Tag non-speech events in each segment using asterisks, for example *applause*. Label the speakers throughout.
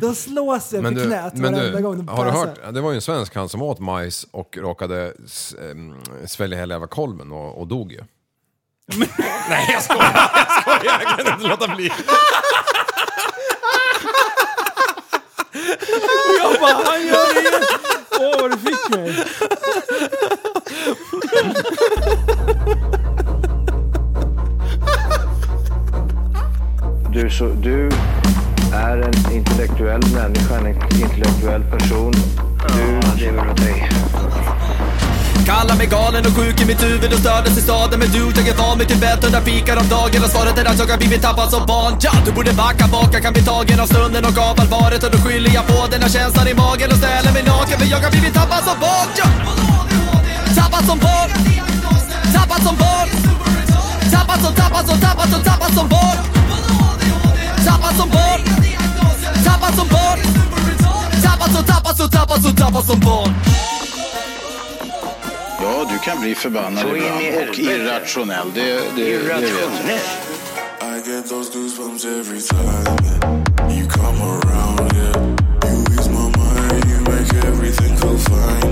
Speaker 1: Då slås jag
Speaker 2: Men
Speaker 1: på
Speaker 2: du,
Speaker 1: knät
Speaker 2: men
Speaker 1: varenda
Speaker 2: du
Speaker 1: gång de
Speaker 2: har du
Speaker 1: passar.
Speaker 2: hört? Det var ju en svensk han som åt majs och råkade s- ehm, svälja hela jävla kolven och, och
Speaker 3: *laughs*
Speaker 2: dog ju. Nej, jag skojar! Jag skojar! Jag kan inte låta bli.
Speaker 1: Jag bara, han gör det igen! Åh, vad du fick mig!
Speaker 4: Du, är så, du är en intellektuell människa, en intellektuell person. Du lever av dig.
Speaker 5: Kallar mig galen och sjuk i mitt huvud och stördes i staden Men du, jag är van vid Tibet och där fikar om dagen Och svaret är att jag har blivit tappad som barn ja, Du borde backa bak, jag kan bli tagen av stunden och av allvaret Och då skyller jag på den här känslan i magen och ställer mig naken För jag har blivit tappad som barn ja. Tappad som barn Tappad som barn Tappad som, tappad som, tappad som, tappad som barn Tappad som barn Tappad som barn Tappad som, tappad som, tappad som, tappad som barn
Speaker 6: Ja, du kan bli förbannad
Speaker 4: Så in i
Speaker 6: ibland och
Speaker 4: helvete.
Speaker 6: irrationell. Det, det, det vet jag.
Speaker 7: I get those goosebumps every time yeah. you come around. Yeah, you ease my mind, you make everything feel fine.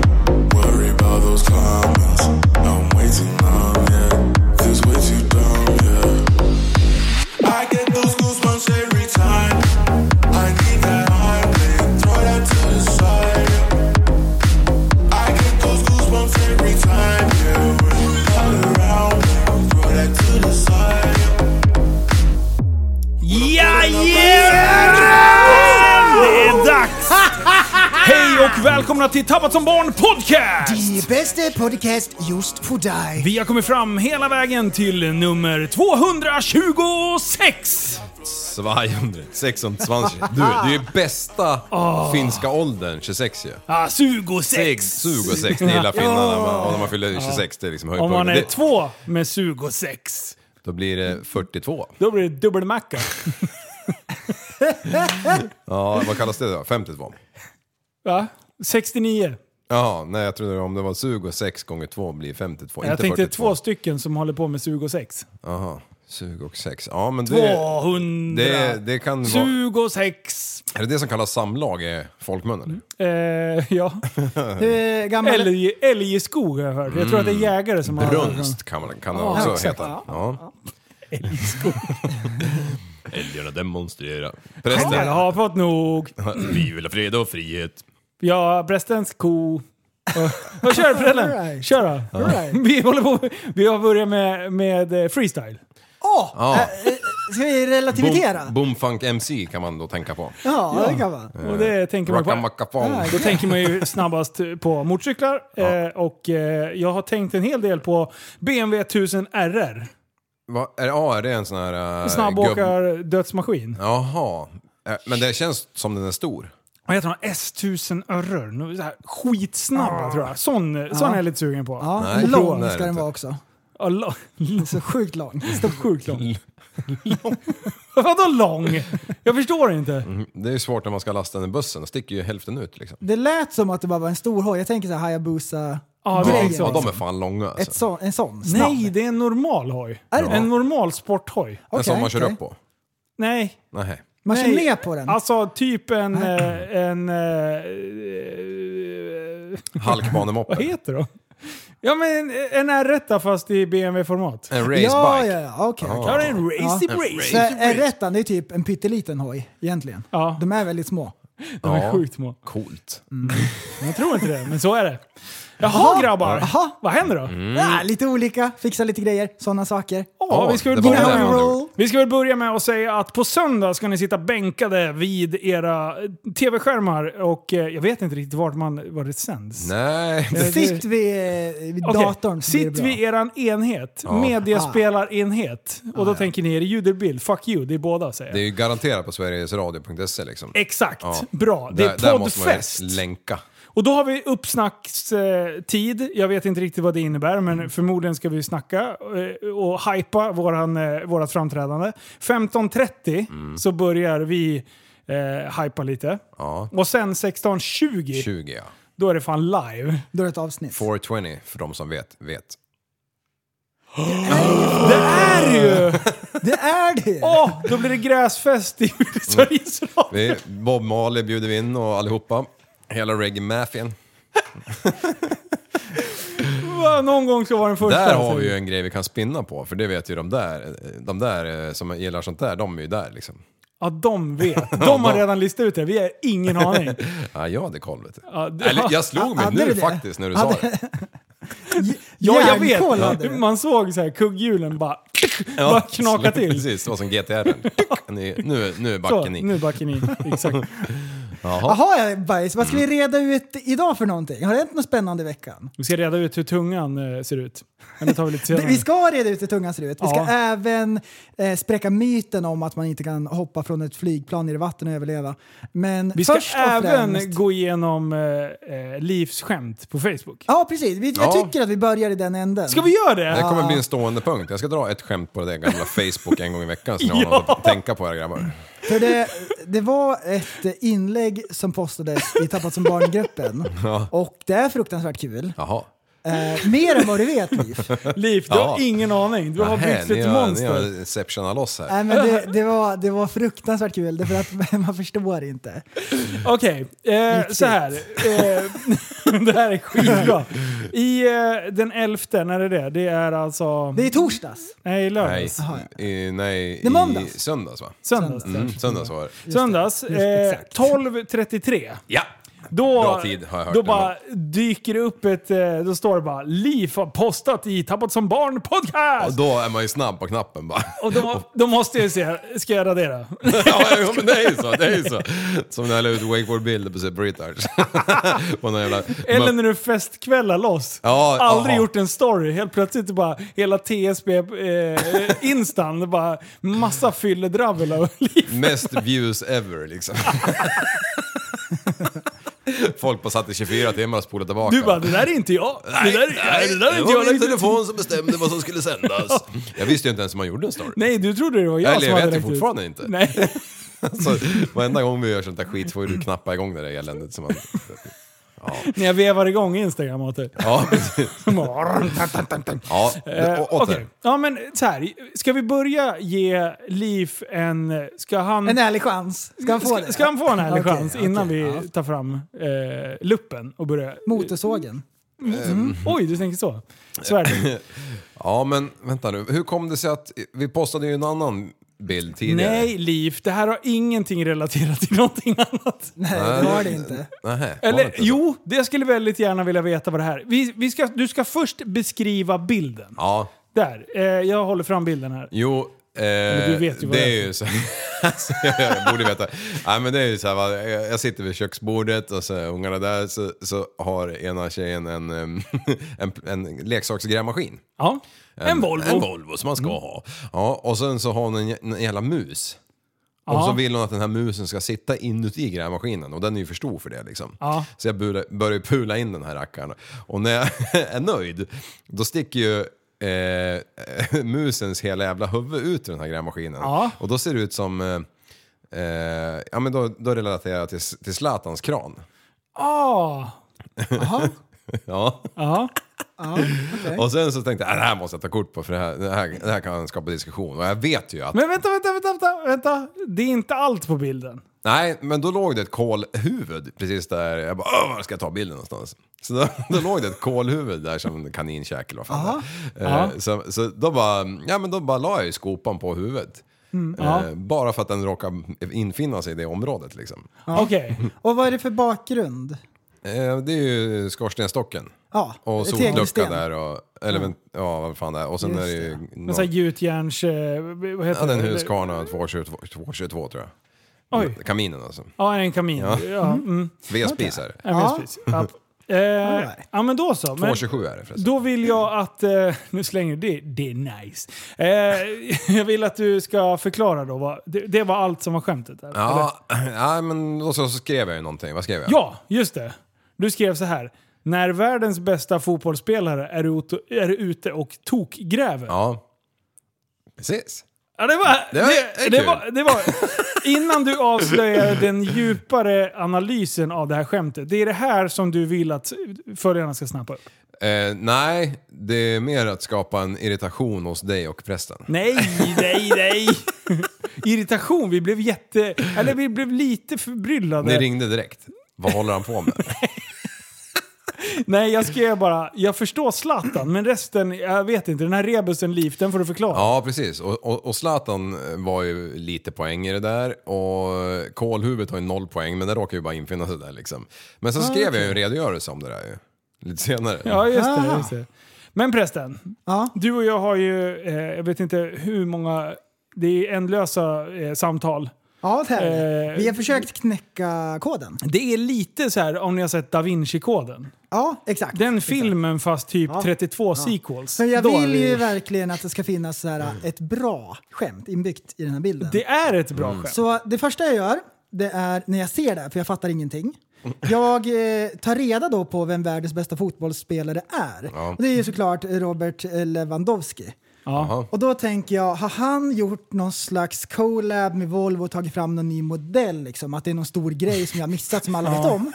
Speaker 7: Worry about those comments, I'm way too numb. Yeah, this way too dumb. Yeah, I get those goosebumps every time. I need that high wind, throw that to the side. yeah. I get those goosebumps every time. Yeah, when you're all around, me, throw that to the side. yeah.
Speaker 3: Jajamän! Det är dags! Hej och välkomna till Tappat som barn podcast!
Speaker 8: Die beste Podcast just för dig.
Speaker 3: Vi har kommit fram hela vägen till nummer 226!
Speaker 2: 200, 26. Du, det är ju bästa finska åldern, 26 ju.
Speaker 3: Ah, 26!
Speaker 2: 26, det gillar finnarna. Man, när man fyller 26, det är liksom
Speaker 3: Om man är
Speaker 2: höjdpunkten. Det-
Speaker 3: två med 26,
Speaker 2: Då blir det 42.
Speaker 3: då blir det dubbelmacka.
Speaker 2: Ja, vad kallas det då? 52?
Speaker 3: Va? 69.
Speaker 2: Ja, nej jag trodde om det var 26 gånger 2 blir 52,
Speaker 3: Jag
Speaker 2: inte
Speaker 3: tänkte
Speaker 2: 42.
Speaker 3: två stycken som håller på med 26.
Speaker 2: Jaha, 26. Ja, men det,
Speaker 3: 200!
Speaker 2: det, det kan vara...
Speaker 3: 26!
Speaker 2: Är det det som kallas samlag i folkmun
Speaker 8: Mm.
Speaker 2: eller?
Speaker 3: Eh,
Speaker 2: *laughs*
Speaker 3: ja.
Speaker 8: Hur gammal
Speaker 3: Älg, älgskog har jag hört. Jag tror att det är jägare som har...
Speaker 2: Mm. Brunst kan, man, kan det också
Speaker 8: exakt.
Speaker 2: heta. Ja. *laughs* Älgarna demonstrera. Prästen,
Speaker 3: Jag har fått nog.
Speaker 2: vi vill ha fred och frihet.
Speaker 3: Ja, prästens ko. Och- Och kör Prellen!
Speaker 8: Alright.
Speaker 3: Kör då!
Speaker 8: Alright.
Speaker 3: *laughs* Vi, håller på, vi har börjat med, med eh, freestyle.
Speaker 8: Åh!
Speaker 2: Ja.
Speaker 8: eh, eh, Ska vi relativitera?
Speaker 2: Boom, boomfunk MC kan man då tänka på.
Speaker 8: ja, det kan
Speaker 2: Eh,
Speaker 8: man.
Speaker 3: Och det tänker man på.
Speaker 2: Rackamacafong.
Speaker 3: Då tänker man
Speaker 2: *laughs*
Speaker 3: ju snabbast på motorcyklar. Eh, och eh, jag har tänkt en hel del på BMW 1000 RR.
Speaker 2: Va, är, ja, är det en sån här... Äh,
Speaker 3: Snabbåkar-dödsmaskin.
Speaker 2: Jaha. Eh, Men det känns som den är stor.
Speaker 3: Vad heter de? S1000 örror. Nu är det så här Skitsnabba tror jag. Sån, sån är jag lite sugen på.
Speaker 8: Ah. Ja,
Speaker 2: Nej, det är
Speaker 8: lång
Speaker 2: det
Speaker 8: ska den
Speaker 2: inte.
Speaker 8: vara också.
Speaker 3: Ja. lo-
Speaker 8: Så sjukt lång.
Speaker 3: Så sjukt lång. *laughs* Vadå lång? Jag förstår inte.
Speaker 2: Det är ju svårt när man ska lasta den i bussen, då sticker ju hälften ut liksom.
Speaker 8: Det lät som att det bara var en stor hoj. Jag tänker så här Hayabusa.
Speaker 3: Ja, det är
Speaker 2: Ja,
Speaker 3: en
Speaker 2: ja,
Speaker 3: sån.
Speaker 2: de är fan långa alltså.
Speaker 8: Ett så, en sån. Snabb.
Speaker 3: Nej, det är en normal hoj.
Speaker 8: Är det det?
Speaker 3: En normal sporthoj.
Speaker 2: en
Speaker 8: Okej,
Speaker 2: som man kör
Speaker 8: okej.
Speaker 2: upp på.
Speaker 3: Nej.
Speaker 2: Nej.
Speaker 8: Man kör
Speaker 3: Nej.
Speaker 8: ner på den.
Speaker 3: Alltså typ en... eh, en eh, vad
Speaker 2: Halkbanemoppe.
Speaker 3: heter de? Ja men en R1 fast i BMW-format.
Speaker 2: En racebike.
Speaker 8: ja, ja, ja. Okej. okej.
Speaker 3: Ja, det är en racy
Speaker 8: Ja.
Speaker 3: race.
Speaker 8: Så R1 det är typ en pytteliten hoj egentligen.
Speaker 3: Ja.
Speaker 8: De är väldigt små.
Speaker 3: De är
Speaker 2: Ja.
Speaker 3: sjukt små.
Speaker 2: Coolt.
Speaker 3: Jag tror inte det, men så är det. Jaha
Speaker 8: Jaha.
Speaker 3: grabbar,
Speaker 8: Jaha.
Speaker 3: vad händer då?
Speaker 2: Mm.
Speaker 8: Ja, Ah, lite olika, fixa lite grejer, sådana saker.
Speaker 3: Ja, vi, ska väl
Speaker 2: det var
Speaker 3: börja
Speaker 2: det man
Speaker 3: med,
Speaker 2: gjorde.
Speaker 8: Roll.
Speaker 3: vi ska väl börja med att säga att på söndag ska ni sitta bänkade vid era eh, tv-skärmar och eh, jag vet inte riktigt vart man, var det sänds.
Speaker 2: Nej.
Speaker 3: Eh, det-
Speaker 8: Sitt vid, eh, vid
Speaker 3: Okej,
Speaker 8: datorn. så blir det
Speaker 3: Sitt
Speaker 8: bra.
Speaker 3: vid eran enhet,
Speaker 2: Ja. Ah,
Speaker 3: mediaspelarenhet. Och då tänker ni, är det ljud eller bild? Fuck you, det är båda säger
Speaker 2: Det är
Speaker 3: jag.
Speaker 2: ju garanterat på sverigesradio.se liksom.
Speaker 3: Exakt,
Speaker 2: Ja.
Speaker 3: bra. Det
Speaker 2: Där- där
Speaker 3: är
Speaker 2: måste man ju
Speaker 3: poddfest.
Speaker 2: länka.
Speaker 3: Och då har vi uppsnackstid. Jag vet inte riktigt vad det innebär,
Speaker 2: Mm.
Speaker 3: men förmodligen ska vi snacka eh, och hypa våran, eh, vårat framträdande. 15.30
Speaker 2: Mm.
Speaker 3: så börjar vi eh, hypa lite.
Speaker 2: Ja.
Speaker 3: Och sen 16.20,
Speaker 2: 20 ja.
Speaker 3: då är det fan
Speaker 2: *laughs*
Speaker 3: live.
Speaker 8: Då är det ett avsnitt.
Speaker 2: 420 för de som vet, vet.
Speaker 3: Det är ju
Speaker 8: Det är det!
Speaker 3: Åh, då blir det gräsfest i Sveriges Radio.
Speaker 2: Mm. Vi, Bob Marley bjuder vi in och allihopa. Hela reggae-maffian.
Speaker 3: Va, Någon gång ska vara den första.
Speaker 2: Där har vi ju en grej vi kan spinna på, för det vet ju de där. De där eh, som gillar sånt där, de är ju där liksom.
Speaker 3: Ja, de
Speaker 2: *laughs*
Speaker 3: vet. De har
Speaker 2: de-
Speaker 3: redan listat ut det. Vi har ingen
Speaker 2: *laughs*
Speaker 3: aning.
Speaker 2: Ja, Ah, jag hade koll vet du.
Speaker 3: Ja, det-
Speaker 2: Eller, jag slog mig
Speaker 8: Hade
Speaker 2: nu
Speaker 8: du det?
Speaker 2: faktiskt när du
Speaker 8: Hade-
Speaker 2: sa det.
Speaker 3: Ja, jag
Speaker 8: Järnkoll hade
Speaker 3: vet.
Speaker 8: du.
Speaker 3: Man såg så här kugghjulen bara, bara knaka till.
Speaker 2: Precis, det var som GTR. nu, nu, nu är
Speaker 3: Så,
Speaker 2: backen i.
Speaker 3: nu backar
Speaker 2: *laughs*
Speaker 3: ni. Exakt.
Speaker 8: Jaha ja, Bajs, vad ska vi reda ut idag för någonting? Har det hänt något spännande i veckan?
Speaker 3: Vi ska reda ut hur tungan eh, ser ut. Men det tar vi lite senare.
Speaker 8: Vi ska reda ut hur tungan ser ut. Vi ska
Speaker 3: Ja.
Speaker 8: även eh, spräcka myten om att man inte kan hoppa från ett flygplan ner i vatten och överleva. Men
Speaker 3: Vi ska
Speaker 8: först och
Speaker 3: även
Speaker 8: främst...
Speaker 3: gå igenom eh, eh, livsskämt på Facebook.
Speaker 8: Ja, precis. Vi, jag
Speaker 2: Ja.
Speaker 8: tycker att vi börjar i den änden.
Speaker 3: Ska vi göra det?
Speaker 2: Det kommer bli en stående punkt. Jag ska dra ett skämt på det gamla Facebook en gång i veckan så
Speaker 3: *laughs*
Speaker 2: ni har något att tänka på era grabbar.
Speaker 8: För det, det var ett inlägg som postades i Tappat
Speaker 3: *laughs*
Speaker 8: som barn-gruppen. Och det är fruktansvärt kul.
Speaker 2: Jaha.
Speaker 8: Eh, mer än vad du vet, Liv.
Speaker 3: Liv, du
Speaker 2: Ja.
Speaker 3: har ingen aning. Du har
Speaker 2: Nähä,
Speaker 3: byggt
Speaker 2: ni
Speaker 3: ett
Speaker 2: har- Ni
Speaker 3: monster. Äh,
Speaker 2: har Inceptionat loss här.
Speaker 8: Nej, men det, det, var, det var fruktansvärt kul, därför att *laughs* man förstår inte.
Speaker 3: Okej, eh, så här. Eh, *laughs* det här är skitbra. I eh, den elfte, när är det? Det är alltså...
Speaker 8: Det är torsdags.
Speaker 3: Nej,
Speaker 2: Nej,
Speaker 3: lördags.
Speaker 8: Jaha,
Speaker 2: i, nej,
Speaker 8: Det är måndags.
Speaker 2: i söndags va?
Speaker 3: Söndags.
Speaker 2: Mm, söndags var det.
Speaker 3: Söndags, eh, 12.33.
Speaker 2: *laughs* Ja!
Speaker 3: Då,
Speaker 2: Bra tid, har jag hört
Speaker 3: Då
Speaker 2: ändå.
Speaker 3: bara dyker det upp ett... eh, Då står det bara “Liv har postat i Tappat som barn
Speaker 2: Och
Speaker 3: podcast”.
Speaker 2: då är man ju snabb på knappen bara. *laughs*
Speaker 3: Och då, då måste jag se, ska jag radera?
Speaker 2: ja, jo, men det är ju så. Det är ju så. Som när jag la ut wakeboardbilder på Super Retards. *laughs* på någon jävla...
Speaker 3: Eller när du festkvällar loss.
Speaker 2: Ja,
Speaker 3: Aldrig
Speaker 2: aha.
Speaker 3: gjort en story. Helt plötsligt bara hela TSB eh, instan, det bara massa fylledravel av *laughs* liv.
Speaker 2: Mest views ever liksom. Folk bara satt i 24 timmar och spolade tillbaka.
Speaker 3: Du bara, det där är inte jag.
Speaker 2: Nej,
Speaker 3: det där,
Speaker 2: nej,
Speaker 3: det där är
Speaker 2: det
Speaker 3: inte
Speaker 2: var
Speaker 3: jag.
Speaker 2: min telefon som bestämde vad som
Speaker 3: *laughs*
Speaker 2: skulle sändas. Jag visste ju inte ens hur man gjorde en story.
Speaker 3: Nej, du trodde det var jag
Speaker 2: Eller
Speaker 3: som
Speaker 2: jag
Speaker 3: hade
Speaker 2: vet ju
Speaker 3: lagt ut.
Speaker 2: fortfarande inte. *laughs*
Speaker 3: Nej.
Speaker 2: Så, varenda gång vi gör sånt där skit får du knappa igång det där eländet. Som man...
Speaker 3: När jag vevar igång Instagram åt dig.
Speaker 2: Ja, *laughs* precis.
Speaker 3: *laughs*
Speaker 2: Ja,
Speaker 3: Eh,
Speaker 2: å- åter.
Speaker 3: okej. Ja men så här. ska vi börja ge Liv en... Ska han...
Speaker 8: En ärlig chans. Ska han få
Speaker 3: Ska,
Speaker 8: det?
Speaker 3: ska han få en ärlig
Speaker 8: Okej,
Speaker 3: chans
Speaker 8: okej,
Speaker 3: innan vi
Speaker 8: ja.
Speaker 3: tar fram eh, luppen och börjar...
Speaker 8: Motorsågen.
Speaker 3: Oj, du tänker så? Svärd.
Speaker 2: Ja, men vänta nu. Hur kom det sig att... Vi postade ju en annan bild tidigare.
Speaker 3: Nej, Liv, det här har ingenting relaterat till någonting annat.
Speaker 8: Nej, det var det inte.
Speaker 2: Nähä, var det
Speaker 3: Eller
Speaker 2: inte så?
Speaker 3: jo, det jag skulle väldigt gärna vilja veta vad det här vi, vi ska, Du ska först beskriva bilden.
Speaker 2: Ja,
Speaker 3: Där, eh, jag håller fram bilden här.
Speaker 2: Jo, eh,
Speaker 3: du vet ju vad
Speaker 2: det
Speaker 3: det
Speaker 2: är ju så *laughs* alltså, jag borde veta. Nej, men det är ju så här, va, jag jag sitter vid köksbordet och så är ungarna där så, så har ena tjejen en, em, *laughs* en, en leksaksgrävmaskin.
Speaker 3: Ja. En, Volvo. Mm.
Speaker 2: En Volvo som man ska ha. Ja, och sen så har hon en, jä- en jävla mus.
Speaker 3: Ja.
Speaker 2: Och så vill hon att den här musen ska sitta inuti grävmaskinen och den är ju för stor för det liksom.
Speaker 3: Ja.
Speaker 2: Så jag börjar börjar pula in den här rackaren. Och när jag *laughs* är nöjd, då sticker ju eh, *laughs* musens hela jävla huvud ut ur den här grävmaskinen.
Speaker 3: Ja.
Speaker 2: Och då ser det ut som... Eh, eh, ja men då, då relaterar jag till, till Zlatans kran.
Speaker 3: Ah,
Speaker 2: Ja.
Speaker 3: ja.
Speaker 2: Och sen så tänkte jag, "Ah, det här måste jag ta kort på för det här, det här, det här kan skapa diskussion. Och jag vet ju att
Speaker 3: Men vänta, vänta, vänta, vänta, vänta. Det är inte allt på bilden.
Speaker 2: Nej, men då låg det ett kolhuvud precis där. Jag bara, "Åh, var ska jag ta bilden någonstans? Så då, då låg det ett kolhuvud där som en kaninkäkel. Vad fan det är. eh,
Speaker 3: Ja.
Speaker 2: så, så då bara, ja men då bara la jag ju skopan på huvudet. Eh, bara för att den råkade infinna sig i det området liksom.
Speaker 3: Okej.
Speaker 8: Och vad är det för bakgrund?
Speaker 2: Eh, det är ju skorstenstocken.
Speaker 8: Ja,
Speaker 2: Och sollucka
Speaker 8: tegelsten.
Speaker 2: där och, eller men, ja vad fan det är. Och sen
Speaker 8: Just
Speaker 2: är det ju,
Speaker 3: Men
Speaker 2: någon,
Speaker 3: såhär gjutjärns... Eh, vad heter
Speaker 2: ja, den
Speaker 3: det?
Speaker 2: Husqvarna 222, 222 tror jag.
Speaker 3: Oj.
Speaker 2: Kaminen alltså.
Speaker 3: Ja, en kamin. Ja. mm.
Speaker 2: Vedspisar.
Speaker 3: En vedspis. Ja. Eh,
Speaker 8: right.
Speaker 3: ja, men då så. Men,
Speaker 2: 227 är det förresten.
Speaker 3: Då vill jag att... Eh, nu slänger du det. Det är nice. Eh, *laughs* jag vill att du ska förklara då. Vad, det, det var allt som var skämtet? Där, eller?
Speaker 2: Ja, *clears throat* ja men och så så skrev jag ju någonting. Vad skrev jag?
Speaker 3: ja, just det. Du skrev så här. När världens bästa fotbollsspelare är ute, är ute och tokgräver. Ja.
Speaker 2: Ja. Precis.
Speaker 3: det var...
Speaker 2: Det var- det
Speaker 3: Det,
Speaker 2: är
Speaker 3: det,
Speaker 2: kul.
Speaker 3: var, det var Innan du avslöjar den djupare analysen av det här skämtet. Det är det här som du vill att följarna ska snappa upp.
Speaker 2: Eh, nej, det är mer att skapa en irritation hos dig och prästen.
Speaker 3: Nej, nej, nej! Irritation, vi blev jätte... Eller vi blev lite förbryllade.
Speaker 2: Ni ringde direkt. Vad håller han
Speaker 3: *laughs*
Speaker 2: på med?
Speaker 3: Nej, jag skrev bara, jag förstår Zlatan, men resten, jag vet inte. Den här rebusen liv, den får du förklara.
Speaker 2: Ja, precis. Och, och, och Zlatan eh, var ju lite poäng i det där och Kålhuvudet har ju noll poäng, men det råkar ju bara infinna sig där liksom. Men sen skrev jag ju en redogörelse om det där ju. Lite senare.
Speaker 3: Ah, Ja, just det.
Speaker 8: Ah.
Speaker 3: Just det. Men prästen,
Speaker 8: Ja.
Speaker 3: du och jag har ju, eh, jag vet inte hur många, det är ändlösa eh, samtal.
Speaker 8: Ja, det här. är det.
Speaker 3: Eh,
Speaker 8: Vi har försökt knäcka koden.
Speaker 3: Det är lite så här om ni har sett Da Vinci-koden.
Speaker 8: Ja, exakt.
Speaker 3: Den filmen fast typ
Speaker 8: Ja.
Speaker 3: 32 sequels.
Speaker 8: Så jag
Speaker 3: Då är
Speaker 8: vill
Speaker 3: vi-
Speaker 8: ju verkligen att det ska finnas så här, ett bra skämt inbyggt i den här bilden.
Speaker 3: Det är ett bra skämt.
Speaker 8: Så det första jag gör, det är när jag ser det, här, för jag fattar ingenting. Jag eh, tar reda då på vem världens bästa fotbollsspelare är.
Speaker 2: Ja.
Speaker 8: Och det är ju såklart Robert eh, Lewandowski.
Speaker 3: Ja.
Speaker 8: Och då tänker jag, har han gjort någon slags collab med Volvo och tagit fram någon ny modell? Liksom? Att det är någon stor grej som jag missat som alla vet om?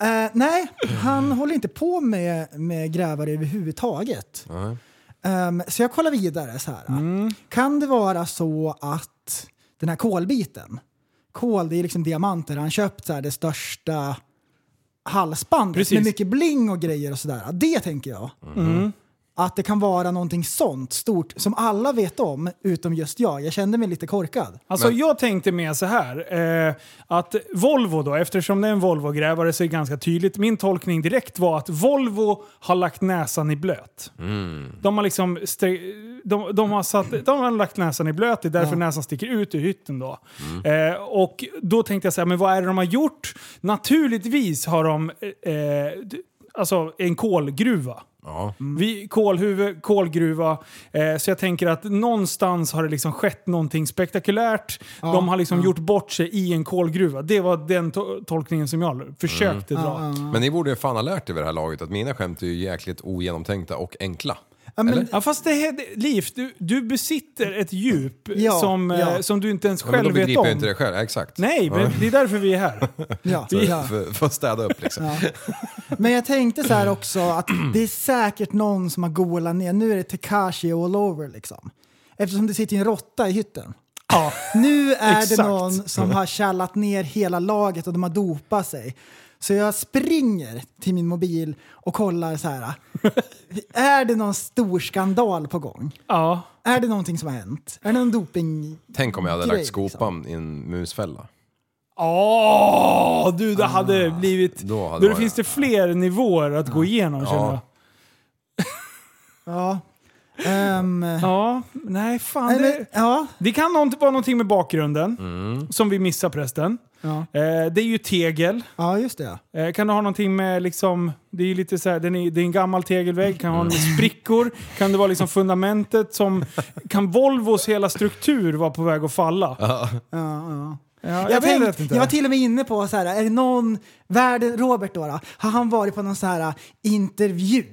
Speaker 8: Eh, nej, han håller inte på med, med grävare överhuvudtaget. Ehm, så jag kollar vidare så här. Kan det vara så att den här kolbiten, kol det är liksom diamanter, han köpt så här det största halsbandet
Speaker 3: Precis.
Speaker 8: med mycket bling och grejer och sådär. Det tänker jag. Att det kan vara någonting sånt stort som alla vet om, utom just jag. Jag kände mig lite korkad.
Speaker 3: Alltså jag tänkte mer så här. Eh, att Volvo då, eftersom det är en Volvo-grävare så är det ganska tydligt. Min tolkning direkt var att Volvo har lagt näsan i blöt. De har liksom stre- de, de, har satt, de har lagt näsan i blöt, det är därför näsan sticker ut ur hytten då. Eh, och då tänkte jag så här, men vad är det de har gjort? Naturligtvis har de eh, eh, d- alltså en kolgruva.
Speaker 2: Ja.
Speaker 3: Mm. Vi, kolhuvud, kolgruva. Eh, så jag tänker att någonstans har det liksom skett någonting spektakulärt. De har
Speaker 8: Mm.
Speaker 3: liksom gjort bort sig i en kolgruva. Det var den to- tolkningen som jag försökte
Speaker 8: Mm.
Speaker 3: dra.
Speaker 2: Men ni borde ju fan ha lärt er vid det här laget att mina skämt är ju jäkligt ogenomtänkta och enkla.
Speaker 8: Ja, men,
Speaker 2: Eller?
Speaker 3: Ja fast det, här- det- Liv, du, du besitter ett djup
Speaker 8: Ja,
Speaker 3: som, eh,
Speaker 8: ja.
Speaker 3: som du inte ens
Speaker 2: Ja, men
Speaker 3: själv
Speaker 2: då
Speaker 3: vet
Speaker 2: begriper
Speaker 3: om.
Speaker 2: jag inte det själv. Ja, Exakt.
Speaker 3: Nej, men det är därför vi är här.
Speaker 8: ja,
Speaker 3: Vi-
Speaker 8: ja.
Speaker 2: *laughs* För, för att städa upp liksom.
Speaker 8: men jag tänkte så här också att det är säkert någon som har golat ner. Nu är det Tekashi all over liksom. Eftersom det sitter ju en råtta i hytten.
Speaker 3: Ja.
Speaker 8: Nu är det
Speaker 3: Exakt.
Speaker 8: någon som har tjallat ner hela laget och de har dopat sig. Så jag springer till min mobil och kollar så här. *laughs* Är det någon stor skandal på gång?
Speaker 3: ja.
Speaker 8: Är det någonting som har hänt? Är det någon doping?
Speaker 2: Tänk om jag hade
Speaker 8: Grej, liksom.
Speaker 2: lagt skopan i en musfälla.
Speaker 3: Åh, du, det hade blivit...
Speaker 2: Ah, Då hade
Speaker 3: Då
Speaker 2: varit-
Speaker 3: finns det fler nivåer att gå igenom känner jag.
Speaker 8: Ja. Ehm,
Speaker 3: Ja, nej fan.
Speaker 8: nej,
Speaker 3: Det,
Speaker 8: men, ja.
Speaker 3: det kan nånt- vara någonting med bakgrunden som vi missar prästen.
Speaker 8: Ja.
Speaker 3: Eh, det är ju tegel.
Speaker 8: ja, just det.
Speaker 3: Eh, kan det ha någonting med liksom, det är ju lite så här, den är, det är en gammal tegelvägg, kan ha en sprickor, kan det vara liksom fundamentet som, kan Volvos hela struktur vara på väg att falla? Ja, jag,
Speaker 8: Jag,
Speaker 3: vet
Speaker 8: tänkte,
Speaker 3: inte.
Speaker 8: jag var till och med inne på så här, är det någon, världen, Robert då, då har han varit på någon så här eh, intervju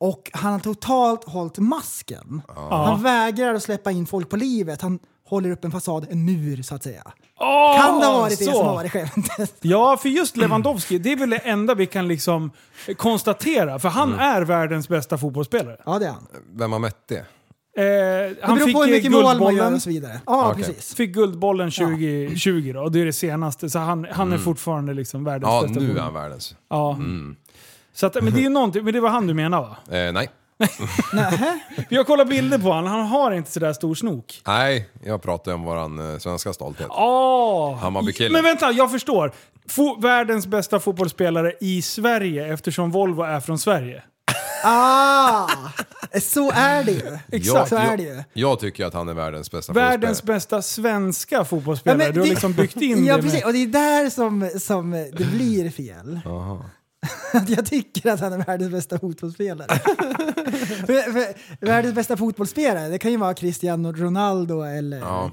Speaker 8: och han har totalt hållit masken. Han vägrar att släppa in folk på livet. Han håller upp en fasad, en mur så att säga.
Speaker 3: Åh,
Speaker 8: Kan det ha varit det
Speaker 3: så.
Speaker 8: som har varit skämtet? *laughs*
Speaker 3: Ja, för just Lewandowski, det är väl det enda vi kan liksom konstatera, för han är världens bästa fotbollsspelare.
Speaker 8: Ja, det är han.
Speaker 2: Vem har mätt det?
Speaker 3: Eh,
Speaker 8: Det
Speaker 3: han
Speaker 8: beror
Speaker 3: fick
Speaker 8: på hur
Speaker 3: eh,
Speaker 8: mycket mål man gör
Speaker 3: Guldbollen.
Speaker 8: och så vidare. Ja,
Speaker 2: Okej.
Speaker 8: precis.
Speaker 3: Fick Guldbollen 2020 då, och det är det senaste. Så han, han är fortfarande liksom världens
Speaker 2: Ja,
Speaker 3: bästa
Speaker 2: nu är
Speaker 3: mål.
Speaker 2: han världens.
Speaker 3: Ja. Så att, men det är ju någonting, men det var han du menar va?
Speaker 2: Eh, nej.
Speaker 8: Nähä.
Speaker 3: För jag kollar bilder på honom, han har inte sådär stor snok.
Speaker 2: Nej, jag pratar om våran eh, svenska stolthet.
Speaker 3: Åh!
Speaker 2: Hammarbykillen.
Speaker 3: Ah! Men vänta, jag förstår. Fo- världens bästa fotbollsspelare i Sverige eftersom Volvo är från Sverige.
Speaker 8: Ah, så är det ju.
Speaker 2: Jag-
Speaker 8: så är
Speaker 2: jag-
Speaker 8: det ju.
Speaker 2: Jag tycker att han är världens bästa
Speaker 3: Världens
Speaker 2: fotbollsspelare.
Speaker 3: bästa svenska
Speaker 8: Ja,
Speaker 3: fotbollsspelare.
Speaker 8: men
Speaker 3: du har
Speaker 8: det-
Speaker 3: liksom byggt in
Speaker 8: *laughs* ja,
Speaker 3: det
Speaker 8: precis.
Speaker 3: med...
Speaker 8: Och det är där som, som det
Speaker 2: *laughs*
Speaker 8: blir fel. Att jag tycker att han är världens bästa fotbollsspelare. *laughs* för, för, världens bästa fotbollsspelare, det kan ju vara Cristiano Ronaldo eller
Speaker 2: Ja.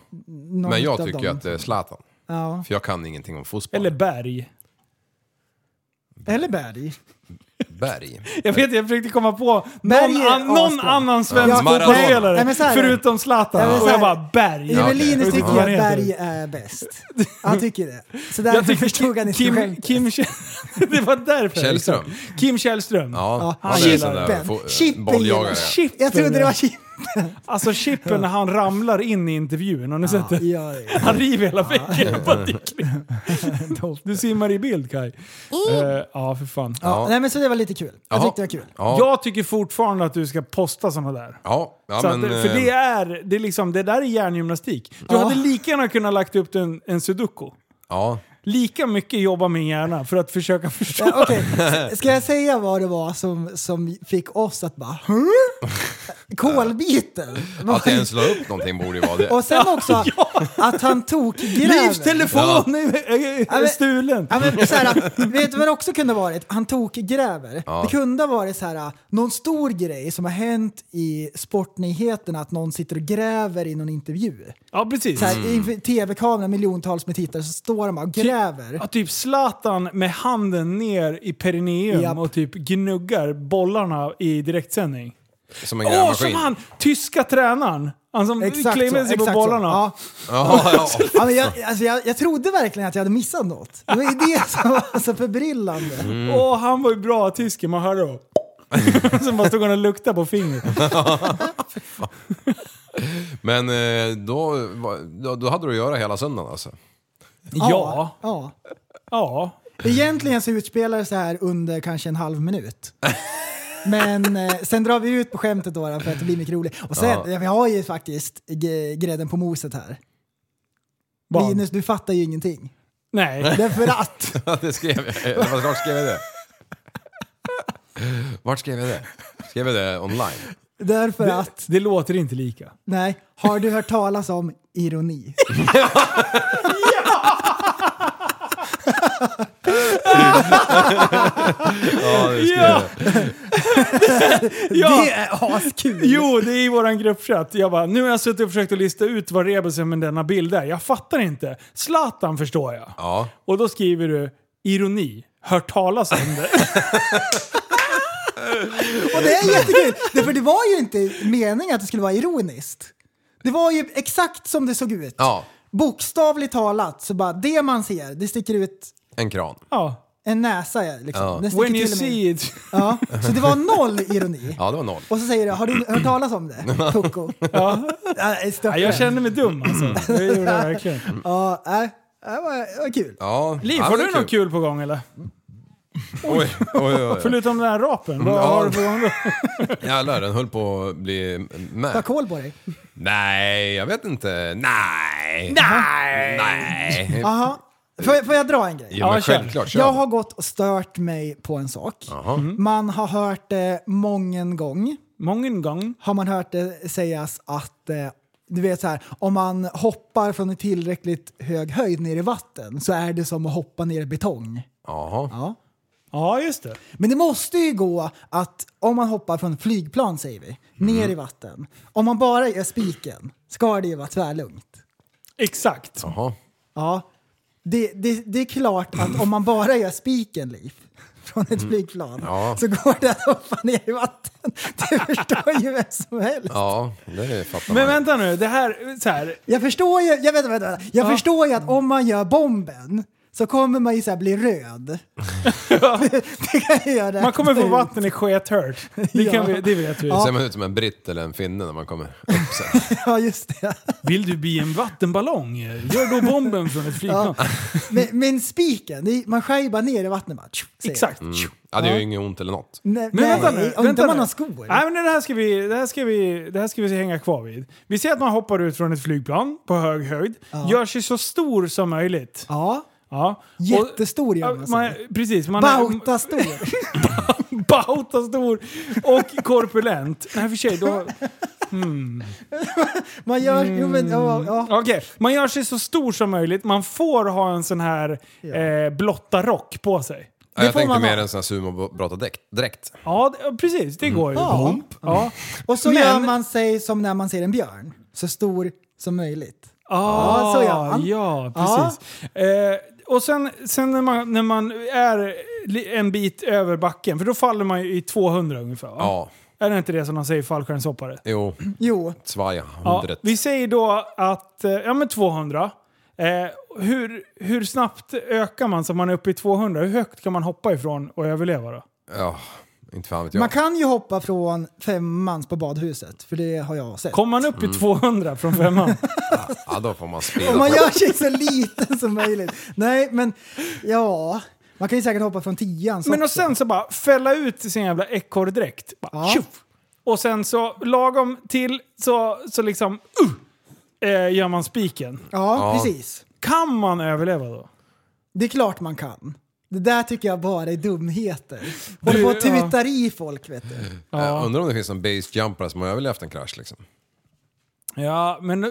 Speaker 8: någon
Speaker 2: Men jag
Speaker 8: av
Speaker 2: tycker
Speaker 8: dem.
Speaker 2: att det är Zlatan.
Speaker 8: Ja.
Speaker 2: För jag kan ingenting om fotboll.
Speaker 3: Eller Berg.
Speaker 8: Eller Berg.
Speaker 2: Berg.
Speaker 3: Jag vet, jag försökte komkomma på någon,
Speaker 8: Berg är
Speaker 3: an, någon
Speaker 8: asbra.
Speaker 3: annan svensk
Speaker 8: Ja,
Speaker 2: Maradona.
Speaker 3: fotbollsspelare
Speaker 8: Nej, men så här är det.
Speaker 3: förutom Zlatan.
Speaker 8: Ja, men så
Speaker 3: och jag
Speaker 8: här-
Speaker 3: bara Berg.
Speaker 8: I
Speaker 3: Ja.
Speaker 8: Vellinus
Speaker 3: Jag vet inte
Speaker 8: tycker jag
Speaker 3: vad
Speaker 8: att
Speaker 3: han heter.
Speaker 8: Berg är bäst. Han tycker det. Så
Speaker 3: Jag
Speaker 8: därför
Speaker 3: tycker
Speaker 8: förstod han
Speaker 3: Kim,
Speaker 8: inte
Speaker 3: Kim,
Speaker 8: skämtet.
Speaker 3: Kim *laughs* Det var därför.
Speaker 2: Källström.
Speaker 3: liksom. Kim Källström.
Speaker 2: Ja,
Speaker 8: *laughs* Ja,
Speaker 2: han är en
Speaker 8: Chippen.
Speaker 2: sån där fo-
Speaker 8: Chippen
Speaker 2: bolljagare.
Speaker 8: gillar
Speaker 3: Chippen.
Speaker 8: Jag trodde det var Kim.
Speaker 3: Alltså Chippen när han ramlar in i intervjun, har ni sett det?
Speaker 8: Ja, det är-
Speaker 3: Han river hela väggen. Bara
Speaker 8: *laughs*
Speaker 3: dick. Du simmar i bild Kai. Eh, Ja, för fan.
Speaker 8: ja. Nej men så det var lite kul. Jag
Speaker 2: Jaha.
Speaker 8: tyckte det var kul.
Speaker 2: Ja, ja,
Speaker 3: Jag tycker fortfarande att du ska posta såna där.
Speaker 2: ja,
Speaker 3: Så att,
Speaker 2: men...
Speaker 3: för det
Speaker 2: eh,
Speaker 3: är, det är liksom, det där är hjärngymnastik. Du
Speaker 8: Ja.
Speaker 3: hade lika gärna kunnat lagt upp en, en sudoku.
Speaker 2: Ja.
Speaker 3: Lika mycket jobba min hjärna för att försöka *laughs* förstå.
Speaker 8: Ja, okej. S- Ska jag säga vad det var som, som fick oss att bara "Huh?" Kolbiten!
Speaker 2: Att jag ens la upp någonting borde ju vara det.
Speaker 8: Och sen också att han tog
Speaker 3: Livs
Speaker 8: gräver.
Speaker 3: telefon är, är, är
Speaker 8: men-
Speaker 3: stulen!
Speaker 8: Ja, men så här, vet du vad det också kunde ha varit? Han tog gräver.
Speaker 2: Ja.
Speaker 8: Det kunde ha varit så här, någon stor grej som har hänt i sportnyheterna att någon sitter och gräver i någon intervju.
Speaker 3: Ja, precis.
Speaker 8: Så här, Inför tv-kameran, miljontals med tittare, så står de och gräver.
Speaker 3: Ja, typ Zlatan med handen ner i perineum
Speaker 8: Japp.
Speaker 3: och typ gnuggar bollarna i direktsändning.
Speaker 2: Som en
Speaker 3: Åh, som
Speaker 2: grävmaskin.
Speaker 3: han! Tyska tränaren! Han som
Speaker 8: Exakt så.
Speaker 3: claimade sig
Speaker 8: Exakt
Speaker 3: på
Speaker 8: så.
Speaker 3: bollarna.
Speaker 8: Ja.
Speaker 2: Ja, ja.
Speaker 8: Ja, men jag, alltså jag, jag trodde verkligen att jag hade missat något. Det var ju det som var så alltså, förbryllande.
Speaker 3: Åh,
Speaker 8: Mm.
Speaker 3: han var ju bra tysken, man hörde
Speaker 8: *laughs*
Speaker 3: då. Sen bara stod han och luktade på fingret.
Speaker 2: Men eh, då, var- då, då hade du att göra hela söndagen alltså. *laughs*
Speaker 3: Ja.
Speaker 8: ja.
Speaker 3: Ja.
Speaker 8: Egentligen så utspelar det så här under kanske en halv minut. Men eh, sen drar vi ut på skämtet då då, för att det blir mycket roligt. Och sen, vi har ju faktiskt g- grädden på moset här.
Speaker 3: Barn.
Speaker 8: Linus, du fattar ju ingenting.
Speaker 3: Nej.
Speaker 8: Därför att...
Speaker 2: det skrev jag. Eller Vart skrev jag det? Vart skrev jag det? Skrev jag det online?
Speaker 8: Därför att...
Speaker 3: Det låter inte
Speaker 8: *laughs*
Speaker 3: lika.
Speaker 8: Nej, har du hört talas om ironi?
Speaker 2: Ja, det skrev
Speaker 3: Ja!
Speaker 2: jag.
Speaker 3: Ja!
Speaker 8: Det är askul!
Speaker 3: Jo, det är i våran gruppchatt. Jag bara, nu har jag suttit och försökt att lista ut vad rebusen med denna bild är. Jag fattar inte. Zlatan förstår jag.
Speaker 2: Ja.
Speaker 3: Och då skriver du ironi. Hört talas om
Speaker 8: *laughs*
Speaker 3: det.
Speaker 8: Och det är jättekul! Därför det var ju inte meningen att det skulle vara ironiskt. Det var ju exakt som det såg ut.
Speaker 2: ja,
Speaker 8: Bokstavligt talat, så bara det man ser, det sticker ut
Speaker 2: en kran.
Speaker 3: Ja.
Speaker 8: en näsa. Liksom.
Speaker 2: Ja.
Speaker 8: Den sticker
Speaker 3: When you
Speaker 8: till och med-
Speaker 3: see it.
Speaker 8: Ja. Så det var noll ironi.
Speaker 2: *laughs* Ja, det var noll.
Speaker 8: Och så säger du, har du hört talas
Speaker 2: *laughs*
Speaker 8: om det? Pucko.
Speaker 3: Ja.
Speaker 8: Ja,
Speaker 3: Ja,
Speaker 8: störtbra.
Speaker 3: jag kände mig dum
Speaker 8: Mm.
Speaker 3: alltså. Det gjorde jag verkligen.
Speaker 8: Ja, nej, det var, det var kul.
Speaker 2: Ja,
Speaker 3: Liv,
Speaker 2: Mm. ja,
Speaker 3: har
Speaker 2: det Mm.
Speaker 3: du
Speaker 2: var
Speaker 3: något kul på gång eller?
Speaker 2: Oj, oj, oj. oj.
Speaker 3: Förutom den här rapen. Vad
Speaker 2: Ja.
Speaker 3: har du på gång då?
Speaker 2: Jävlar, den höll på att bli
Speaker 8: Ta
Speaker 2: med.
Speaker 8: koll på dig.
Speaker 2: Nej, jag vet inte. Nej. Nej. Nej.
Speaker 8: Aha. Får, jag- får jag dra en grej?
Speaker 2: Ja,
Speaker 3: Ja,
Speaker 2: men
Speaker 3: kör.
Speaker 2: självklart. Kör.
Speaker 8: Jag har gått och stört mig på en sak. Man har hört det mången gång.
Speaker 3: Mången gång.
Speaker 8: har man hört det sägas att eh, du vet så här, om man hoppar från en tillräckligt hög höjd ner i vatten så är det som att hoppa ner i betong.
Speaker 2: Jaha.
Speaker 8: Ja.
Speaker 3: Ja, just det.
Speaker 8: Men det måste ju gå att om man hoppar från flygplan säger vi, ner i vatten. Om man bara gör spiken ska det ju vara tvärlugnt.
Speaker 3: Exakt.
Speaker 2: Jaha.
Speaker 8: Ja. Det, det, det är klart att om man bara gör spiken, Liv, *laughs* från ett flygplan
Speaker 2: Ja.
Speaker 8: så går det att hoppa ner i vatten. *laughs* Det förstår ju vem som helst.
Speaker 2: Ja, det fattar
Speaker 3: Men
Speaker 2: man.
Speaker 3: vänta nu, det här... Så
Speaker 2: *laughs*
Speaker 3: här
Speaker 8: Jag förstår ju, jag, vet, vänta, vänta. jag förstår ju att om man gör bomben så kommer man ju så här bli röd. *laughs* det, det kan jag göra.
Speaker 3: man kommer få vatten i skethört. Det,
Speaker 8: Ja.
Speaker 3: kan vi, det vet vi.
Speaker 2: Ser man ut som en britt eller en finne när man kommer upp sen?
Speaker 8: *laughs* Ja, just det.
Speaker 3: Vill du bli en vattenballong? Gör då bomben från ett flygplan.
Speaker 8: Men, men spiken, det är- man skär ju bara ner i vattnet bara. tju, säger
Speaker 3: Exakt.
Speaker 2: Ja, det är ju inget ont eller något.
Speaker 8: det. Nej,
Speaker 3: Men
Speaker 8: Mm. nej,
Speaker 3: vänta nu.
Speaker 8: om
Speaker 3: vänta
Speaker 8: inte man
Speaker 3: nu.
Speaker 8: har skor.
Speaker 3: Nej, men det här, ska vi, det, här ska vi, det här ska vi hänga kvar vid. Vi ser att man hoppar ut från ett flygplan på hög höjd. Gör sig så stor som möjligt.
Speaker 8: Ja,
Speaker 3: Ja.
Speaker 8: jättestor
Speaker 3: Ja,
Speaker 8: gör man,
Speaker 3: man,
Speaker 8: sig.
Speaker 3: precis, man
Speaker 8: Bauta stor.
Speaker 3: *laughs* Bauta stor och korpulent. Nej, för sig, då...
Speaker 8: Man gör,
Speaker 3: Mm.
Speaker 8: jo men ja, ja.
Speaker 3: Okej, man gör sig så stor som möjligt. Man får ha en sån här eh, blotta rock på sig.
Speaker 2: Ja, jag
Speaker 8: får
Speaker 2: tänkte
Speaker 8: man
Speaker 2: mer
Speaker 8: ha.
Speaker 2: en sån här sumobrotardräkt.
Speaker 3: Ja, det, ja, precis. Det går ju.
Speaker 8: Mm. Ja.
Speaker 3: Ja.
Speaker 8: Och så
Speaker 3: Men-
Speaker 8: gör man sig som när man ser en björn. Så stor som möjligt.
Speaker 3: Ah,
Speaker 8: Ja, så gör man.
Speaker 3: Ja, precis. Eh, och sen, sen när, man, när man är li- en bit över backen, för då faller man ju i 200 ungefär va?
Speaker 2: Ja,
Speaker 3: Är det inte det som de säger fallskärmshoppare?
Speaker 2: jo.
Speaker 8: Jo,
Speaker 2: Svaja,
Speaker 3: Ja,
Speaker 2: hundret.
Speaker 3: vi säger då att, eh, ja men 200. Eh, hur, hur snabbt ökar man så man är uppe i 200? Hur högt kan man hoppa ifrån och överleva då?
Speaker 2: Ja, inte fan vet jag.
Speaker 8: man kan ju hoppa från femmans på badhuset, för det har jag sett.
Speaker 3: Kommer man upp i 200 från *laughs* femman?
Speaker 2: Ja, då får man spela.
Speaker 8: Om man gör sig så liten som möjligt. Nej, men ja. Man kan ju säkert hoppa från tian. så
Speaker 3: men och
Speaker 8: också.
Speaker 3: sen så bara fälla ut sin jävla ekorrdräkt. Bara,
Speaker 8: Ja.
Speaker 3: tjoff! Och sen så lagom till så, så liksom uh, eh, gör man spiken.
Speaker 8: Ja,
Speaker 2: Ja.
Speaker 8: precis.
Speaker 3: Kan man överleva då?
Speaker 8: Det är klart man kan. Det där tycker jag bara är dumheter. Håller på att
Speaker 3: ja.
Speaker 8: tutar i folk vet du.
Speaker 2: Jag undrar om det finns någon base jumper som har överlevt en krasch liksom.
Speaker 3: Ja, men eh,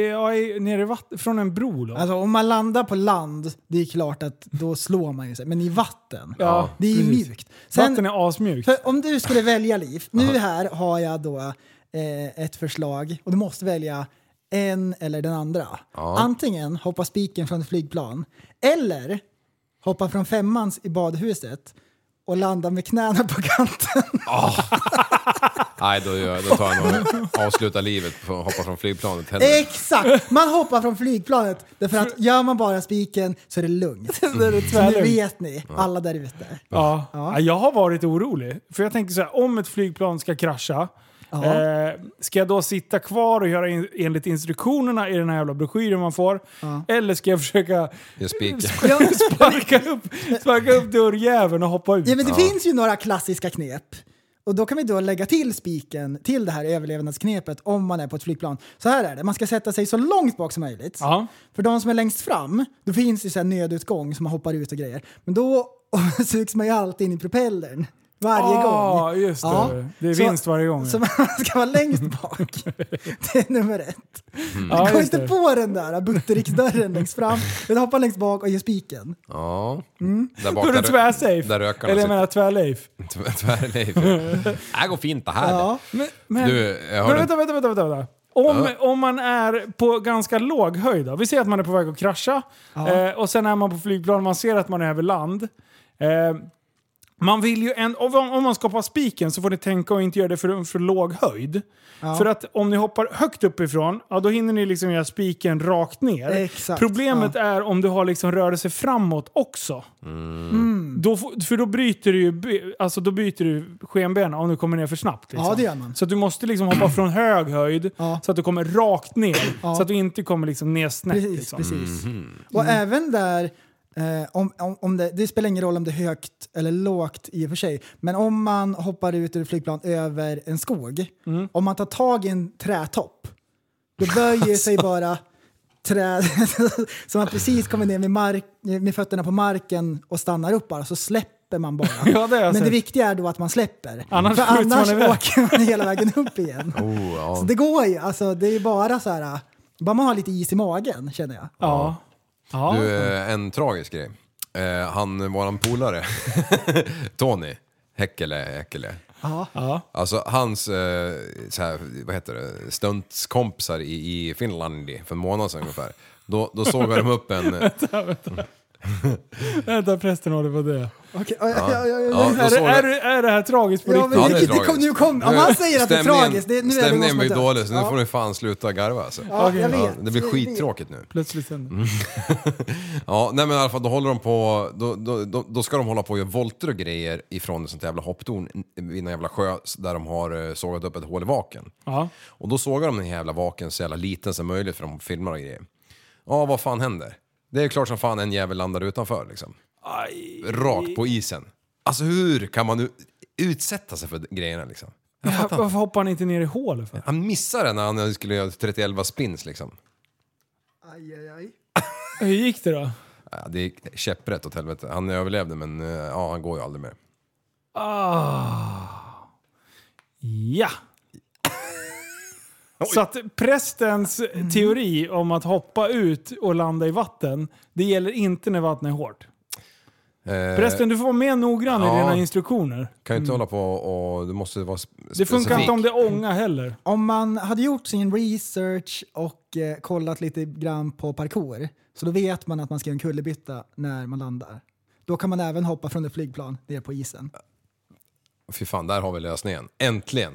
Speaker 3: jag är nere i vatten, från en bro då.
Speaker 8: Alltså om man landar på land, det är klart att då slår man ju sig. Men i vatten,
Speaker 3: Ja,
Speaker 8: det är ju
Speaker 3: precis.
Speaker 8: mjukt.
Speaker 3: Vatten är asmjukt.
Speaker 8: för om du skulle välja liv, nu här har jag då eh, ett förslag och du måste välja en eller den andra. Antingen hoppa spiken från ett flygplan eller hoppa från femmans i badhuset och landa med knäna på kanten.
Speaker 2: Nej, då, gör, då tar jag nog avsluta livet och hoppa från flygplanet. Hellre.
Speaker 8: *laughs* Exakt! Man hoppar från flygplanet därför att gör man bara spiken så är det lugnt. *laughs* Så nu vet ni, alla där ute.
Speaker 3: Ja. Ja, jag har varit orolig. För jag tänker så här, om ett flygplan ska krascha,
Speaker 8: Ja.
Speaker 3: eh, ska jag då sitta kvar och göra in, enligt instruktionerna i den här jävla broschyren man får? Eller ska jag försöka
Speaker 2: Jag spikar.
Speaker 3: sparka, upp, sparka upp dörrjäveln och hoppa ut?
Speaker 8: Ja, men det finns ju några klassiska knep. Och då kan vi då lägga till spiken till det här överlevnadsknepet om man är på ett flygplan. Så här är det, man ska sätta sig så långt bak som möjligt.
Speaker 3: Ja.
Speaker 8: För de som är längst fram, då finns det ju så här nödutgång som man hoppar ut och grejer. Men då *laughs* sugs man ju alltid in i propellern. Varje
Speaker 3: Ah,
Speaker 8: gång.
Speaker 3: just det. Det är
Speaker 8: Så-
Speaker 3: vinst varje gång.
Speaker 8: Så man *laughs* ska vara längst bak.
Speaker 3: *laughs*
Speaker 8: Det är nummer ett.
Speaker 3: ja,
Speaker 8: Gå
Speaker 3: just
Speaker 8: inte
Speaker 3: det.
Speaker 8: på den där butteriksdörren
Speaker 3: *laughs*
Speaker 8: längst fram. Utan hoppa längst bak och ge spiken.
Speaker 2: Ja. Där bak,
Speaker 3: Då är du
Speaker 2: där,
Speaker 3: tvärsafe.
Speaker 2: där rökarna
Speaker 3: Eller jag
Speaker 2: sitter.
Speaker 3: menar tvärleif.
Speaker 2: Tvärleif. Det här går fint det här.
Speaker 8: Ja.
Speaker 3: Men, men,
Speaker 2: Eh, Du, jag
Speaker 3: men
Speaker 2: hörde...
Speaker 3: vänta, vänta, vänta, vänta. vänta. Om, om man är på ganska låg höjd, då. vi ser att man är på väg att krascha eh, och sen är man på flygplan man ser att man är över land. Eh, man vill ju en, om, om man ska hoppa spiken så får ni tänka och inte göra det för, för låg höjd. För att om ni hoppar högt uppifrån, ja, då hinner ni liksom göra spiken rakt ner.
Speaker 8: Exakt,
Speaker 3: Problemet är om du har liksom rörelse framåt också.
Speaker 8: Mm.
Speaker 3: Då, får- för då bryter du ju by- alltså då byter du skenbenen om du kommer ner för snabbt. Liksom.
Speaker 8: Ja, det gör man.
Speaker 3: Så att du måste liksom hoppa från hög höjd
Speaker 8: Ja.
Speaker 3: så att du kommer rakt ner.
Speaker 8: Ja.
Speaker 3: Så att du inte kommer liksom ner snett.
Speaker 8: Precis,
Speaker 3: liksom.
Speaker 8: precis. Och även där, eh, om, om, om det, det spelar ingen roll om det är högt eller lågt i och för sig, men om man hoppar ut ur ett flygplan över en skog,
Speaker 3: Mm.
Speaker 8: om man tar tag i en trätopp, då böjer sig
Speaker 3: Alltså.
Speaker 8: bara träd *laughs* så man precis kommer ner med, mark, med fötterna på marken och stannar upp bara, så släpper man bara.
Speaker 3: *laughs* Ja, det har jag
Speaker 8: men det
Speaker 3: sett.
Speaker 8: viktiga är då att man släpper.
Speaker 3: Annars
Speaker 8: För
Speaker 3: skjuts man
Speaker 8: annars
Speaker 3: iväg.
Speaker 8: åker man hela vägen upp igen.
Speaker 2: *laughs* Oh, ja.
Speaker 8: Så det går ju. Alltså, det är bara så här, bara man har lite is i magen känner jag.
Speaker 3: Ja. Ja.
Speaker 2: Du, eh, en tragisk grej. Eh, han, våran polare, *laughs* Tony Häckele, Häckele.
Speaker 3: Ja.
Speaker 2: Alltså hans, eh, så här, vad heter det, stuntskompisar i, i Finland i- för en månad sedan ungefär. Då, då såg de upp
Speaker 8: *laughs*
Speaker 2: en...
Speaker 3: Vänta, prästen håller på det.
Speaker 8: Okej, ja, ja, ja,
Speaker 2: Ja,
Speaker 8: ja.
Speaker 2: då
Speaker 3: Är,
Speaker 2: såg
Speaker 3: det- är,
Speaker 2: de,
Speaker 3: det- är det här tragiskt på
Speaker 8: Ja,
Speaker 3: riktigt?
Speaker 8: men
Speaker 2: Ja, det
Speaker 8: det,
Speaker 2: är
Speaker 8: det, kom,
Speaker 2: tragiskt.
Speaker 8: nu kom, om man säger att det är
Speaker 2: Stämningen-
Speaker 8: tragiskt, det, nu är det någon
Speaker 2: Stämningen
Speaker 8: som har
Speaker 2: blir
Speaker 8: dött.
Speaker 2: dålig, så nu
Speaker 8: Ja.
Speaker 2: får ni fan sluta garva alltså.
Speaker 8: Ja, jag
Speaker 2: Ja,
Speaker 8: vet.
Speaker 2: det blir skittråkigt nu.
Speaker 3: Plötsligt händer det.
Speaker 2: Ja, nej men i alla fall då håller de på, då, då, då, då ska de hålla på och göra volter och grejer ifrån ett sånt jävla hopptorn vid en jävla sjö där de har eh, sågat upp ett hål i vaken.
Speaker 3: Ja.
Speaker 2: Och då sågar de den jävla vaken så jävla liten som möjligt för de filmar och grejer. Ja, vad fan händer? Det är klart som fan en jävel landar utanför liksom. Rakt på isen. Alltså hur kan man nu utsätta sig för de- grejerna liksom?
Speaker 3: Varför hoppar han inte ner i hålet? För?
Speaker 2: Han missar den när han skulle göra 31 spins liksom.
Speaker 8: Aj, aj, aj.
Speaker 3: Hur gick det då?
Speaker 2: Ja, det gick käpprätt åt helvete. Han överlevde men eh, ja, han går ju aldrig mer.
Speaker 3: Ah. Ja. Så att prästens teori om att hoppa ut och landa i vatten, det gäller inte när vattnet är hårt.
Speaker 2: Eh,
Speaker 3: Prästen, du får vara mer noggrann i
Speaker 2: ja.
Speaker 3: dina instruktioner.
Speaker 2: Kan ju inte hålla på och... Du måste vara sp-
Speaker 3: Mm. Det funkar
Speaker 2: specifik.
Speaker 3: inte om det är ånga heller.
Speaker 8: Om man hade gjort sin research och eh, kollat lite grann på parkour, så då vet man att man ska göra en kullerbytta när man landar. Då kan man även hoppa från ett flygplan ner på isen.
Speaker 2: Fy fan, där har vi lösningen. Äntligen!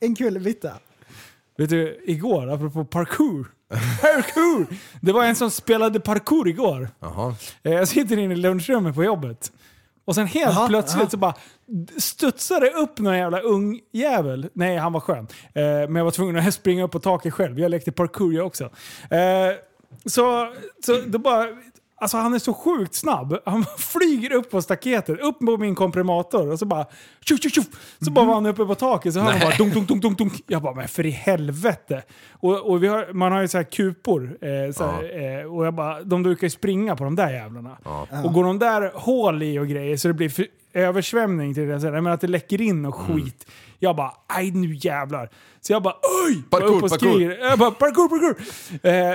Speaker 8: En kullerbytta.
Speaker 3: Vet du, igår, apropå parkour. *laughs* Parkour! Det var en som spelade parkour igår.
Speaker 2: Jaha.
Speaker 3: Eh, Jag sitter inne i lunchrummet på jobbet. Och sen helt
Speaker 8: Jaha,
Speaker 3: plötsligt
Speaker 8: jaha.
Speaker 3: så bara studsade det upp någon jävla ung jävel. Nej, han var skön. Eh, Men jag var tvungen att *laughs* springa upp på taket själv. Jag lekte parkour jag också. Eh, Så, så då bara... Alltså han är så sjukt snabb. Han *laughs* flyger upp på staketet, upp på min komprimator och så bara... Tjuff, tjuff, tjuff. Så bara var han uppe på taket så hör man bara dunk, dunk, dunk, dunk, dunk. Jag bara, men för i helvete. Och, och vi har, man har ju så här kupor. Eh, så här, eh, och jag bara, de brukar ju springa på de där jävlarna. Och går de där hål i och grejer så det blir för, översvämning till det. Så här, men att det läcker in och
Speaker 2: Mm.
Speaker 3: skit. Jag bara, aj nu jävlar. Så jag bara, oj! Bara
Speaker 2: Parkour,
Speaker 3: upp och
Speaker 2: parkour.
Speaker 3: skriker. Jag bara, parkour, parkour!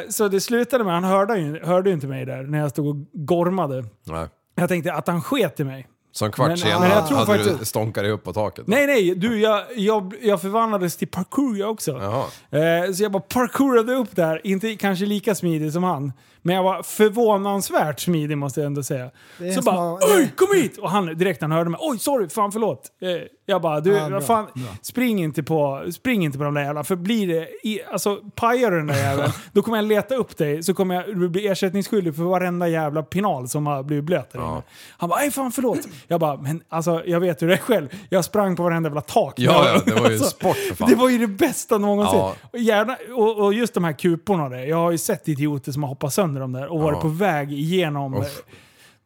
Speaker 3: Eh, så det slutade med, han hörde ju hörde ju inte mig där när jag stod och gormade.
Speaker 2: Nej.
Speaker 3: Jag tänkte att han sket i mig.
Speaker 2: Så en kvart
Speaker 3: Men-
Speaker 2: senare
Speaker 3: men jag tror
Speaker 2: hade du
Speaker 3: faktiskt-
Speaker 2: stånkat dig upp på taket?
Speaker 3: Nej, nej, du, jag, jag, jag förvandlades till parkour jag också.
Speaker 2: Jaha.
Speaker 3: Eh, så jag bara parkourade upp där, inte kanske lika smidig som han. Men jag var förvånansvärt smidig måste jag ändå säga.
Speaker 8: Det är
Speaker 3: Så
Speaker 8: en
Speaker 3: bara
Speaker 8: små-
Speaker 3: oj, kom hit! Och han, direkt han hörde mig, oj sorry, fan förlåt. Eh, jag bara du,
Speaker 8: Ja, bra,
Speaker 3: fan, spring inte, på, spring inte på de där jävla, för blir det, i, alltså pajar du den där
Speaker 8: *laughs*
Speaker 3: jäveln, då kommer jag leta upp dig så kommer jag du bli ersättningsskyldig för varenda jävla penal som har blivit blöt där inne. Han bara, nej fan förlåt. Jag bara, men alltså jag vet hur det är själv. Jag sprang på varenda jävla tak.
Speaker 2: Ja, ja, det
Speaker 3: *laughs*
Speaker 2: var ju sport för fan.
Speaker 3: Det var ju det bästa någonsin.
Speaker 2: Ja.
Speaker 3: Och, gärna, och, och just de här kuporna och det. Jag har ju sett idioter som har hoppat sönder dem där och varit på väg igenom.
Speaker 2: Uff.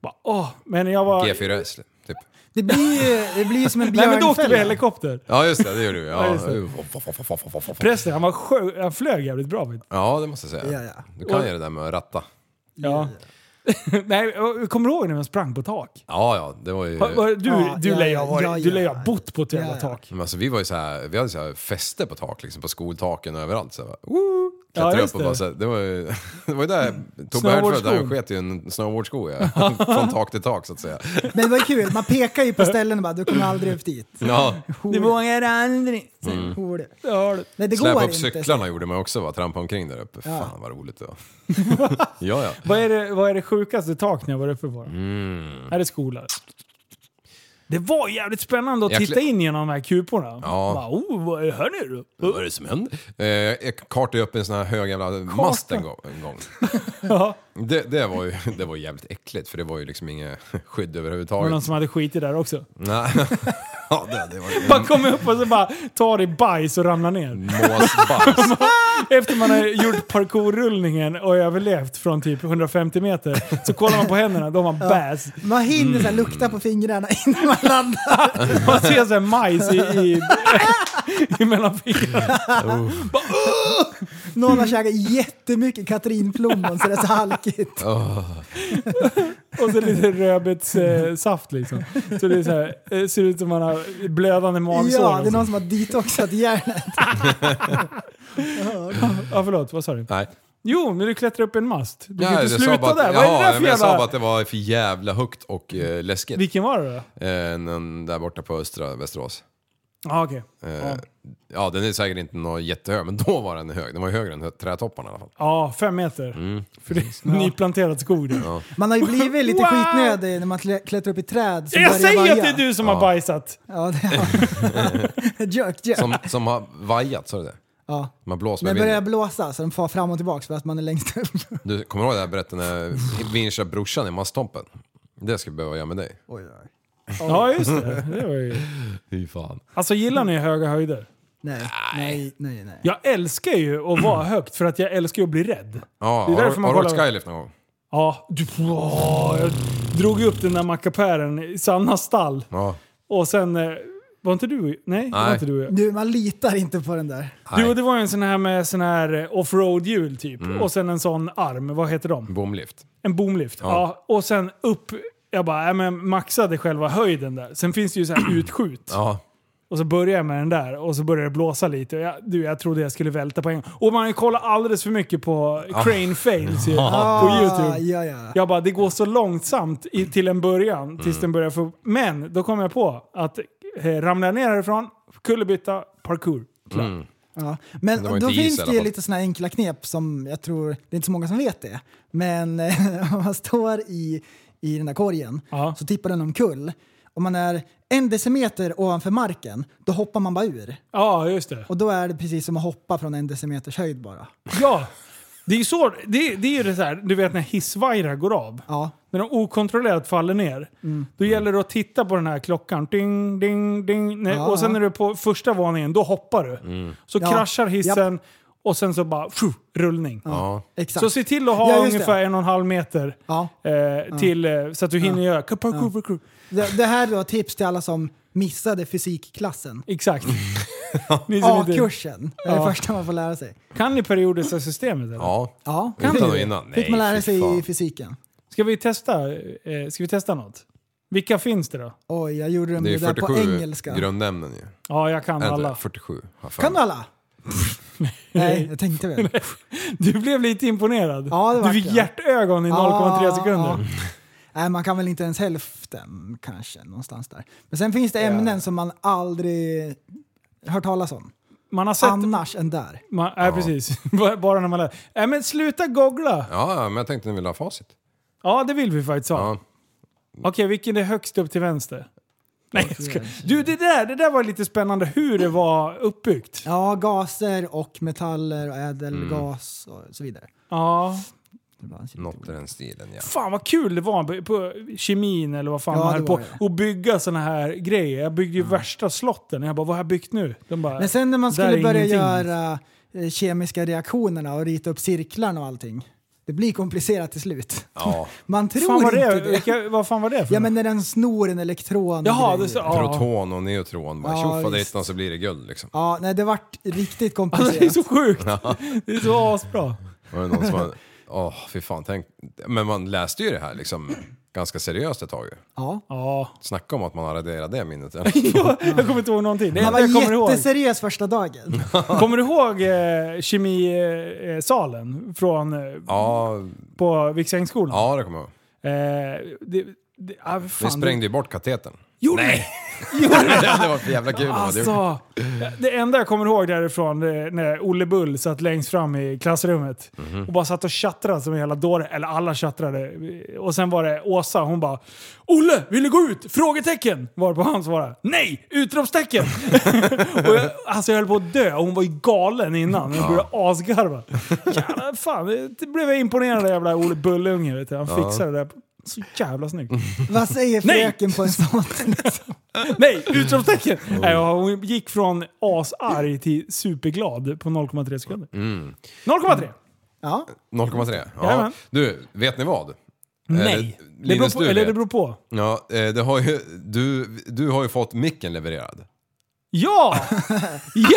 Speaker 3: Bara, åh, men jag var...
Speaker 2: G4S, typ.
Speaker 8: Det blir ju det blir ju som en
Speaker 3: *laughs* Nej men då åkte vi
Speaker 8: björnfälla.
Speaker 3: helikopter.
Speaker 2: Ja, just det, det gjorde du.
Speaker 3: Ja,
Speaker 2: Ja,
Speaker 3: just det.
Speaker 2: ja,
Speaker 3: Förresten, han, var sjö, han flög jävligt bra. Vet. du.
Speaker 2: ja det måste jag säga.
Speaker 8: Ja, ja.
Speaker 2: Du kan ju det där med att ratta.
Speaker 3: Ja. *laughs* Nej, och- kommer du ihåg när man sprang på tak?
Speaker 2: Ja, ja, det var ju...
Speaker 3: Har- har- Du,
Speaker 8: Ja,
Speaker 3: du
Speaker 8: ja,
Speaker 3: lär ju ha
Speaker 8: ja,
Speaker 3: varit-
Speaker 8: ja,
Speaker 3: du lär ju
Speaker 8: ja.
Speaker 3: ha bott på ett jävla
Speaker 8: Ja, ja.
Speaker 3: tak.
Speaker 2: Men alltså, vi var ju så här, vi hade så här fester på tak, liksom, på skoltaken och överallt. Så här, bara,
Speaker 3: Ja,
Speaker 2: klättrade
Speaker 3: just
Speaker 2: upp och bara
Speaker 3: det.
Speaker 2: så här, det var ju *laughs* det var ju där Tobbe Härnfeldt,
Speaker 3: Snowboardskon.
Speaker 2: han sket i en snowboardsko ja. *laughs* Från tak till tak så
Speaker 3: *laughs*
Speaker 2: att säga.
Speaker 8: Men det var ju kul, man pekar ju på ställen och bara du kommer aldrig upp dit. oh,
Speaker 2: Ja.
Speaker 3: Du vågar aldrig...
Speaker 8: Hore.
Speaker 3: Det har du.
Speaker 8: Nej det
Speaker 2: Släpa
Speaker 8: går
Speaker 2: upp
Speaker 8: inte.
Speaker 2: cyklarna gjorde man också, va? trampa omkring där uppe. Fan vad roligt det
Speaker 3: *laughs*
Speaker 2: var. ja, ja.
Speaker 3: Vad är, det, vad är det sjukaste tak ni har varit uppe på?
Speaker 2: Mm.
Speaker 3: Är det skola? Det var jävligt spännande att
Speaker 2: Jag
Speaker 3: titta
Speaker 2: klä-
Speaker 3: in genom de här kuporna.
Speaker 2: Ja.
Speaker 3: Bara, oh, vad är det här nu då?
Speaker 2: Vad är det som händer? Eh, jag kartade upp en sån här hög jävla mast en gång. En gång.
Speaker 3: *laughs* Ja.
Speaker 2: Det, det, var ju, det var ju jävligt äckligt för det var ju liksom inget *laughs* skydd
Speaker 3: Var det
Speaker 2: överhuvudtaget.
Speaker 3: någon som hade skitit där också?
Speaker 2: Nej. *laughs* ja, det, det var
Speaker 3: Bara kommer upp och så bara tar i bajs och ramlar ner.
Speaker 2: Mm. måsbajs.
Speaker 3: Efter man har gjort parkourrullningen och överlevt från typ 150 meter så kollar man på händerna, då har man bäs.
Speaker 8: Man hinner så här,
Speaker 3: Mm.
Speaker 8: lukta på fingrarna *laughs* innan man landar.
Speaker 3: Man ser såhär majs i, i, i mellan fingrarna.
Speaker 8: Någon har käkat jättemycket Katrinplommon så det är så halkigt.
Speaker 3: Och så lite rödbetssaft eh, saft liksom. Så det är så här, eh, ser ut som man har blödande magsår.
Speaker 8: Ja, det är
Speaker 3: och så.
Speaker 8: någon som har detoxat hjärnan.
Speaker 3: Ja, förlåt. Vad sa du?
Speaker 2: Nej.
Speaker 3: Jo, men du klättrar upp en mast. Du kan
Speaker 2: Nej,
Speaker 3: inte
Speaker 2: jag sa
Speaker 3: sluta
Speaker 2: bara att-
Speaker 3: där. Vad är det
Speaker 2: ja,
Speaker 3: där för
Speaker 2: men Jag sa
Speaker 3: jävla...
Speaker 2: bara
Speaker 3: Mm.
Speaker 2: att det var för jävla högt och eh, läskigt.
Speaker 3: Vilken var det då?
Speaker 2: Eh, den där borta på östra Västerås.
Speaker 3: Ja, okej.
Speaker 2: Eh,
Speaker 3: Ja.
Speaker 2: ja. den är säkert inte någon jättehög, men då var den hög. Den var ju högre än trädtopparna i alla fall.
Speaker 3: Ja, fem meter.
Speaker 2: Mm,
Speaker 3: För det är nyplanterad skog där.
Speaker 8: Man har ju blivit lite
Speaker 3: Wow!
Speaker 8: skitnödig när man klä- klättrar upp i träd som
Speaker 3: Jag
Speaker 8: börjar
Speaker 3: säger
Speaker 8: vaja.
Speaker 3: att det är du som har bajsat!
Speaker 8: Ja, det är *laughs* Jerk, jerk.
Speaker 2: Som, som har vajat, sa du det?
Speaker 8: Ja.
Speaker 2: Man blåser
Speaker 8: Den
Speaker 2: med
Speaker 8: börjar
Speaker 2: vinden.
Speaker 8: blåsa så den far fram och tillbaka för att man är längst upp. *laughs*
Speaker 2: Du kommer ihåg det här berättelsen när Vinch och brorsan i Masstompen? Det ska jag behöva göra med dig.
Speaker 3: Ja, just det. det var ju...
Speaker 2: Fy fan.
Speaker 3: Alltså, gillar ni höga höjder?
Speaker 8: Nej, nej, nej. nej.
Speaker 3: Jag älskar ju att
Speaker 2: *clears throat*
Speaker 3: vara högt för att jag älskar ju att bli rädd.
Speaker 2: Ja,
Speaker 3: Det är
Speaker 2: har,
Speaker 3: därför man
Speaker 2: har du åkt
Speaker 3: kollar-
Speaker 2: skylift någon gång?
Speaker 3: Ja, du, åh, jag drog ju upp den där mackapären i Sannas stall
Speaker 2: Ja.
Speaker 3: och sen... eh, Var inte du... Nej, Det var
Speaker 2: Nej.
Speaker 3: inte du och jag.
Speaker 8: Du, man litar inte på den där.
Speaker 3: Du, och det var ju en sån här med sån här eh, offroad-hjul typ.
Speaker 2: Mm.
Speaker 3: Och sen en sån arm, vad heter de?
Speaker 2: Bomlift.
Speaker 3: En boomlift. Ja. och sen upp. Jag bara, äh, men maxade själva höjden där. Sen finns det ju så
Speaker 2: *clears throat*
Speaker 3: här utskjut.
Speaker 2: Ja.
Speaker 3: Och så börjar jag med den där och så börjar det blåsa lite. Och jag, du, jag trodde jag skulle välta på en gång. Och man har ju kollat alldeles för mycket på crane fails
Speaker 2: *laughs*
Speaker 3: ju, på
Speaker 8: Ah,
Speaker 3: YouTube.
Speaker 8: ja, ja.
Speaker 3: Jag bara, det går så långsamt i, till en början, tills den börjar få... Men då kom jag på att eh, ramlar jag ner härifrån, kullerbytta, parkour. Klart.
Speaker 8: Ja.
Speaker 2: det var
Speaker 8: Men då
Speaker 2: inte is
Speaker 8: finns
Speaker 2: i
Speaker 8: det
Speaker 2: alla
Speaker 8: ju
Speaker 2: fall.
Speaker 8: lite såna här *laughs* enkla knep som jag tror, det är inte så många som vet det, men eh, om man står i, i den där korgen
Speaker 3: Ja.
Speaker 8: så tippar den omkull. Om man är en decimeter ovanför marken, då hoppar man bara ur.
Speaker 3: Ja, just det.
Speaker 8: Och då är det precis som att hoppa från en decimeters höjd bara.
Speaker 3: Ja! Det är ju så, det, det är ju det så här, du vet när hissvajrar går av.
Speaker 8: Ja. Mm.
Speaker 3: När de okontrollerat faller ner. Då gäller det att titta på den här klockan. Ding, ding, ding. Nej,
Speaker 8: Ja,
Speaker 3: och sen
Speaker 8: ja.
Speaker 3: när du är på första våningen, då hoppar du. Så
Speaker 8: Ja.
Speaker 3: kraschar hissen och sen så bara pju, rullning.
Speaker 2: Ja.
Speaker 8: Exakt.
Speaker 3: Så se till att ha
Speaker 8: Ja, just det.
Speaker 3: ungefär en och en halv meter.
Speaker 8: Ja.
Speaker 3: Eh, till, eh, så att du hinner göra kapaku, kapaku.
Speaker 8: Det, det här då är tips till alla som missade fysikklassen.
Speaker 2: *laughs*
Speaker 3: Exakt. Ni som inte-
Speaker 8: A-kursen är det
Speaker 3: Ja.
Speaker 8: första man får lära sig.
Speaker 3: Kan ni periodiska systemet? Eller?
Speaker 2: Ja.
Speaker 8: Ja,
Speaker 2: Utan
Speaker 8: vi
Speaker 2: och
Speaker 8: det?
Speaker 2: innan?
Speaker 8: Fick
Speaker 2: Nej,
Speaker 8: man lära
Speaker 2: fy
Speaker 8: sig i
Speaker 2: fan.
Speaker 8: fysiken?
Speaker 3: Ska, vi testa, eh, ska vi testa något? Vilka finns det då?
Speaker 8: Oj, jag gjorde det,
Speaker 2: Det är
Speaker 8: där på
Speaker 2: 47
Speaker 8: engelska.
Speaker 2: grundämnen ju.
Speaker 3: Ja, jag kan
Speaker 2: Alla.
Speaker 3: alla.
Speaker 2: 47 har Äh, för
Speaker 8: Kan du
Speaker 3: *laughs*
Speaker 2: mig.
Speaker 8: alla? Nej, jag tänkte väl.
Speaker 3: Du blev lite imponerad.
Speaker 8: Ja, det
Speaker 3: du
Speaker 8: vart
Speaker 3: fick
Speaker 8: jag.
Speaker 3: hjärtögon i 0,3
Speaker 8: Ja,
Speaker 3: sekunder.
Speaker 8: ja. Nej, man kan väl inte ens hälften kanske, någonstans där. Men sen finns det ämnen som man aldrig hört talas om.
Speaker 3: Man har sett...
Speaker 8: Annars än där.
Speaker 3: Man, ja, precis. *laughs* Bara när man lär. Nej, men sluta googla!
Speaker 2: Ja, ja, men jag tänkte ni ville ha facit.
Speaker 3: Ja, det vill vi faktiskt ha.
Speaker 2: Ja.
Speaker 3: Okej, vilken är högst upp till vänster? Nej, jag skojar. Du, det där, det där var lite spännande hur det var uppbyggt.
Speaker 8: Ja, gaser och metaller och ädelgas
Speaker 3: Mm.
Speaker 8: och så vidare.
Speaker 3: Ja.
Speaker 8: Ibland-
Speaker 2: Något i den stilen ja.
Speaker 3: Fan vad kul det var på kemin eller vad fan
Speaker 8: Ja,
Speaker 3: man
Speaker 8: det
Speaker 3: höll på
Speaker 8: var det.
Speaker 3: att bygga såna här grejer. Jag byggde ju värsta slotten. Jag bara, vad har jag byggt nu? De bara,
Speaker 8: Men sen när man
Speaker 3: "Där
Speaker 8: skulle
Speaker 3: är
Speaker 8: börja
Speaker 3: ingenting."
Speaker 8: göra eh, kemiska reaktionerna och rita upp cirklarna och allting. Det blir komplicerat till slut.
Speaker 2: ja.
Speaker 8: Man tror
Speaker 3: Fan, vad,
Speaker 8: inte
Speaker 3: det,
Speaker 8: det.
Speaker 3: vilka, vad fan var det för
Speaker 8: Ja men
Speaker 3: något?
Speaker 8: när den snor en elektron. och
Speaker 3: Jaha,
Speaker 8: grejer.
Speaker 3: det, så, ja.
Speaker 2: Proton och neutron bara
Speaker 8: Ja, visst.
Speaker 2: tjofaderittan så blir det guld liksom.
Speaker 8: Ja, nej det vart riktigt
Speaker 3: Alltså, *laughs* det är
Speaker 8: komplicerat.
Speaker 3: så sjukt. Det är så asbra.
Speaker 2: Var det någon som hade... Åh, fy fan. Tänk... Men man läste ju det här liksom ganska seriöst ett tag ju.
Speaker 8: Ja.
Speaker 3: Ja.
Speaker 2: Snacka om att man har raderat
Speaker 3: *laughs*
Speaker 2: det minnet.
Speaker 3: Ja, jag kommer inte ihåg någonting. Det
Speaker 8: Han
Speaker 3: enda
Speaker 8: var
Speaker 3: jag kommer ihåg.
Speaker 8: jätteseriös första dagen.
Speaker 3: Kommer du ihåg eh, kemisalen från, eh,
Speaker 2: Ja,
Speaker 3: på Viksängsskolan?
Speaker 2: ja det kommer jag ihåg.
Speaker 3: Eh, det, det, ah,
Speaker 2: Vi
Speaker 3: fan,
Speaker 2: sprängde ju bort *laughs* katetern.
Speaker 3: Gjorde
Speaker 2: Nej! det var för jävla kul. när man hade gjort det.
Speaker 3: Alltså, det enda jag kommer ihåg därifrån det är när Olle Bull satt längst fram i klassrummet
Speaker 2: Mhm.
Speaker 3: och bara satt och tjattrade som en jävla dåre. Eller alla tjattrade. Och sen var det Åsa, hon bara “Olle, vill du gå ut? Frågetecken!” Varpå han svarade “Nej! Utropstecken!” *laughs* och jag, Alltså jag höll på att dö och hon var ju galen innan. Jag började asgarva. Jävlar, fan, det blev jag imponerad av jävla Olle Bullunge. Vet du. Han fixade det där. Så jävla snyggt.
Speaker 8: Vad säger
Speaker 3: Nej!
Speaker 8: fröken på en sån?
Speaker 3: Nej, utropstecken!
Speaker 2: Mm.
Speaker 3: Nej, ja, hon gick från asarg till superglad på 0,3 sekunder.
Speaker 2: Mm.
Speaker 3: 0,3!
Speaker 8: Ja.
Speaker 2: 0,3? Ja.
Speaker 3: Jajamän.
Speaker 2: Du, vet ni vad?
Speaker 3: Nej.
Speaker 2: Eh,
Speaker 3: Det beror
Speaker 2: Linus,
Speaker 3: på,
Speaker 2: du
Speaker 3: eller det
Speaker 2: vet.
Speaker 3: beror på.
Speaker 2: Ja, eh, det har ju, du, du har ju fått micken levererad. *laughs*
Speaker 3: Ja!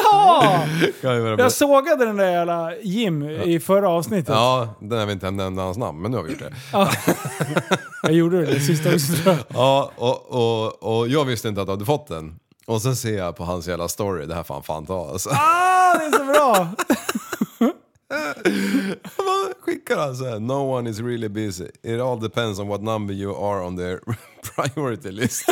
Speaker 3: ja!
Speaker 2: Kan ju vara *laughs* bra.
Speaker 3: Jag sågade den där jävla Jim i förra avsnittet.
Speaker 2: Ja, den har vi inte nämnt hans namn, men nu har vi gjort det. *laughs*
Speaker 3: Jag gjorde det sista också tror jag.
Speaker 2: Ja, och, och, och jag visste inte att du hade fått den. Och sen ser jag på hans jävla story, det här får han fan ta alltså.
Speaker 3: Ah, det är så bra!
Speaker 2: *laughs* Vad skickar han såhär? No one is really busy. It all depends on what number you are on their *laughs* priority list.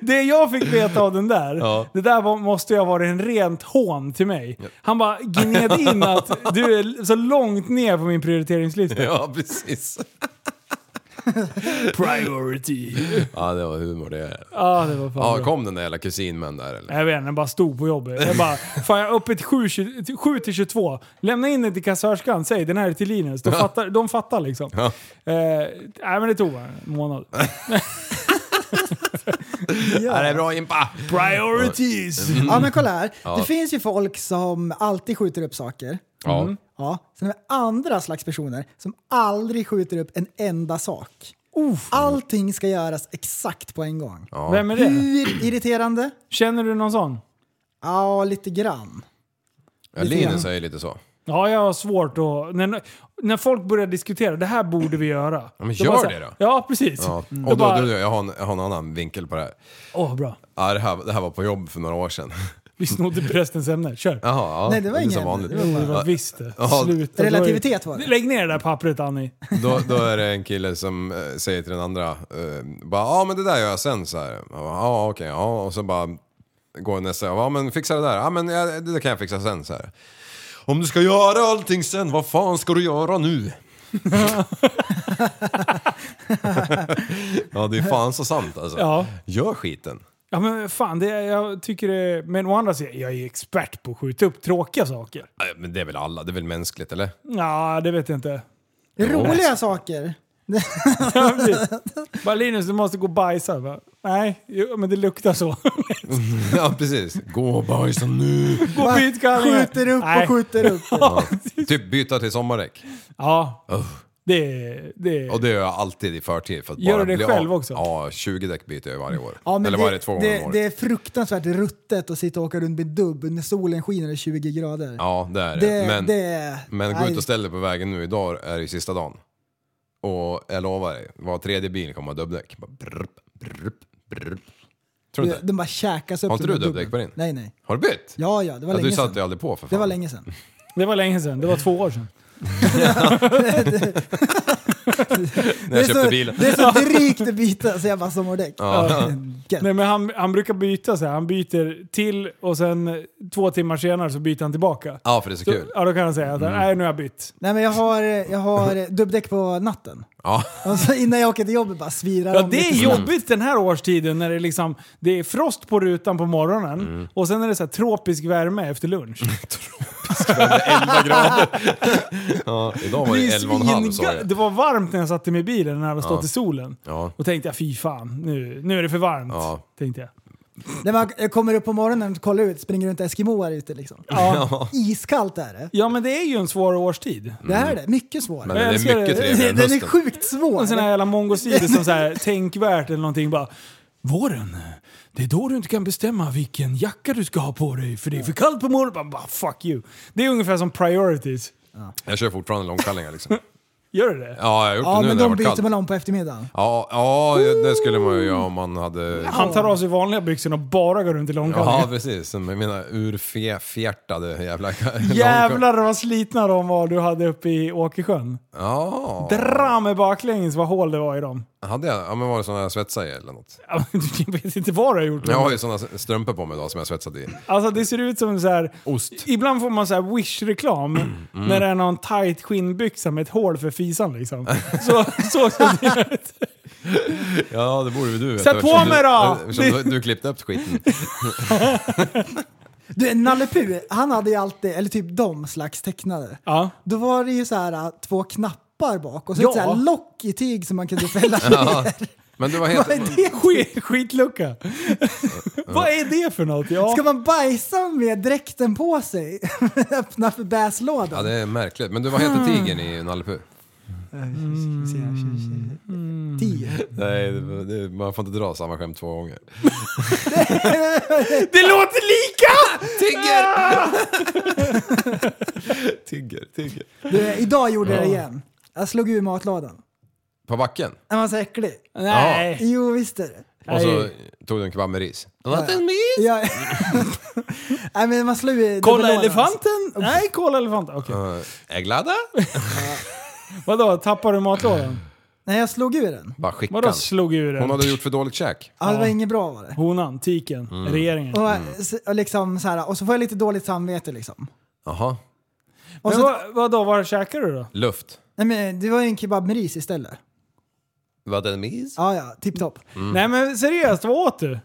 Speaker 3: Det jag fick veta av den där,
Speaker 2: Ja.
Speaker 3: det där var, måste ju ha varit en rent hån till mig. Han bara gned in att du är så långt ner på min prioriteringslista.
Speaker 2: *laughs* ja, precis.
Speaker 3: Priority.
Speaker 2: Ja, det var humor det.
Speaker 3: Ja, det var fan
Speaker 2: Ja,
Speaker 3: bra.
Speaker 2: kom den där jävla kusinmän där eller?
Speaker 3: Jag vet inte, den bara stod på jobbet. Jag bara, fan jag är uppe till 7 till 7 till 22. Lämna in den till kassörskan, säg den här är till Linus. De fattar, de fattar liksom.
Speaker 2: Ja.
Speaker 3: Eh, nej men det tog bara en månad.
Speaker 2: Ja, det är bra Impa!
Speaker 3: Priorities!
Speaker 8: ja men kolla här. Det finns ju folk som alltid skjuter upp saker.
Speaker 2: Ja.
Speaker 8: Ja. Sen har vi andra slags personer som aldrig skjuter upp en enda sak. Allting ska göras exakt på en gång.
Speaker 3: Vem är det?
Speaker 8: Hur irriterande?
Speaker 3: Känner du någon sån?
Speaker 8: Ja, lite grann.
Speaker 2: ja Linus säger lite så.
Speaker 3: Ja, jag har svårt att... När, när folk börjar diskutera, det här borde vi göra.
Speaker 2: men
Speaker 3: Då
Speaker 2: gör
Speaker 3: bara så här-
Speaker 2: det då.
Speaker 3: Ja, precis.
Speaker 2: Ja.
Speaker 3: Då
Speaker 2: Och då,
Speaker 3: Mm. bara,
Speaker 2: då, då, jag, har en, jag har en annan vinkel på det här.
Speaker 3: Åh, bra.
Speaker 2: Ja, det, här det här var på jobb för några år sedan. *laughs*
Speaker 3: Vi snodde prästens ämne. Kör.
Speaker 2: Jaha, ja.
Speaker 8: Nej, det var
Speaker 2: är
Speaker 8: ingen
Speaker 2: som
Speaker 8: ämne.
Speaker 2: vanligt.
Speaker 8: Det var bara-
Speaker 3: Det var visst det.
Speaker 2: Ja.
Speaker 3: Sluta.
Speaker 8: Relativitet var det.
Speaker 3: Lägg ner det där pappret Annie.
Speaker 2: Då, då är det en kille som eh, säger till den andra, eh, bara ja men det där gör jag sen så här. Jag bara, Ja okej, ja och så bara går nästa, ja men fixa det där, ja men ja, det där kan jag fixa sen så här. Om du ska göra allting sen, vad fan ska du göra nu? *laughs* Ja, det är fan så sant alltså.
Speaker 3: Ja.
Speaker 2: Gör skiten.
Speaker 3: Ja men fan, det, jag tycker det... Men å andra sidan, jag är expert på att skjuta upp tråkiga saker.
Speaker 2: Nej, Men det är väl alla, det är väl mänskligt eller? *laughs*
Speaker 3: Ja, det vet jag inte. *laughs*
Speaker 8: Roliga saker.
Speaker 3: Bara Linus, du måste gå och bajsa. Bara, Nej, jo, men det luktar så. *laughs*
Speaker 2: Ja, precis. Gå och bajsa nu!
Speaker 3: Gå och byt kallingar.
Speaker 8: Skjuter upp
Speaker 3: Nej.
Speaker 8: och skjuter upp.
Speaker 3: *laughs* Ja,
Speaker 2: Typ byta till sommardäck.
Speaker 3: ja. det... det
Speaker 2: Och det gör jag alltid i förtid. För att
Speaker 3: Gör
Speaker 2: bara
Speaker 3: du det
Speaker 2: bli
Speaker 3: själv
Speaker 2: av.
Speaker 3: också?
Speaker 2: Ja, 20 däck byter jag varje år.
Speaker 8: Ja, men
Speaker 2: eller
Speaker 8: det,
Speaker 2: varje två gånger
Speaker 8: det,
Speaker 2: om året.
Speaker 8: det är fruktansvärt ruttet att sitta och åka runt med dubb när solen skiner i 20 grader.
Speaker 2: Ja, det är det.
Speaker 8: Det-
Speaker 2: Eh, men
Speaker 8: det-
Speaker 2: men gå
Speaker 8: nej.
Speaker 2: ut och ställ dig på vägen nu. Idag är det ju sista dagen. Och jag lovar dig, var tredje bil kommer ha dubbdäck. Bara brrp, brrp, brrp. Tror du
Speaker 8: Du,
Speaker 2: inte?
Speaker 8: den bara käkas upp.
Speaker 2: Har inte
Speaker 8: den
Speaker 2: du
Speaker 8: där
Speaker 2: dubbdäck på din?
Speaker 8: Nej, nej.
Speaker 2: Har du bytt?
Speaker 8: Ja, ja, det var
Speaker 2: Ja,
Speaker 8: länge
Speaker 2: du satt ju
Speaker 8: sedan.
Speaker 2: aldrig på för fan.
Speaker 8: Det var länge sedan.
Speaker 3: Det var länge sedan, det var två år sedan.
Speaker 2: När jag
Speaker 8: det, är
Speaker 2: köpte
Speaker 8: så,
Speaker 2: bilen.
Speaker 8: det
Speaker 2: *laughs*
Speaker 8: är så drygt att byta så jag bara sommardäck.
Speaker 2: Ja.
Speaker 8: Gött.
Speaker 3: Nej, men han, han brukar byta så här. han byter till och sen eh, två timmar senare så byter han tillbaka.
Speaker 2: Ja, för det är så
Speaker 3: Så,
Speaker 2: kul. Mm.
Speaker 3: ja, då kan han säga att nej, nu har jag bytt.
Speaker 8: Nej men jag har, jag har dubbdäck på natten.
Speaker 2: Ja.
Speaker 8: Och så innan jag åker till jobbet bara svirar
Speaker 3: Ja,
Speaker 8: om
Speaker 3: det är
Speaker 8: lite.
Speaker 3: jobbigt den här årstiden när det, är liksom, det är frost på rutan på morgonen
Speaker 2: Mm.
Speaker 3: och sen är det så här tropisk värme efter
Speaker 2: *laughs*
Speaker 3: lunch.
Speaker 2: ja. Idag var
Speaker 3: Det,
Speaker 2: det
Speaker 3: är
Speaker 2: 11,5 sa
Speaker 3: svinga-
Speaker 2: jag.
Speaker 3: det var varmt när jag satt i min bil när jag hade stått i solen.
Speaker 2: Ja.
Speaker 3: Och tänkte jag, fy fan, nu, nu är det för varmt.
Speaker 2: Ja.
Speaker 3: Tänkte jag.
Speaker 8: När man jag kommer upp på morgonen och kollar ut, springer runt Eskimoar ute liksom.
Speaker 3: Ja.
Speaker 8: Iskallt är det.
Speaker 3: ja, men det är ju en svår årstid.
Speaker 8: Det här är det. Mycket svårare.
Speaker 2: Mm. Men den är
Speaker 3: älskar det.
Speaker 2: mycket trevligare än
Speaker 8: Den är
Speaker 2: hösten.
Speaker 8: sjukt svår.
Speaker 3: En sån här jävla mongosider som så här, *laughs* tänkvärt eller någonting bara. Våren, det är då du inte kan bestämma vilken jacka du ska ha på dig för det är för kallt på morgonen. Bara, Bara, fuck you. Det är ungefär som priorities.
Speaker 2: Jag kör fortfarande långkallingar liksom.
Speaker 3: Gör du det?
Speaker 2: Ja, jag har gjort
Speaker 8: Ja
Speaker 2: det nu
Speaker 8: men
Speaker 2: när det har
Speaker 8: de
Speaker 2: varit
Speaker 8: byter
Speaker 2: kallt.
Speaker 8: man om på eftermiddagen.
Speaker 2: Ja, ja, det skulle man ju göra om man hade...
Speaker 3: Han tar av sig vanliga byxorna och bara går runt i
Speaker 2: Ja,
Speaker 3: långkallingar.
Speaker 2: precis. Som Jag menar urfjärtade jävla... *laughs*
Speaker 3: Jävlar vad slitna de var du hade uppe i Åkersjön.
Speaker 2: Ja,
Speaker 3: Dra med baklänges vad hål det var i dem.
Speaker 2: hade jag? Ja, men var det såna jag svetsade i eller något?
Speaker 3: Ja, *laughs* men Du vet inte vad du har gjort.
Speaker 2: Jag har ju såna strumpor på mig idag som jag svetsade i.
Speaker 3: Alltså det ser ut som så här.
Speaker 2: Ost. Mm.
Speaker 3: Ibland får man så här wish-reklam när det är någon tight skinnbyxa med ett hål för fisan liksom. *laughs* Så, så såg det ut.
Speaker 2: Ja, det borde väl du veta.
Speaker 3: Sätt på
Speaker 2: eftersom
Speaker 3: mig
Speaker 2: du- eh,
Speaker 3: då!
Speaker 2: Eftersom du, du klippte
Speaker 3: *laughs*
Speaker 2: upp skiten.
Speaker 8: Du, Nalle Puh, han hade ju alltid, eller typ de slags tecknade.
Speaker 3: Ja.
Speaker 8: Då var det ju så här äh, två knappar bak och så
Speaker 3: Ja.
Speaker 8: ett så här lock i tyg som man kunde fälla
Speaker 2: Ja. Men du, vad
Speaker 8: Vad
Speaker 2: heter...
Speaker 8: är det?
Speaker 3: Skit, skitlucka. Vad är det för något? Ja.
Speaker 8: Ska man bajsa med dräkten på sig? *laughs* Öppna för bäslådan?
Speaker 2: Ja, det är märkligt. Men du, vad heter tigern i Nalle Puh?
Speaker 8: Äh, Tio.
Speaker 2: Nej, det, det, man får inte dra samma skämt två gånger.
Speaker 3: Det låter lika!
Speaker 2: Tigger! tigger, tigger.
Speaker 8: Du, idag gjorde jag det igen. Jag slog ur matlådan.
Speaker 2: På backen?
Speaker 8: Den var så äcklig.
Speaker 3: Nej.
Speaker 8: Jo, visst är det.
Speaker 2: Och så
Speaker 3: Nej.
Speaker 2: tog du en kebab med ris. Not in me.
Speaker 8: Jag... *laughs* Nej, men man slår ju
Speaker 3: Kolla
Speaker 8: dubbellådan.
Speaker 3: elefanten? Nej, kolla elefanten. Okej.
Speaker 2: Eh, Är glada?
Speaker 3: Vadå, tappar du matlådan?
Speaker 8: Nej, jag slog ur den.
Speaker 2: Bara skickan.
Speaker 3: Vadå slog ur
Speaker 2: Hon
Speaker 3: den?
Speaker 2: hade gjort Mm. för dåligt käk.
Speaker 8: Ja, det var inget bra var det.
Speaker 3: Honan, tiken, regeringen.
Speaker 8: Och, s- och, liksom så här, och så får jag lite dåligt samvete liksom.
Speaker 2: Jaha.
Speaker 8: Och
Speaker 3: Men
Speaker 8: så,
Speaker 3: vad, vadå, vad käkar du då?
Speaker 2: Luft.
Speaker 8: nej, men det var ju en kebab med ris istället.
Speaker 2: Vad är mis?
Speaker 8: Ja, ja, tipptopp.
Speaker 2: Mm.
Speaker 3: Nej men seriöst, vad åt du?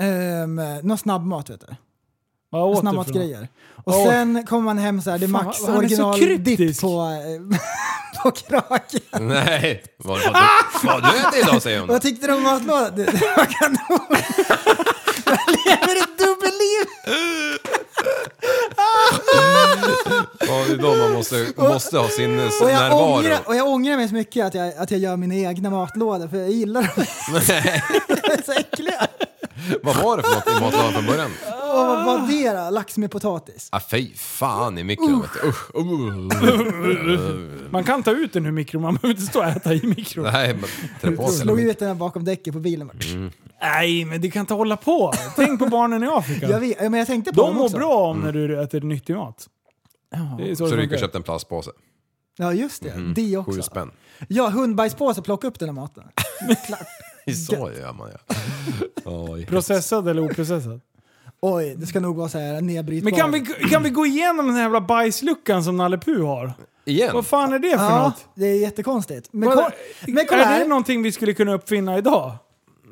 Speaker 8: Ehm, någon snabbmat vet du.
Speaker 3: Vad åt du för något?
Speaker 8: Snabbmatsgrejer. Och
Speaker 3: Åh.
Speaker 8: sen kommer man hem så här, det är
Speaker 3: Fan,
Speaker 8: max
Speaker 3: vad- han är så
Speaker 8: original
Speaker 3: kryptisk.
Speaker 8: dipp på, eh, *laughs* på kraken.
Speaker 2: Nej. Vad vad-
Speaker 8: Ah!
Speaker 2: vad- vad du äter idag säger hon.
Speaker 8: Vad tyckte du om matlådan? Du, det var kanon! *laughs* Jag lever ett dubbelliv!
Speaker 2: Ja, det är då man måste, måste ha
Speaker 8: Och jag,
Speaker 2: sinnesnärvaro.
Speaker 8: ångrar, och jag ångrar mig så mycket att jag, att jag gör mina egna matlådor för jag gillar dem. *laughs* De är så äckliga.
Speaker 2: Vad var det för något i matlådan från början?
Speaker 8: Och vad var det då? Lax med potatis.
Speaker 2: Ah, fy fan i mikron. vet du. Usch. Uh.
Speaker 3: Man kan ta ut den ur mikron, man behöver inte stå och äta i mikron.
Speaker 2: Nej, men trä på sig.
Speaker 8: Slog ut den här bakom däcket på bilen. bara.
Speaker 3: Nej, men du kan inte hålla på. Tänk på barnen i Afrika.
Speaker 8: Jag vet, ja, men jag tänkte på
Speaker 3: De
Speaker 8: dem
Speaker 3: mår
Speaker 8: också.
Speaker 3: bra om när du äter nyttig mat. Det är så,
Speaker 2: Mm. Så
Speaker 3: det
Speaker 2: du gick och
Speaker 3: funkar.
Speaker 2: köpte en plastpåse.
Speaker 8: Ja, just det. Det
Speaker 2: Sju
Speaker 8: också.
Speaker 2: spänn.
Speaker 8: Ja, hundbajspåse, plocka upp den här
Speaker 3: *laughs*
Speaker 8: maten. Klart.
Speaker 2: Så gör man ja. Oj.
Speaker 3: Processad eller oprocessad?
Speaker 8: Oj, det ska nog vara så här nedbrytbart.
Speaker 3: Men kan vi, kan vi gå igenom den här jävla bajsluckan som Nalle Puh har?
Speaker 2: Igen?
Speaker 3: Vad fan är det för
Speaker 8: Ja,
Speaker 3: något?
Speaker 8: det är jättekonstigt. Men,
Speaker 3: Vad-
Speaker 8: ko- men kolla
Speaker 3: är det
Speaker 8: här.
Speaker 3: någonting vi skulle kunna uppfinna idag?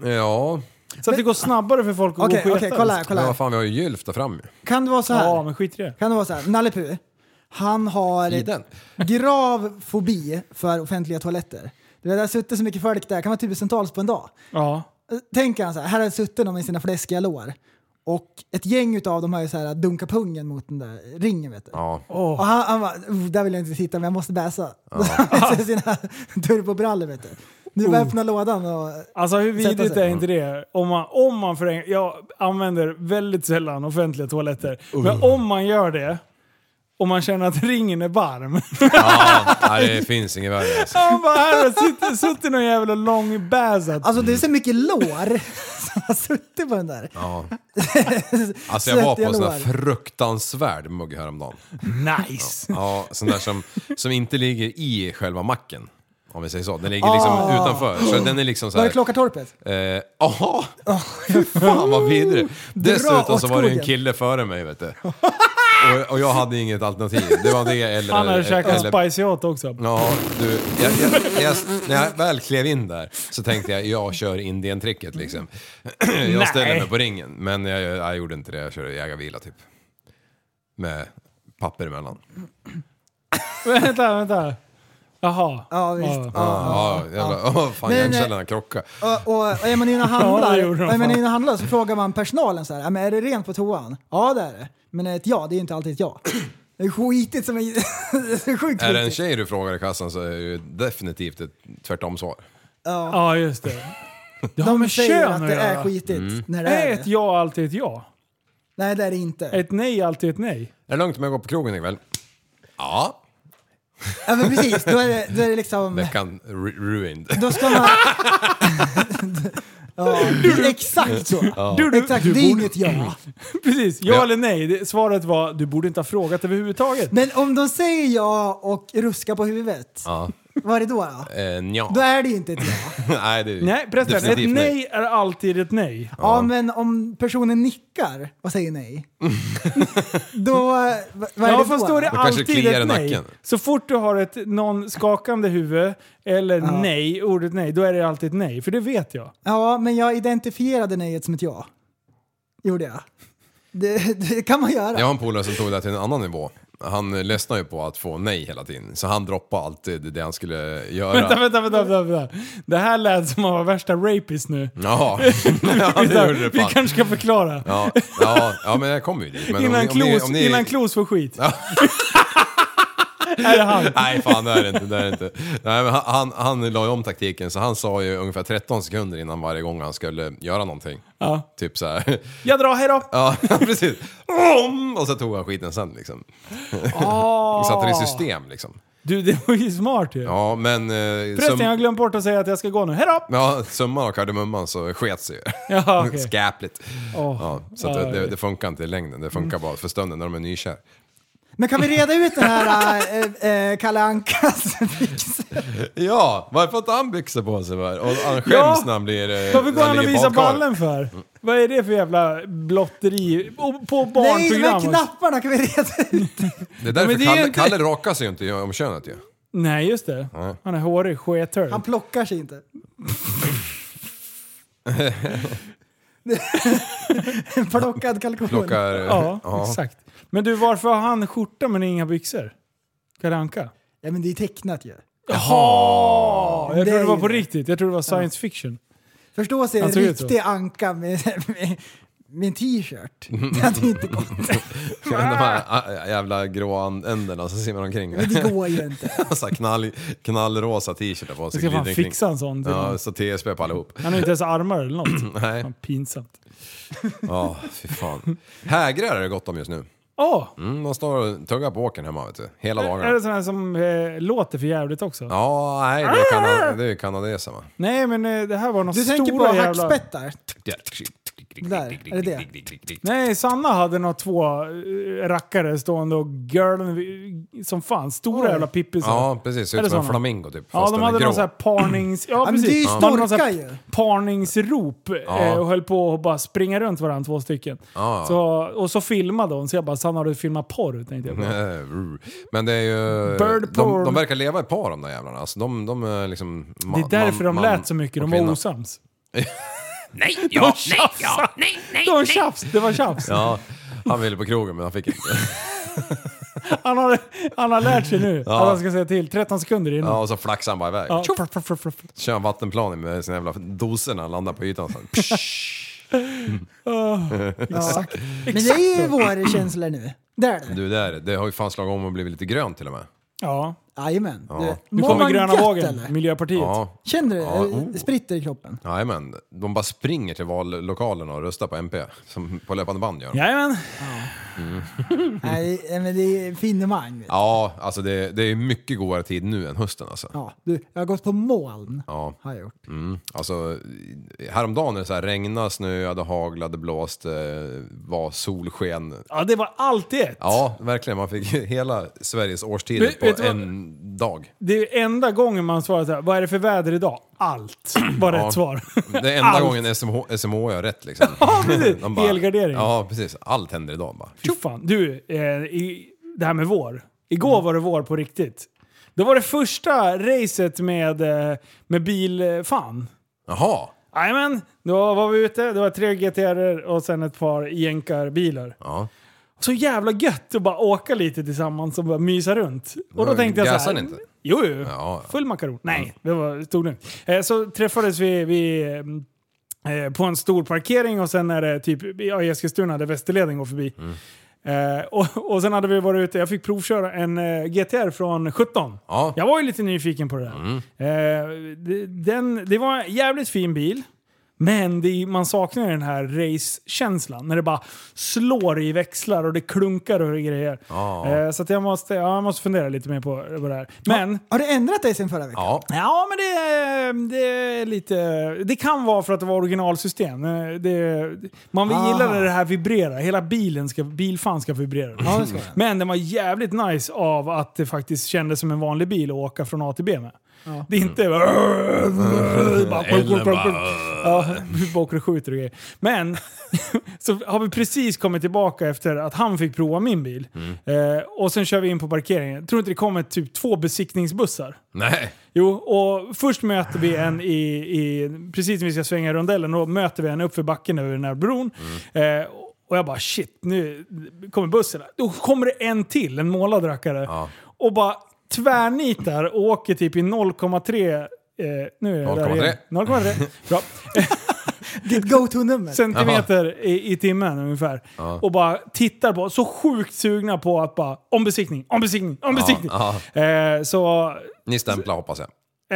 Speaker 2: Ja,
Speaker 3: Så att det går snabbare för folk att
Speaker 8: Okej,
Speaker 3: gå och
Speaker 8: okej,
Speaker 3: sketa?
Speaker 8: kolla här,
Speaker 2: men
Speaker 8: kolla
Speaker 2: vad
Speaker 8: här.
Speaker 2: fan vi har ju Gylf där fram ju.
Speaker 8: Kan det vara så här?
Speaker 3: Ja, men skit i det.
Speaker 8: Kan det vara så här? Nalle Puh, han har
Speaker 2: I den.
Speaker 8: grav fobi för offentliga toaletter. Du vet, det har suttit så mycket folk där, det kan vara tusentals på en dag.
Speaker 3: Ja.
Speaker 8: Tänk han så här, här har suttit de i sina fläskiga lår. Och ett gäng utav dem har ju så här dunkat pungen mot den där ringen vet du. *laughs*
Speaker 2: Ja.
Speaker 8: Och han, han bara, "Oh, där vill jag inte titta men jag måste bäsa. Då har *laughs* han med sig sina turbobrallor vet du. Nu
Speaker 3: Oh.
Speaker 8: bara öppna lådan och...
Speaker 3: Alltså hur vidrigt
Speaker 8: sig.
Speaker 3: är inte det? Om man, om man för en, jag använder väldigt sällan offentliga toaletter, men om man gör det och man känner att ringen är varm. *laughs*
Speaker 2: ja, nej, det finns inget värre. Alltså.
Speaker 3: Man bara här har suttit, suttit någon jävla långbäsad.
Speaker 8: Alltså det är så mycket lår *laughs* som har suttit på den där.
Speaker 2: Ja. Alltså jag var på
Speaker 8: Svettiga
Speaker 2: en sån där
Speaker 8: lår.
Speaker 2: fruktansvärd mugg häromdagen.
Speaker 3: Nice!
Speaker 2: Ja, sån där som, som inte ligger i själva macken. Om vi säger så. Den ligger liksom utanför. Så den är liksom så
Speaker 8: Ah. Var det Ah,
Speaker 2: här.
Speaker 8: Klockartorpet?
Speaker 2: Eh, aha! *laughs* Fan vad vidrig. Dessutom
Speaker 8: åt
Speaker 2: så var det en
Speaker 8: skogen.
Speaker 2: kille före mig vet
Speaker 8: *laughs*
Speaker 2: du. Och, och jag hade inget alternativ. Det var det eller...
Speaker 3: Han hade
Speaker 2: eller-
Speaker 3: käkat
Speaker 2: eller-
Speaker 3: spicy hot också.
Speaker 2: Ja, du. Jag, jag, jag, när jag väl klev in där så tänkte jag, jag kör Indien-tricket liksom. *clears throat* Jag ställer mig på ringen, men jag, jag, jag gjorde inte det. Jag körde jägarvila typ. Med papper emellan.
Speaker 3: vänta, vänta. Jaha.
Speaker 8: Ja visst.
Speaker 2: Ja, jävla, *laughs* åh, fan
Speaker 3: eh,
Speaker 8: Men,
Speaker 2: hjärncellerna krockade.
Speaker 8: Och, och, och är man inne
Speaker 3: *laughs*
Speaker 8: och
Speaker 3: Ja,
Speaker 8: handlar,
Speaker 3: det gjorde de
Speaker 8: och är man
Speaker 3: fan.
Speaker 8: inne och handlar så frågar man personalen så här, "Ja, men är det rent på toan? Ja det är det. Men ett ja, det är ju inte alltid ett ja. *clears throat* Det är *laughs* skitigt som en... det är sjukt
Speaker 2: Är det en
Speaker 8: skitigt.
Speaker 2: tjej du frågar i kassan så är det ju definitivt ett tvärtom svar.
Speaker 3: Ja, just det. Det har
Speaker 8: De
Speaker 3: med
Speaker 8: säger
Speaker 3: kön
Speaker 8: att
Speaker 3: att
Speaker 8: det är
Speaker 3: göra.
Speaker 8: skitigt när det
Speaker 3: Mm. Är
Speaker 8: är
Speaker 3: ett
Speaker 8: det.
Speaker 3: ja alltid ett ja?
Speaker 8: Nej det är det inte.
Speaker 3: Ett nej alltid ett nej?
Speaker 2: Är det lugnt om jag går på krogen ikväll? Ja,
Speaker 8: Ja men precis, då är det, då är det liksom...
Speaker 2: veckan ru- ruined.
Speaker 8: Då ska man... *laughs* ja, det är exakt så.
Speaker 3: Du, du,
Speaker 8: Exakt,
Speaker 3: du
Speaker 8: det är
Speaker 3: borde-
Speaker 8: inget ja.
Speaker 3: *laughs* Precis, ja
Speaker 2: Ja.
Speaker 3: eller nej. Det- Svaret var du borde inte ha frågat överhuvudtaget.
Speaker 8: Men om de säger ja och ruskar på huvudet,
Speaker 2: Ja.
Speaker 8: vad är det då? då?
Speaker 2: Eh, nja.
Speaker 8: Då är det ju inte ett ja.
Speaker 2: *laughs* Nej, det är ju
Speaker 3: Nej, förresten. Ett
Speaker 2: definitivt
Speaker 3: nej är alltid ett nej.
Speaker 8: Ja, men om personen nickar och säger nej, då... va- Vad är
Speaker 3: Ja,
Speaker 8: det
Speaker 3: fast då är det
Speaker 2: kanske
Speaker 3: alltid
Speaker 2: kliar i
Speaker 3: ett nej.
Speaker 2: nacken.
Speaker 3: Så fort du har ett någon skakande huvud eller nej, ordet nej, då är det alltid ett nej. För det vet jag.
Speaker 8: Ja, men jag identifierade nejet som ett ja. Gjorde jag. Det, det kan man göra.
Speaker 2: Jag har en polare som tog det här till en annan nivå. Han eh, ledsnar ju på att få nej hela tiden, så han droppade alltid det han skulle göra.
Speaker 3: Vänta, vänta, vänta, vänta, vänta. Det här lät som att vara värsta rapist nu.
Speaker 2: *laughs* Ja, ja det gjorde det
Speaker 3: *laughs* Vi
Speaker 2: fan.
Speaker 3: kanske ska förklara.
Speaker 2: Ja, ja, ja, men jag kommer ju dit. Men
Speaker 3: Innan,
Speaker 2: om, ni- om, ni-
Speaker 3: Klos,
Speaker 2: om ni,
Speaker 3: innan Klos får skit. *laughs* är det han?
Speaker 2: *laughs* Nej, fan det är det inte. Det är det inte. Nej, men han, han, han la ju om taktiken, så han sa ju ungefär 13 sekunder innan varje gång han skulle göra någonting.
Speaker 3: Ja.
Speaker 2: Typ så här. *laughs*
Speaker 3: Jag drar, hejdå!
Speaker 2: Ja, *laughs* precis. Om! Och så tog han skiten sen liksom. *laughs*
Speaker 3: Oh.
Speaker 2: Satte det i system liksom.
Speaker 3: Du, det var ju smart ju.
Speaker 2: Ja, men... Eh,
Speaker 3: Förresten,
Speaker 2: sum-
Speaker 3: jag har glömt bort att säga att jag ska gå nu. Hejdå!
Speaker 2: Ja, summan av kardemumman så sket sig ju.
Speaker 3: *laughs* Ja,
Speaker 2: *laughs*
Speaker 3: okej.
Speaker 2: Skäpligt.
Speaker 3: Åh.
Speaker 2: Ja, så att
Speaker 3: Ja,
Speaker 2: det,
Speaker 3: ja. Mm.
Speaker 2: det funkar inte i längden, det funkar bara för stunden när de är nykär.
Speaker 8: Men kan vi reda ut den här äh, äh, Kalle Ankas fix?
Speaker 2: Ja, varför har inte han byxor på sig? Var? Och han skäms
Speaker 3: Ja.
Speaker 2: när han blir... eh,
Speaker 3: Varför går
Speaker 2: när
Speaker 3: han och
Speaker 2: ligger i
Speaker 3: visar
Speaker 2: badkar.
Speaker 3: ballen för? Vad är det för jävla blotteri? Och På
Speaker 8: Nej,
Speaker 3: barnprogram?
Speaker 8: men knapparna kan vi reda ut.
Speaker 2: Det är därför
Speaker 3: Men det är
Speaker 2: Kalle,
Speaker 3: inte-
Speaker 2: Kalle rakar sig ju inte om könet ju.
Speaker 3: Nej, just det. Han är hårig sketur.
Speaker 2: Mm.
Speaker 8: Han plockar sig inte. Plockad kalkon.
Speaker 2: Plockar...
Speaker 3: Ja, *laughs* exakt. Men du, varför har han skjorta men inga byxor? Kalle Anka?
Speaker 8: Ja, men det är tecknat ju.
Speaker 3: Jaha! Jag
Speaker 8: Det
Speaker 3: trodde
Speaker 8: är
Speaker 3: det var på
Speaker 8: det.
Speaker 3: riktigt. Jag trodde det var science fiction.
Speaker 8: Förstå sig en
Speaker 3: Han såg ut så.
Speaker 8: riktig anka med, med, med en
Speaker 2: *laughs*
Speaker 8: t-shirt. Det hade ju inte gått.
Speaker 2: De här äh, jävla gråa änderna som simmar omkring.
Speaker 8: Men det går ju inte.
Speaker 2: *laughs* så här knall, knallrosa t-shirtar på sig.
Speaker 3: Jag ska fan
Speaker 2: glider omkring.
Speaker 3: fixa en sån till
Speaker 2: Ja,
Speaker 3: honom.
Speaker 2: så TSB på allihop.
Speaker 3: Han har inte ens armar eller något.
Speaker 2: Nej,
Speaker 3: Fan, pinsamt.
Speaker 2: ja, fy fan. Hägrar är det gott om just nu.
Speaker 3: Åh!
Speaker 2: Mm, de står och tuggar på åkern hemma vet du,
Speaker 3: är
Speaker 2: hela
Speaker 3: det
Speaker 2: dagarna.
Speaker 3: sån här som eh, låter för jävligt också?
Speaker 2: Ja, nej, det
Speaker 3: Ah!
Speaker 2: är, kana, det är kanadensarna.
Speaker 3: Nej, men eh, det här var någon
Speaker 8: Du tänker på
Speaker 3: stora jävla...
Speaker 8: hackspettar. Där, är det
Speaker 2: *laughs*
Speaker 8: det?
Speaker 3: Nej, Sanna hade nog två eh, rackare stående och girlen vid- som fan. Stora
Speaker 8: Oj.
Speaker 3: jävla pippisar.
Speaker 2: Ja, precis. Ser
Speaker 3: Är det
Speaker 2: ut som en
Speaker 3: såna?
Speaker 2: flamingo typ.
Speaker 3: Ja, de
Speaker 2: fast den är
Speaker 3: hade
Speaker 2: grå.
Speaker 3: någon sån här parnings... Ja,
Speaker 8: men det är ju
Speaker 3: precis. De hade någon sån här
Speaker 8: storkar ju.
Speaker 3: Parningsrop eh,
Speaker 2: Ja.
Speaker 3: och höll på att bara springa runt varandra, två stycken.
Speaker 2: Ja.
Speaker 3: Så, och så filmade hon, så jag bara “Sanna, har du filmat porr?” tänkte jag. bara.
Speaker 2: Eh, rrr. *laughs* Men det är ju...
Speaker 3: Bird
Speaker 2: de,
Speaker 3: porn.
Speaker 2: de verkar leva i par de där jävlarna. Alltså, de, de är liksom... ma-
Speaker 3: Det är därför
Speaker 2: man-
Speaker 3: de
Speaker 2: man
Speaker 3: lät så mycket,
Speaker 2: och
Speaker 3: de var
Speaker 2: kvinna. *laughs*
Speaker 3: osams.
Speaker 2: Nej, ja,
Speaker 3: De
Speaker 2: nej, ja, nej, nej,
Speaker 3: Det var
Speaker 2: nej.
Speaker 3: tjafs, det var tjafs.
Speaker 2: Ja, han ville på krogen men han fick inte.
Speaker 3: Han, har, han har lärt sig nu att han ska säga till 13 sekunder innan.
Speaker 2: Ja, och så flaxade han bara iväg.
Speaker 3: Ja. Fruff, fruff, fruff, fruff.
Speaker 2: Kör en vattenplaning med sina jävla doser när han landar på ytan. Sen.
Speaker 8: Ja. Men det är ju vårkänslor nu. Där är det.
Speaker 2: Du där, det har ju fan slagit om och blivit lite grönt till och med.
Speaker 3: Ja.
Speaker 8: Jajamän. Du,
Speaker 3: Nu
Speaker 8: mår
Speaker 3: kommer
Speaker 8: man
Speaker 3: gröna
Speaker 8: gött,
Speaker 3: vågen,
Speaker 8: eller?
Speaker 3: Miljöpartiet.
Speaker 2: Ja,
Speaker 8: Känner du?
Speaker 2: Ja, oh.
Speaker 8: Det spritter i
Speaker 2: *laughs*
Speaker 8: kroppen.
Speaker 2: men De bara springer till vallokalen och röstar på MP. Som på löpande band gör. de.
Speaker 3: Jajamän.
Speaker 8: Nej, det- men det är en finemang. vet du.
Speaker 2: Ja, alltså det, det är mycket godare tid nu än hösten alltså.
Speaker 8: Ja, du, jag har gått på moln.
Speaker 2: Ja.
Speaker 8: Har jag gjort.
Speaker 2: Mm. Alltså, häromdagen när det så här regnade, snöade, haglade, blåste, var solsken.
Speaker 3: Ja, det var allt i ett.
Speaker 2: Ja, verkligen. Man fick hela Sveriges årstider
Speaker 3: Vet- vet
Speaker 2: på
Speaker 3: du vad-
Speaker 2: en dag.
Speaker 3: Det är enda gången man svarar så här, vad är det för väder idag?
Speaker 2: *clears throat*
Speaker 3: Allt var
Speaker 2: Ja.
Speaker 3: rätt svar. *laughs*
Speaker 2: Det är enda
Speaker 3: Allt.
Speaker 2: gången SMH, SMH har rätt liksom.
Speaker 3: *laughs* Ja, precis.
Speaker 2: De
Speaker 3: Helgardering.
Speaker 2: Ja, precis. Allt händer idag bara.
Speaker 3: Fy fan. Du, eh, i, det här med vår. Igår
Speaker 2: Mm.
Speaker 3: var det vår på riktigt. Det var det första racet med, eh, med bil, eh, fan.
Speaker 2: Jaha!
Speaker 3: Jajamän, då var vi ute. Det var tre GTR och sen ett par jänkarbilar.
Speaker 2: Ja.
Speaker 3: Så jävla gött att bara åka lite tillsammans och bara mysa runt. Och då
Speaker 2: Men
Speaker 3: tänkte jag så
Speaker 2: gasar
Speaker 3: här,
Speaker 2: ni inte?
Speaker 3: Jo, jo.
Speaker 2: Ja, Mm. ja.
Speaker 3: Full makaron. Nej, det var stod lugnt. Eh, så träffades vi, vi eh, på en stor parkering och sen är det typ ja, i Eskilstuna där Västerleden går förbi. Eh, och, och sen hade vi varit ute, jag fick provköra en eh, GTR från 17.
Speaker 2: Ja. Mm.
Speaker 3: Jag var ju lite nyfiken på det där. Eh, det- den, det var en jävligt fin bil. Men det, är- man saknar ju den här race-känslan. När det bara slår i växlar och det klunkar och grejer.
Speaker 2: Ja.
Speaker 3: Eh, så att jag, måste, ja, jag måste fundera lite mer på, på det här. Men,
Speaker 8: Har du ändrat dig sen förra veckan?
Speaker 2: Ja.
Speaker 3: ja men det, är- det är lite... Det kan vara för att det var originalsystem. Eh, Det, man vill
Speaker 8: Aha.
Speaker 3: gilla när det här vibrerar. Hela bilen ska, bilfan ska vibrera.
Speaker 8: Ja, det ska jag.
Speaker 3: Men den var jävligt nice av att det faktiskt kändes som en vanlig bil att åka från A till B med. Det är inte... bara-
Speaker 2: Eller
Speaker 3: Ja,
Speaker 2: bara-
Speaker 3: vi bara åker och skjuter och grejer. Men *laughs* så har vi precis kommit tillbaka efter att han fick prova min bil.
Speaker 8: Mm.
Speaker 3: Eh, och sen kör vi in på parkeringen. Tror inte det kommer typ två besiktningsbussar?
Speaker 2: Nej.
Speaker 3: Jo, och först möter vi en i, i precis när vi ska svänga i rondellen, då möter vi en uppför backen över den här bron. Eh, och jag bara shit, nu kommer bussen. Då kommer det en till, en målad rackare. Och bara tvärnitar och åker typ i 0,3 Eh, nu är jag där
Speaker 2: 0,3.
Speaker 3: igen. 0,3. Bra. *laughs*
Speaker 8: Ditt go-to-nummer?
Speaker 3: Centimeter i, i timmen ungefär. Och bara tittar på, så sjukt sugna på att bara om besiktning, om besiktning, om besiktning. Eh, så
Speaker 2: Ni stämplar hoppas jag.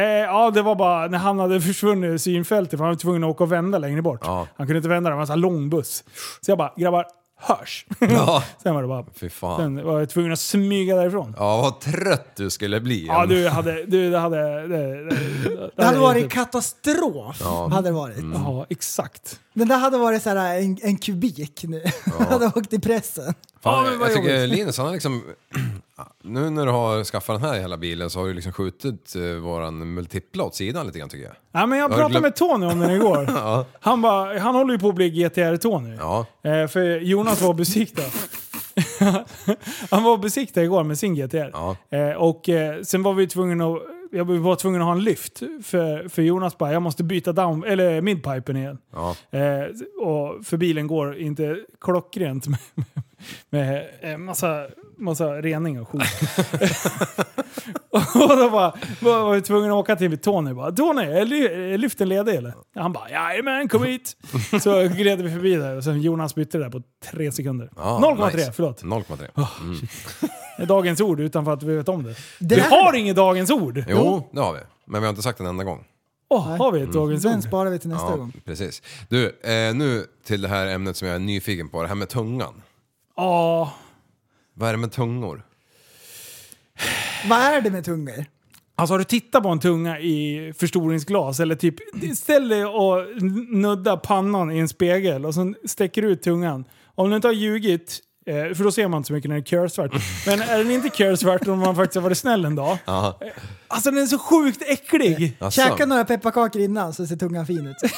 Speaker 3: Eh, ja, det var bara när han hade *laughs* försvunnit ur synfältet för han var tvungen att åka och vända längre bort.
Speaker 2: Ja.
Speaker 3: Han kunde inte vända, det var en sån här lång buss. Så jag bara, grabbar, hörs!
Speaker 2: Ja.
Speaker 3: *laughs* Sen var det bara...
Speaker 2: Fy fan.
Speaker 3: Sen var jag tvungen att smyga därifrån. Ja,
Speaker 2: Ja, vad trött du skulle bli.
Speaker 3: du, jag hade, du, det hade... Det, det,
Speaker 8: Det hade varit
Speaker 3: typ-
Speaker 8: katastrof. Hade det varit.
Speaker 3: Ja, exakt.
Speaker 8: Den där hade varit så här, en, en kubik nu. *laughs* hade åkt i pressen.
Speaker 2: Fan,
Speaker 3: Ja, men vad
Speaker 2: jag tycker Linus, han har liksom... *clears throat* Nu när du har skaffat den här hela bilen så har du liksom skjutit eh, våran multipla åt sidan lite grann tycker jag.
Speaker 3: Ja, men jag
Speaker 2: har
Speaker 3: pratade
Speaker 2: glömt-
Speaker 3: med Tony om den
Speaker 2: *laughs*
Speaker 3: igår. han, bara, han håller ju på att bli GTR-Tony.
Speaker 2: Ja.
Speaker 3: Eh, för Jonas var och besiktade. *laughs* han var och besiktade igår med sin GTR.
Speaker 2: Ja.
Speaker 3: Eh, och eh, sen var vi tvungna att, jag var tvungen att ha en lyft. För, för Jonas bara, jag måste byta down, eller midpipen igen.
Speaker 2: Ja.
Speaker 3: Eh, och för bilen går inte klockrent med, med, eh, massa, massa rening och skit. *laughs* och då bara, var, var vi tvungna att åka till Tony. Bara, Tony, är ly- är lyften ledig eller? Han bara, jajamän kom hit. Så gled vi förbi där och sen Jonas bytte det där på tre sekunder.
Speaker 2: Ja,
Speaker 3: 0,3,
Speaker 2: Ah, nice.
Speaker 3: förlåt.
Speaker 2: 0,3.
Speaker 3: Det är Dagens ord utan för att vi vet om det.
Speaker 8: Det
Speaker 3: vi
Speaker 8: är-
Speaker 3: har inget Dagens ord!
Speaker 2: Jo, det har vi. Men vi har inte sagt en enda gång.
Speaker 3: Åh, har vi ett Dagens
Speaker 2: Mm.
Speaker 8: Den
Speaker 3: ord?
Speaker 8: sparar vi till nästa
Speaker 2: Ja,
Speaker 8: gång.
Speaker 2: precis. Du, eh, nu till det här ämnet som jag är nyfiken på. Det här med tungan.
Speaker 3: Ja.
Speaker 2: Vad är det med tungor?
Speaker 8: Vad är det med tungor?
Speaker 3: Alltså har du tittat på en tunga i förstoringsglas eller typ ställ dig och nudda pannan i en spegel och sen sträcker du ut tungan. Om du inte har ljugit, eh, för då ser man inte så mycket när det är
Speaker 2: *laughs*
Speaker 3: körsvart. Men är den inte körsvart om man faktiskt har varit snäll en dag.
Speaker 2: Ja.
Speaker 3: eh, Alltså den är så sjukt äcklig!
Speaker 2: Asså.
Speaker 8: Käka några pepparkakor innan så ser tungan
Speaker 3: *laughs*
Speaker 8: fin ut.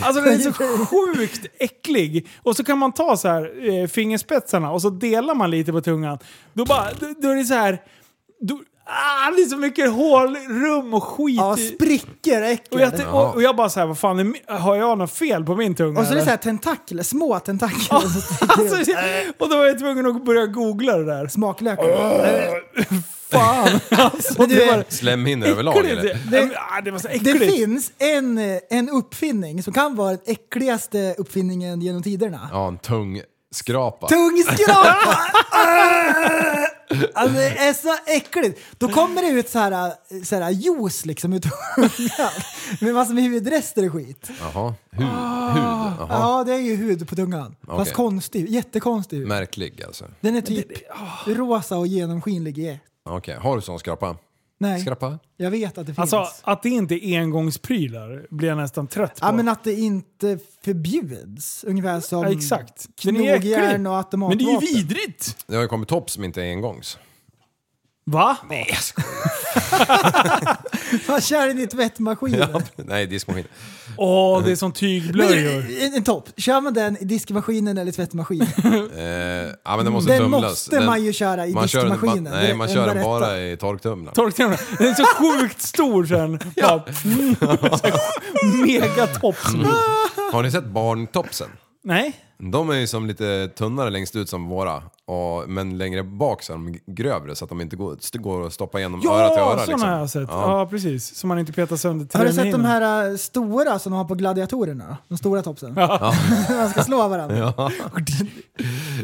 Speaker 3: Alltså den är så sjukt äcklig! Och så kan man ta så här eh, fingerspetsarna och så delar man lite på tungan. Då, bara, då, då är det så här... Då, ah, det är så mycket hål, rum och skit.
Speaker 8: Ja,
Speaker 3: i-
Speaker 8: sprickor är
Speaker 3: och,
Speaker 8: äckligt.
Speaker 3: jag, och, och jag bara så här, vad fan, är, mi- har jag något fel på min tunga?
Speaker 8: Och så är det
Speaker 3: eller?
Speaker 8: så här tentakler, små
Speaker 3: *laughs*
Speaker 8: tentakler. som sticker ut.
Speaker 3: alltså, jag- och då var jag tvungen att börja googla det där. *laughs*
Speaker 8: Smaklök.
Speaker 3: Fan! Alltså,
Speaker 8: *laughs* Men du,
Speaker 3: det var
Speaker 2: Slämhinna överlag
Speaker 3: äckligt.
Speaker 2: eller?
Speaker 3: Det, ah, det var så äckligt.
Speaker 8: Det finns en, eh, en uppfinning som kan vara den äckligaste uppfinningen genom tiderna.
Speaker 2: Ja, en tung skrapa. *laughs*
Speaker 8: Tungskrapa! alltså det är så äckligt. Då kommer det ut så här, eh, så här juice liksom ur tungan. Med massor med hudrester och skit.
Speaker 2: Jaha, hud. hud. Jaha.
Speaker 8: Ja, det är ju hud på tungan. Fast
Speaker 2: Okej.
Speaker 8: konstig, jättekonstig hud.
Speaker 2: Märklig alltså.
Speaker 8: Den är typ
Speaker 2: ah.
Speaker 8: rosa och genomskinlig. i ett.
Speaker 2: Okej, har du sån skrapa?
Speaker 8: Nej,
Speaker 2: Skrapa?
Speaker 8: jag vet att det finns.
Speaker 3: Alltså att det inte är engångsprylar blir jag nästan trött på.
Speaker 8: ja, men att det inte förbjuds. Ungefär som
Speaker 3: Ja, exakt. Den är äcklig.
Speaker 8: knogjärn och
Speaker 3: Men det
Speaker 8: automatvapen.
Speaker 3: är ju vidrigt!
Speaker 2: Det har ju kommit topp som inte är engångs.
Speaker 3: Va?
Speaker 8: Fan, kör i din tvättmaskin.
Speaker 2: Nej, diskmaskin.
Speaker 3: Åh, det är som
Speaker 8: Men
Speaker 3: tygblöjor.
Speaker 8: du, en, en topp. Kör man den i diskmaskinen eller tvättmaskinen?
Speaker 2: Eh, ja, men den måste
Speaker 8: Den
Speaker 2: tumlas.
Speaker 8: måste man ju köra i
Speaker 2: kör den-
Speaker 8: diskmaskinen.
Speaker 2: man-
Speaker 8: Det
Speaker 2: Nej,
Speaker 8: är
Speaker 2: man
Speaker 8: den
Speaker 2: kör den
Speaker 8: rätta.
Speaker 2: bara i torktumlaren.
Speaker 3: Torktumlaren. Den är så sjukt stor sen. Ja. Megatops.
Speaker 2: Har ni sett barntopsen?
Speaker 3: Nej.
Speaker 2: De är ju som lite tunnare längst ut som våra, och, men längre bak så är de grövre så att de inte går, st- går att stoppa igenom öra till
Speaker 3: Ja,
Speaker 2: öra.
Speaker 3: sådana
Speaker 2: Liksom.
Speaker 3: har jag sett. Ja. precis. Så man inte petar sönder
Speaker 8: Har du sett de
Speaker 3: tränhinnan.
Speaker 8: här äh, stora som de har på gladiatorerna? då? De stora topsen? *laughs* man ska slå varandra.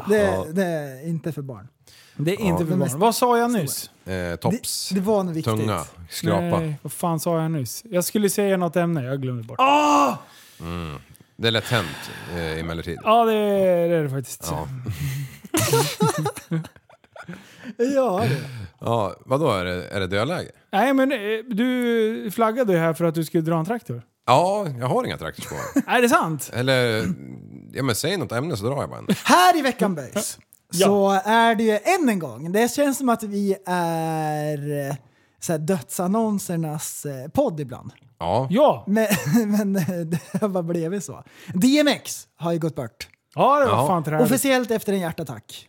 Speaker 8: Det, det är inte för barn.
Speaker 3: Det är inte för barn.
Speaker 8: De mest-
Speaker 3: Vad sa jag nyss?
Speaker 2: Eh,
Speaker 8: Det,
Speaker 2: tops,
Speaker 8: det var nog viktigt.
Speaker 2: tunga, skrapa.
Speaker 3: Nej, vad fan sa jag nyss? Jag skulle säga något ämne, jag glömde bort. Ja,
Speaker 2: Det är lätt hänt eh, emellertid.
Speaker 3: det, är, det är det faktiskt.
Speaker 2: Ja.
Speaker 8: Ja, det.
Speaker 2: Ja, vadå, är det, är det dödläge?
Speaker 3: Nej, men eh, du flaggade ju här för att du skulle dra en traktor.
Speaker 2: Ja, jag har inga traktorspår.
Speaker 3: Är det sant?
Speaker 2: Eller, ja men säg något ämne så drar jag bara en.
Speaker 8: Här i veckan böjs så är det ju än en gång, det känns som att vi är eh, så här, dödsannonsernas eh, podd ibland.
Speaker 2: Ja,
Speaker 3: Ja,
Speaker 8: Men, *laughs* men eh, det *laughs* har bara blivit så. DMX har ju gått bort.
Speaker 3: ja det var
Speaker 2: Ja.
Speaker 3: fan träligt.
Speaker 8: Officiellt efter en hjärtattack.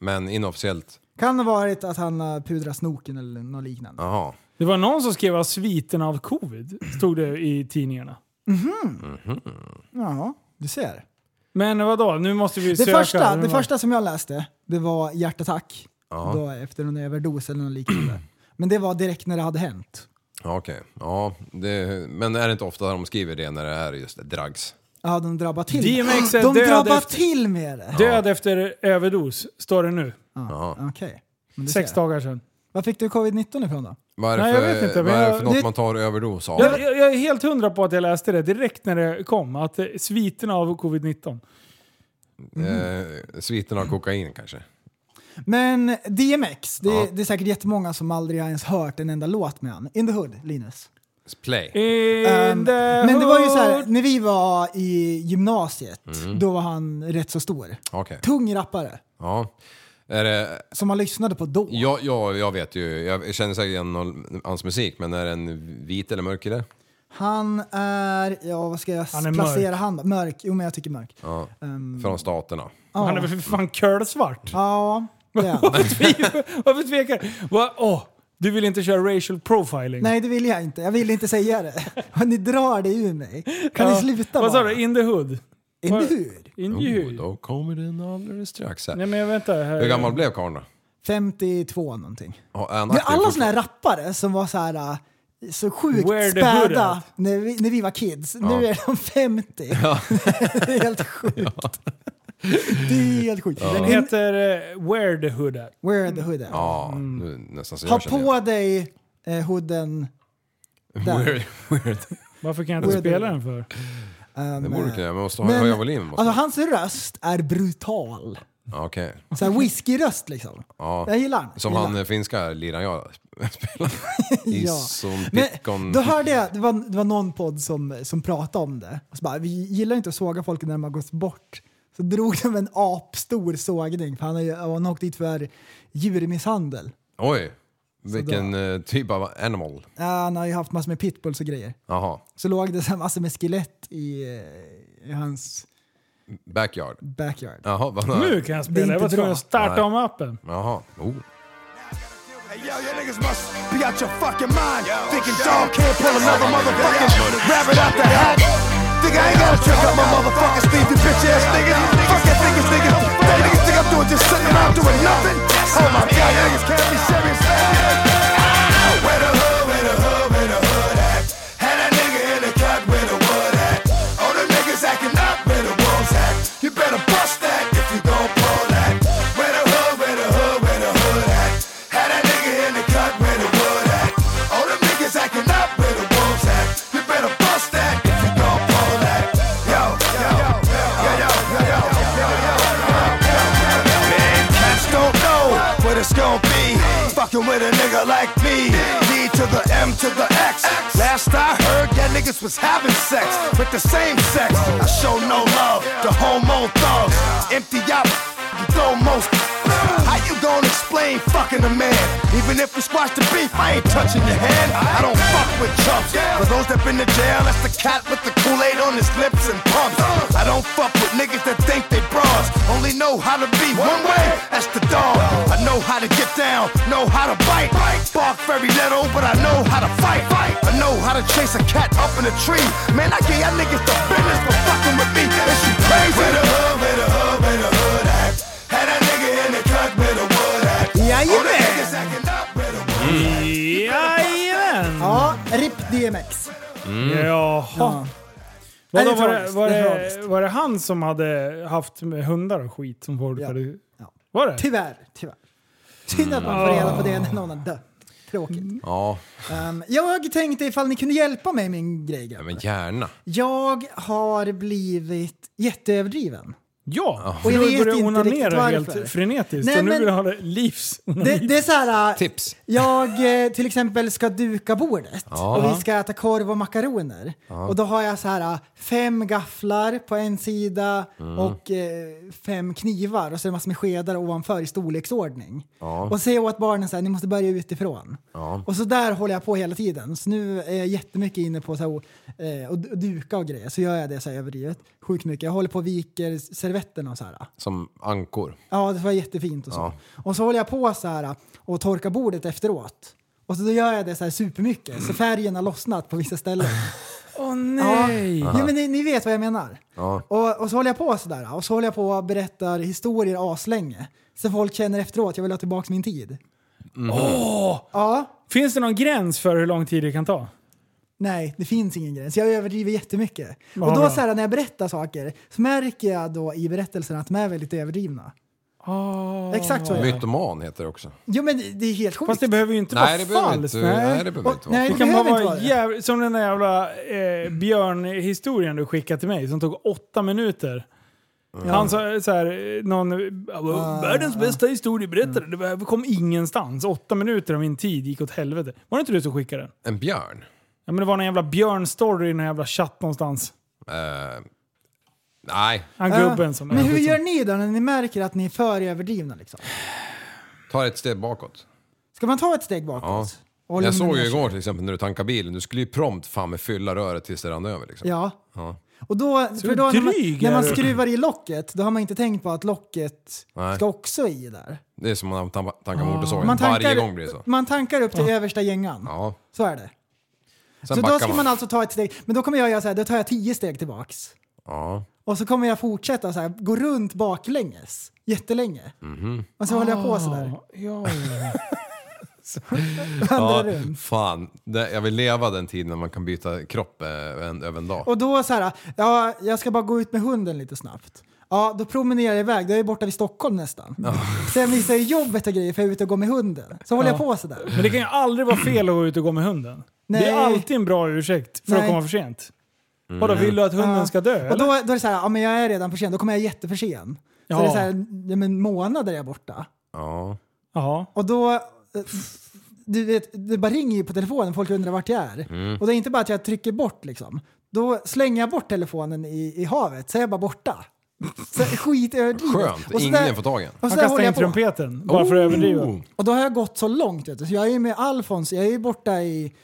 Speaker 2: men inofficiellt.
Speaker 8: Kan ha varit att han har pudrat snoken eller något liknande.
Speaker 2: Jaha.
Speaker 3: Det var någon som skrev av sviten av covid, stod det i tidningarna.
Speaker 8: Ja, du ser.
Speaker 3: Men vadå, nu måste vi
Speaker 8: Det,
Speaker 3: söka.
Speaker 8: första,
Speaker 3: Nu
Speaker 8: det
Speaker 3: var-
Speaker 8: första som jag läste, det var hjärtattack. Då efter en överdos eller något liknande. Men det var direkt när det hade hänt.
Speaker 2: Ja, Okej, ja. Det, men är det inte ofta de skriver det när det är just drags?
Speaker 8: Ja, de drabbar till
Speaker 3: DMX är
Speaker 8: De
Speaker 3: död
Speaker 8: drabbar
Speaker 3: efter-
Speaker 8: till med det!
Speaker 3: Död efter överdos, står det nu.
Speaker 8: Ja. Okej. Men du
Speaker 3: Sex
Speaker 8: ser.
Speaker 3: dagar sedan.
Speaker 8: Vad fick du covid-19 ifrån då?
Speaker 2: Vad är det
Speaker 3: Nej,
Speaker 2: för,
Speaker 3: jag vet inte,
Speaker 2: vad
Speaker 3: men
Speaker 2: är det
Speaker 3: jag-
Speaker 2: för något
Speaker 3: det-
Speaker 2: man tar överdos av?
Speaker 3: Jag, jag, jag är helt hundra på att jag läste det direkt när det kom, att eh, sviterna av covid-19.
Speaker 2: Eh, sviten av kokain kanske?
Speaker 8: Men DMX, det,
Speaker 2: Ja.
Speaker 8: det är säkert jättemånga som aldrig har ens hört en enda låt med han. In the hood, Linus.
Speaker 2: Play.
Speaker 3: In
Speaker 8: Ehm,
Speaker 3: the
Speaker 8: men det var ju så här,
Speaker 3: hood. Mm.
Speaker 8: när vi var i gymnasiet, då var han rätt så stor.
Speaker 2: Okej.
Speaker 8: Tung rappare,
Speaker 2: Ja. Är det,
Speaker 8: som man lyssnade på då.
Speaker 2: jag, jag, jag vet ju, jag känner säkert igen någon- hans musik, men är den vit eller mörk i det?
Speaker 8: Han är, ja vad ska jag
Speaker 3: Han är
Speaker 8: placera han då? Mörk? Jo men jag tycker mörk. Ehm, Ja,
Speaker 2: Från staterna.
Speaker 3: Han är väl för fan kölsvart?
Speaker 8: det är han.
Speaker 3: Varför tvekar Va? Åh, Du vill inte köra racial profiling?
Speaker 8: Nej det vill jag inte, jag vill inte säga det. *laughs* Och ni drar det ur mig. Kan ni
Speaker 3: Ja.
Speaker 8: sluta
Speaker 3: Vad sa
Speaker 8: bara?
Speaker 3: du? In the hood?
Speaker 8: In the hood.
Speaker 3: In the
Speaker 2: Oh,
Speaker 3: hood?
Speaker 2: då kommer den alldeles strax
Speaker 3: Nej
Speaker 2: här.
Speaker 3: men jag väntar här.
Speaker 2: Hur gammal blev karln då?
Speaker 8: 52 någonting.
Speaker 2: Ja, är han
Speaker 8: Det är
Speaker 2: aktiv
Speaker 8: alla såna
Speaker 2: fortfarande?
Speaker 8: här rappare som var så här äh, så sjukt
Speaker 3: Where the hood
Speaker 8: späda
Speaker 3: at?
Speaker 8: när vi, när vi var kids. Nu är de 50. *laughs* det är helt sjukt. Det är helt sjukt.
Speaker 3: Den
Speaker 8: In-
Speaker 3: heter eh, Where the hood at.
Speaker 8: Where the hood at?
Speaker 2: Ja, nu, nästan så
Speaker 8: Ha
Speaker 2: jag känner igen.
Speaker 8: på dig eh, hooden.
Speaker 2: *laughs*
Speaker 8: Där.
Speaker 2: Weird, weird.
Speaker 3: Varför kan jag inte
Speaker 8: Where the-
Speaker 3: spela den för?
Speaker 8: eh,
Speaker 2: Det borde kunna, man måste ha-
Speaker 8: Men,
Speaker 2: höja volymen. Måste.
Speaker 8: alltså hans röst är brutal.
Speaker 2: Ja, Okej.
Speaker 8: Så här whiskyröst liksom.
Speaker 2: Ja.
Speaker 8: Jag gillar den.
Speaker 2: Som
Speaker 8: gillar
Speaker 2: han
Speaker 8: den.
Speaker 2: eh, finska liraren jag
Speaker 8: *laughs*
Speaker 2: spelar. Ison Pitkon.
Speaker 8: Men då hörde jag, det var, det var någon podd som, som pratade om det. Och så bara, vi gillar inte att såga folk när de har gått bort. Så drog de en apstor sågning, för han, har ju- han åkte dit för djurmisshandel.
Speaker 2: Oj! Vilken eh, typ av animal.
Speaker 8: Ja, han har ju haft massor med pitbulls och grejer.
Speaker 2: Jaha.
Speaker 8: Så låg det så här massor med skelett i, eh, i hans
Speaker 2: Backyard.
Speaker 8: backyard.
Speaker 2: Jaha, vad...
Speaker 3: Nu kan jag
Speaker 8: Det
Speaker 3: spela.
Speaker 8: är inte
Speaker 3: Jag var tvungen
Speaker 8: bra.
Speaker 3: att starta
Speaker 2: Nej.
Speaker 3: om appen.
Speaker 2: Jaha. Oh.
Speaker 9: Hey yo, you niggas must be out your fucking mind. Thinking dog can't pull another motherfucking rabbit out the hat. Think I ain't gotta trick up my motherfucking sleeve, you bitch ass niggas. Fuck that niggas, niggas. That niggas think I'm doing just sitting around doing nothing. Oh my god, you niggas can't be serious. Where the hood, where the hood, where the hood at? Had a nigga in the cut where the wood at. All the niggas acting up where the wolves at. You better bust that if you gon' pull that. Where the hood, where the hood, where the hood at? Had a nigga in the cut where the wood at. All them niggas acting up where the wolves at. You better bust that if you gon' pull that. Yo, yo, yo, yo, yo, yo, yo, yo, yo, yo. Man, cats don't know what it's gon' be. Fucking with a nigga like me. D to the M to the X. Last I heard, yeah, niggas was having sex with the same sex. I show no love to homo thugs. Empty out, you throw most. How you gonna explain fucking a man? Even if we squash the beef, I ain't touching your hand. I don't fuck with chumps. For those that been to jail, that's the cat with the Kool-Aid on his lips and pumps. I don't fuck with niggas that think they bras. Only know how to be one way, that's the dog. I know how to get down, know how to bite. Bark very little, but I know how to fight. I know how to chase a cat up in a tree. Man, I gave y'all niggas the business for fucking with me. Is you crazy? Where the hood, where the hood, where the hood at? Had a nigga in the cut with a wood at.
Speaker 8: Jajamän!
Speaker 3: Jajamän!
Speaker 8: Ja, RIP DMX.
Speaker 2: Mm.
Speaker 3: Jaha.
Speaker 8: Ja.
Speaker 3: Vadå,
Speaker 8: Nej, det är
Speaker 3: var, det,
Speaker 8: tragiskt.
Speaker 3: var,
Speaker 8: Det är
Speaker 3: det,
Speaker 8: tragiskt.
Speaker 3: var det han som hade haft med hundar och skit som folk
Speaker 8: Ja.
Speaker 3: hade...
Speaker 8: Ja.
Speaker 3: Var det?
Speaker 8: Tyvärr, tyvärr. Synd att man får reda på det när någon har dött. Tråkigt.
Speaker 2: Ja,
Speaker 8: Ehm, jag tänkte ifall ni kunde hjälpa mig med min grej. grabbar.
Speaker 2: men gärna.
Speaker 8: Jag har blivit jätteöverdriven.
Speaker 3: Ja!
Speaker 8: Och jag
Speaker 3: nu
Speaker 8: vet
Speaker 3: börjar
Speaker 8: inte
Speaker 3: onanera
Speaker 8: riktigt varför.
Speaker 3: helt frenetiskt.
Speaker 8: Nej,
Speaker 3: och nu
Speaker 8: men-
Speaker 3: vill jag ha det livs...
Speaker 8: Det, det är så här, äh,
Speaker 2: Tips.
Speaker 8: jag eh, till exempel ska duka bordet
Speaker 2: Ja.
Speaker 8: och vi ska äta korv och makaroner. Och då har jag så här äh, fem gafflar på en sida
Speaker 2: Mm.
Speaker 8: och eh, fem knivar och så är det massor med skedar ovanför i storleksordning. Och säger åt barnen så här, ni måste börja utifrån. Och så där håller jag på hela tiden. Så nu är jag jättemycket inne på så här, och, eh, och, och duka och grejer. Så gör jag det så här överdrivet. Sjukt mycket. Jag håller på och viker servetterna och så här.
Speaker 2: Som ankor.
Speaker 8: Ja, det var jättefint och så. Och så håller jag på så här äh, och torkar bordet efteråt. Och så då gör jag det så här supermycket, så färgen har lossnat på vissa ställen.
Speaker 3: *laughs* Åh
Speaker 8: Ja,
Speaker 3: nej!
Speaker 8: ja men ni, ni vet vad jag menar. Och, och så håller jag på sådär och så håller jag på och berättar historier aslänge. Så folk känner efteråt, jag vill ha tillbaka min tid. Ja,
Speaker 3: Finns det någon gräns för hur lång tid det kan ta?
Speaker 8: nej det finns ingen gräns. Jag överdriver jättemycket.
Speaker 3: Ja,
Speaker 8: och
Speaker 3: bra.
Speaker 8: då så här, när jag berättar saker så märker jag då i berättelserna att de är väldigt överdrivna. Exakt så är det.
Speaker 2: Mytoman heter det också.
Speaker 8: Jo men det- det är helt sjukt.
Speaker 3: Ah. Fast det behöver ju inte
Speaker 2: Nej, det
Speaker 3: vara
Speaker 2: behöver
Speaker 3: falskt.
Speaker 2: inte,
Speaker 3: nej.
Speaker 2: nej, det behöver
Speaker 8: Och-
Speaker 2: inte vara.
Speaker 8: nej.
Speaker 2: så.
Speaker 3: Det kan bara
Speaker 8: behöver inte
Speaker 3: vara
Speaker 8: vara det.
Speaker 3: jäv... som den där jävla eh, björnhistorien du skickade till mig som tog åtta minuter. Han sa eh, såhär, någon, världens bästa historieberättare,
Speaker 8: Mm.
Speaker 3: det var- kom ingenstans. Åtta minuter av min tid gick åt helvete. Var det inte du som skickade den?
Speaker 2: En björn?
Speaker 3: Ja men det var någon jävla björnstory i någon jävla chatt någonstans.
Speaker 2: Eh, nej,
Speaker 3: Han
Speaker 8: Ja,
Speaker 3: gubben som...
Speaker 8: Men hur gör ni då när ni märker att ni är för överdrivna? Liksom?
Speaker 2: ta ett steg bakåt. Ska
Speaker 8: man ta ett steg bakåt? Och
Speaker 2: Jag
Speaker 8: lugna
Speaker 2: såg
Speaker 8: ner
Speaker 2: ju
Speaker 8: sig?
Speaker 2: igår till exempel när du tankade bilen, du skulle ju prompt fan med fylla röret tills det rann över liksom.
Speaker 8: Ja. Och då, för då när, man,
Speaker 3: dryg
Speaker 8: när man
Speaker 3: är du.
Speaker 8: skruvar i locket, då har man inte tänkt på att locket
Speaker 2: Nej.
Speaker 8: ska också i där.
Speaker 2: Det är som när man tampa- tankar motorsågen,
Speaker 8: Ah. Man
Speaker 2: varje gång blir det så.
Speaker 8: man tankar upp till översta gängan.
Speaker 2: Ja.
Speaker 8: Så är det.
Speaker 2: Sen
Speaker 8: så
Speaker 2: backar
Speaker 8: då ska man. alltså ta ett steg, men då kommer jag göra så här, då tar jag tio steg tillbaks.
Speaker 2: Ja.
Speaker 8: Och så kommer jag fortsätta så här, gå runt baklänges jättelänge.
Speaker 2: Mhm.
Speaker 8: Och så håller jag på så där.
Speaker 3: Ah, Ja,
Speaker 8: *laughs* Vandrar
Speaker 2: Ja,
Speaker 8: runt.
Speaker 2: fan, det, jag vill leva den tiden när man kan byta kropp eh, en, över en dag.
Speaker 8: Och då så här, ja, jag ska bara gå ut med hunden lite snabbt. Ja, då promenerar jag iväg. Då är jag borta vid Stockholm nästan. Sen visar jag jobbet och grejer för jag är ute och går med hunden. Så håller
Speaker 3: Ja.
Speaker 8: jag på sådär.
Speaker 3: Men det kan ju aldrig vara fel att gå ut och gå med hunden. Det
Speaker 8: Nej.
Speaker 3: är alltid en bra ursäkt för att
Speaker 8: Nej.
Speaker 3: komma för sent. Vadå, vill du att hunden ska dö?
Speaker 8: Och då,
Speaker 3: eller?
Speaker 8: då är det så här, ja men jag är redan för sen, då kommer jag jätteför sen. Så
Speaker 3: Ja.
Speaker 8: det är så här, ja, men månader är jag borta.
Speaker 2: Ja.
Speaker 3: Ja.
Speaker 8: Och då... eh, Du vet, det bara ringer ju på telefonen, folk undrar vart jag är.
Speaker 2: Mm.
Speaker 8: Och det är inte bara att jag trycker bort liksom. Då slänger jag bort telefonen i, i havet, så är jag bara borta. Så skit
Speaker 2: Skönt,
Speaker 8: och så
Speaker 2: ingen
Speaker 8: där-
Speaker 2: får tag i en.
Speaker 8: Och så
Speaker 3: Han
Speaker 8: där
Speaker 3: kastar
Speaker 8: håller
Speaker 3: in
Speaker 8: jag på.
Speaker 3: trumpeten, bara för att överdriva.
Speaker 2: Oh.
Speaker 8: Och då har jag gått så långt, vet du. så jag är ju med Alfons, jag är ju borta i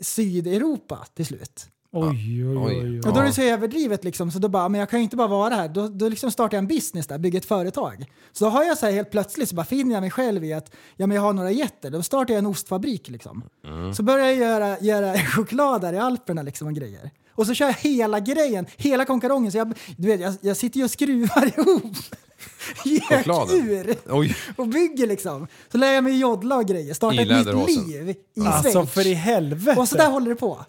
Speaker 8: i Sydeuropa till slut.
Speaker 3: Oj, oj, oj.
Speaker 8: Och då är
Speaker 2: Ja.
Speaker 8: det så överdrivet liksom, så då bara, men jag kan ju inte bara vara här. Då, då liksom startar jag en business där, bygger ett företag. Så då har jag så här helt plötsligt så bara finner jag mig själv i att, ja men jag har några getter, då startar jag en ostfabrik liksom.
Speaker 2: Mm.
Speaker 8: Så börjar jag göra, göra *laughs* choklad där i Alperna liksom och grejer. Och så kör jag hela grejen, hela konkarongen. Så jag, du vet, jag, jag sitter ju och skruvar *laughs* ihop
Speaker 2: Chokladen.
Speaker 8: gökur
Speaker 2: Oj.
Speaker 8: och bygger liksom. Så lär jag mig joddla och grejer, starta
Speaker 2: I
Speaker 8: ett nytt
Speaker 2: läderhosen.
Speaker 8: liv i
Speaker 3: Alltså
Speaker 8: Schweiz.
Speaker 3: för i helvete.
Speaker 8: Och så där håller det på.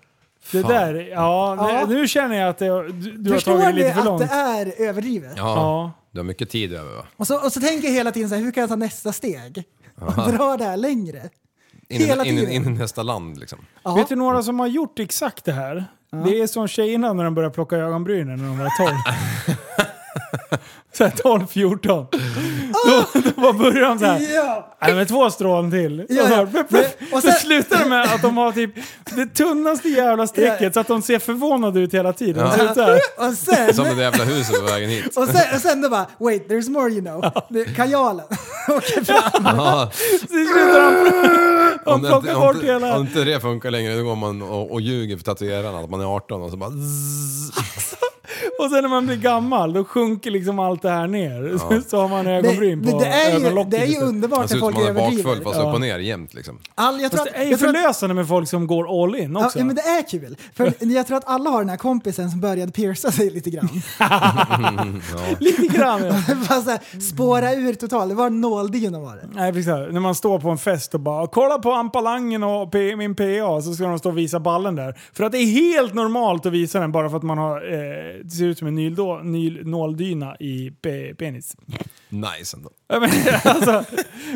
Speaker 3: det
Speaker 2: Fan.
Speaker 3: där, ja,
Speaker 8: Ja.
Speaker 3: Nu, nu känner jag att det, du, du har
Speaker 8: Förstår
Speaker 3: tagit det
Speaker 8: ni
Speaker 3: lite för
Speaker 8: att
Speaker 3: långt.
Speaker 8: det är överdrivet?
Speaker 2: Ja.
Speaker 3: Ja.
Speaker 2: Du har mycket tid över va?
Speaker 8: Och så, och så tänker jag hela tiden så här, hur kan jag ta nästa steg? Och dra det här längre.
Speaker 2: In, i-
Speaker 8: Hela
Speaker 2: in, in,
Speaker 8: tiden.
Speaker 2: in i nästa land liksom.
Speaker 8: Ja.
Speaker 3: Vet du några som har gjort exakt det här? Det är som tjejerna när de börjar plocka ögonbrynen när de var
Speaker 2: *laughs*
Speaker 3: 12. Såhär 12, 14. Då, då bara börjar de såhär.
Speaker 8: Ja.
Speaker 3: Nej men två strån till. Och,
Speaker 8: Ja,
Speaker 3: så,
Speaker 8: ja.
Speaker 3: här, pluff, pluff.
Speaker 8: Och
Speaker 3: så
Speaker 8: sen-
Speaker 3: slutar det med att de har typ det tunnaste jävla strecket så att de ser förvånade ut hela tiden. Så det är så här,
Speaker 8: Och sen,
Speaker 2: Som det där jävla huset på vägen
Speaker 8: *laughs*
Speaker 2: hit.
Speaker 8: och sen, och sen då bara, wait there's more you know. Det- Kajalen *laughs* åker fram.
Speaker 2: Ja.
Speaker 3: så slutar de
Speaker 2: Om,
Speaker 3: de plockar
Speaker 2: om,
Speaker 3: bort
Speaker 2: inte- om,
Speaker 3: hela...
Speaker 2: inte det funkar längre då går man och, och ljuger för tatuerarna att man är 18 och så bara zzz.
Speaker 3: Och sen när man blir gammal då sjunker liksom allt det här ner. Så, *laughs* så har man
Speaker 8: Det,
Speaker 3: ögonbryn på
Speaker 8: men det, är ju,
Speaker 3: ögonlocket
Speaker 8: det är ju
Speaker 3: istället.
Speaker 2: Man
Speaker 8: underbart
Speaker 2: ser
Speaker 8: när
Speaker 2: ut som
Speaker 8: folk
Speaker 2: man är
Speaker 8: överdriver.
Speaker 2: bakfull fast upp och ner jämt liksom.
Speaker 8: All, jag tror
Speaker 3: Fast
Speaker 8: att,
Speaker 3: det är ju
Speaker 8: jag tror att-
Speaker 3: förlösande med folk som går all in också.
Speaker 8: Ja, men det är kul. För jag tror att alla har den här kompisen som började pierca sig lite grann.
Speaker 3: *laughs* Lite grann.
Speaker 8: *laughs*
Speaker 3: ja.
Speaker 8: Bara så här, spåra ur totalt. Det var nåldyna var det.
Speaker 3: *laughs* Nej, precis. När man står på en fest och bara “kolla på ampalangen och P- min PA” så ska de stå och visa ballen där. För att det är helt normalt att visa den bara för att man har, eh, det ser ut som en nyldå, nyl, nåldyna i pe- penis.
Speaker 2: Nice ändå.
Speaker 3: Ja, men, *laughs* alltså,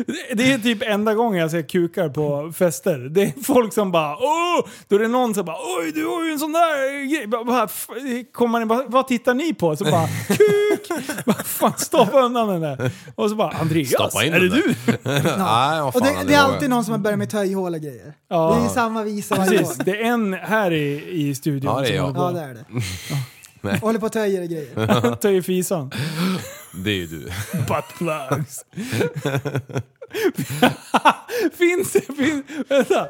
Speaker 3: det- det är typ enda gången jag ser kukar på fester. Det är folk som bara “Åh!” Då är det någon som bara “Oj, du har ju en sån där grej!” Bara- bara, f- Kommer man in, bara, “Vad tittar ni på?” Så
Speaker 2: *laughs*
Speaker 3: bara “Kuk!” Vad fan, stoppa undan den där. Och så bara “Andreas,
Speaker 2: Stoppa in
Speaker 3: är det
Speaker 2: den där."
Speaker 3: du?”
Speaker 2: *clears throat* Nej, vad
Speaker 8: Och
Speaker 2: fan,
Speaker 8: det, det är
Speaker 2: var-
Speaker 8: alltid någon som har börjat med töjhål och grejer.
Speaker 3: Ja.
Speaker 8: Det är ju samma visa varje gång.
Speaker 3: Precis, det är en här i, i studion
Speaker 2: Ja, det är jag.
Speaker 8: Ja, det
Speaker 3: *laughs*
Speaker 8: är det. Och Håller på och töjer och grejer.
Speaker 3: som *laughs* tar i fisan.
Speaker 2: Det är ju du.
Speaker 3: Buttplugs. *laughs* finns det, finns, vänta,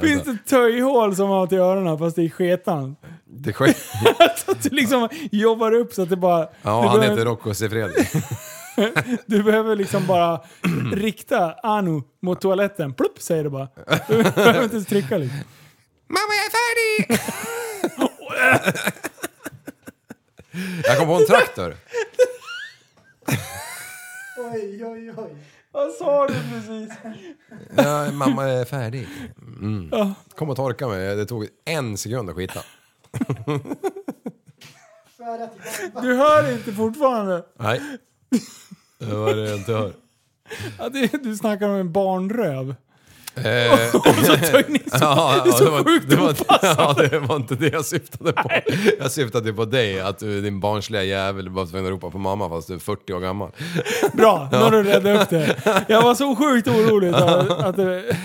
Speaker 3: finns det töjhål som har till öronen fast i sketan? *laughs*
Speaker 2: Det
Speaker 8: *laughs*
Speaker 2: sker.
Speaker 3: Så att du liksom jobbar upp så att det bara...
Speaker 2: Ja,
Speaker 3: du,
Speaker 2: han
Speaker 3: behöver,
Speaker 2: heter Rocco Sifredi.
Speaker 3: du behöver liksom bara *clears throat* rikta Anu mot toaletten. Plupp säger det bara. Du *laughs* behöver inte ens trycka liksom.
Speaker 2: Mamma, jag är färdig! jag kom på en traktor.
Speaker 8: Oj, oj, oj.
Speaker 3: Vad sa du precis?
Speaker 2: Ja, mamma är färdig. Mm. Kom och torka mig. Det tog en sekund att skita.
Speaker 3: Du hör inte fortfarande.
Speaker 2: Nej. Det var det jag
Speaker 3: *laughs*
Speaker 2: inte hör.
Speaker 3: Ja, det, du snackar om en barnröv.
Speaker 2: Eh,
Speaker 3: Så tar ni så
Speaker 2: ja, ja,
Speaker 3: så
Speaker 2: det var-
Speaker 3: sjukt
Speaker 2: det var- Ja, det var inte det jag syftade på. Jag syftade på dig, att du, din barnsliga jävel, bara tvungen att ropa på mamma fast du är 40 år gammal.
Speaker 3: Bra, nu har du räddat upp det. Jag var så sjukt orolig att, att det...
Speaker 2: *laughs*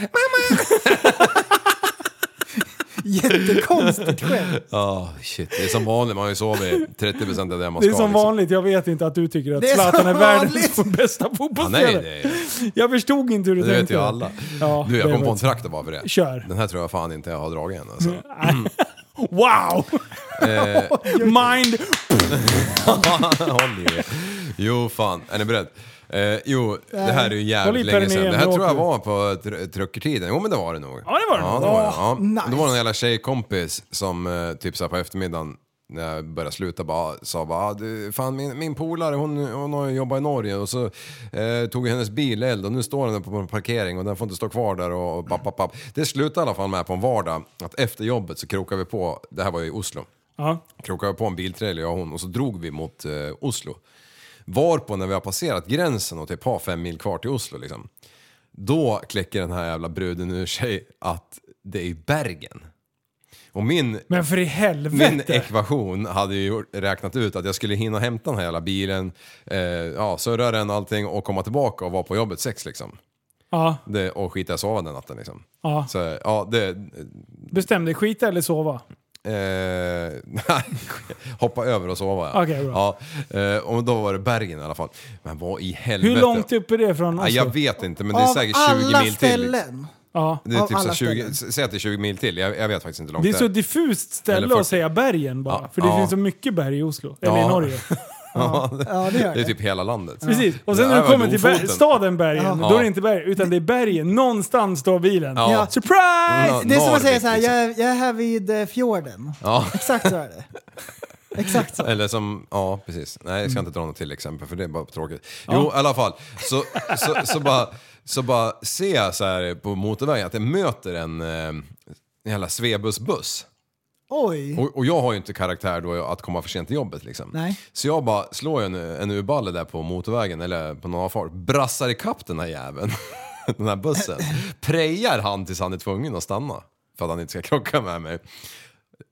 Speaker 8: Jättekonstigt skämt.
Speaker 2: Ja, Ah, shit. Det är som vanligt, man har ju sovit 30% av det
Speaker 3: Det är
Speaker 2: man ska.
Speaker 3: som
Speaker 2: liksom.
Speaker 3: vanligt, jag vet inte att du tycker att
Speaker 8: Det är
Speaker 3: Zlatan
Speaker 8: som
Speaker 3: är världens
Speaker 8: vanligt.
Speaker 3: bästa
Speaker 2: Ja, Ah, nej,
Speaker 3: fotbollsspelare.
Speaker 2: det,
Speaker 3: Jag förstod inte hur du
Speaker 2: det
Speaker 3: tänkte.
Speaker 2: vet ju alla.
Speaker 3: Ja,
Speaker 2: Du, jag
Speaker 3: det
Speaker 2: kom
Speaker 3: var
Speaker 2: på en
Speaker 3: ett-
Speaker 2: traktor bara för det.
Speaker 3: Kör.
Speaker 2: Den här tror jag fan inte jag har dragit än alltså.
Speaker 3: Mm.
Speaker 2: *laughs*
Speaker 3: Wow!
Speaker 2: Eh,
Speaker 3: *laughs* Mind...
Speaker 2: *laughs* Håll i er. Jo, fan. Är ni beredd? Eh, jo, det här är
Speaker 3: Håll
Speaker 2: ju
Speaker 3: i
Speaker 2: jävligt länge
Speaker 3: penningin,
Speaker 2: sedan. Det här
Speaker 3: nu
Speaker 2: tror jag
Speaker 3: åker vi.
Speaker 2: var på tr- truckertiden. Jo, men det var det nog.
Speaker 3: Ja, det var det
Speaker 2: Ja,
Speaker 3: nog.
Speaker 2: det var det.
Speaker 3: Åh,
Speaker 2: Ja.
Speaker 8: nice.
Speaker 2: Då var det en jävla tjejkompis som eh, typ så här på eftermiddagen när jag började sluta bara, sa bara, "Ah, du, fan min, min polare hon, hon har ju jobbat i Norge och så eh, tog hennes bil eld och nu står den på en parkering och den får inte stå kvar där och, och papp, papp, papp. Det slutade i alla fall med på en vardag att efter jobbet så krokade vi på, det här var ju i Oslo
Speaker 3: Ja.
Speaker 2: krokade på en biltrailer jag och hon och så drog vi mot eh, Oslo. Varpå när vi har passerat gränsen och typ har fem mil kvar till Oslo liksom. Då kläcker den här jävla bruden ur sig att det är Bergen. Och min,
Speaker 3: Men för i
Speaker 2: min
Speaker 3: helvete!
Speaker 2: ekvation hade ju gjort- räknat ut att jag skulle hinna hämta den här jävla bilen, eh, ja, surra den och allting och komma tillbaka och vara på jobbet sex liksom.
Speaker 3: ja,
Speaker 2: Det, och skita i att sova den natten liksom.
Speaker 3: ja.
Speaker 2: Så ja, det...
Speaker 3: Bestäm dig, skita eller sova?
Speaker 2: Eh, *laughs* nej, hoppa över och sova. Ja.
Speaker 3: Okej,
Speaker 2: ja, eh, och då var det Bergen i alla fall. Men vad i helvete?
Speaker 3: Hur långt upp är det från
Speaker 2: Ja,
Speaker 3: Oslo?
Speaker 2: jag vet inte, men det är säkert 20
Speaker 8: alla
Speaker 2: mil till. liksom.
Speaker 8: ställen.
Speaker 3: Ja.
Speaker 2: Det är
Speaker 8: Av
Speaker 2: typ så
Speaker 8: alla
Speaker 2: 20,
Speaker 8: ställen.
Speaker 2: säg att det är 20 mil till, jag, jag vet faktiskt inte hur långt
Speaker 3: Det är så
Speaker 2: är.
Speaker 3: diffust
Speaker 2: Eller
Speaker 3: ställe
Speaker 2: 40.
Speaker 3: att säga bergen bara.
Speaker 2: Ja,
Speaker 3: För det
Speaker 2: ja.
Speaker 3: finns så mycket berg i Oslo. Eller
Speaker 2: Ja.
Speaker 3: i
Speaker 2: *laughs*
Speaker 3: Norge.
Speaker 2: Ja,
Speaker 8: Ja,
Speaker 2: *laughs*
Speaker 8: det gör
Speaker 2: det är
Speaker 8: det.
Speaker 2: typ hela landet.
Speaker 3: Precis. Och sen
Speaker 2: Det
Speaker 3: när du
Speaker 2: här
Speaker 3: kommer
Speaker 2: var
Speaker 3: till
Speaker 2: Lofoten.
Speaker 3: ber- staden Bergen,
Speaker 8: Ja.
Speaker 3: då är det inte berg, utan det är bergen. Någonstans står bilen.
Speaker 2: Ja.
Speaker 8: Ja.
Speaker 3: Surprise!
Speaker 2: Ja,
Speaker 8: Det är som att säga
Speaker 2: Narvik,
Speaker 8: så här,
Speaker 2: liksom.
Speaker 8: jag, är- jag är här vid eh, fjorden.
Speaker 2: Ja.
Speaker 8: Exakt så är det. Exakt så.
Speaker 2: Eller som, ja precis. Nej jag ska inte dra något till exempel för det är bara tråkigt. Jo i alla fall, så, så, så, bara, så bara ser jag så här på motorvägen att det möter en, eh, en jävla svebusbuss.
Speaker 8: Oj.
Speaker 2: Och, och jag har ju inte karaktär då att komma för sent till jobbet liksom.
Speaker 8: Mm. Nej.
Speaker 2: Så jag bara slår ju en, en urballe där på motorvägen eller på någon avfart, brassar ikapp den här jäveln, *laughs* den här bussen. Prejar han tills han är tvungen att stanna för att han inte ska krocka med mig.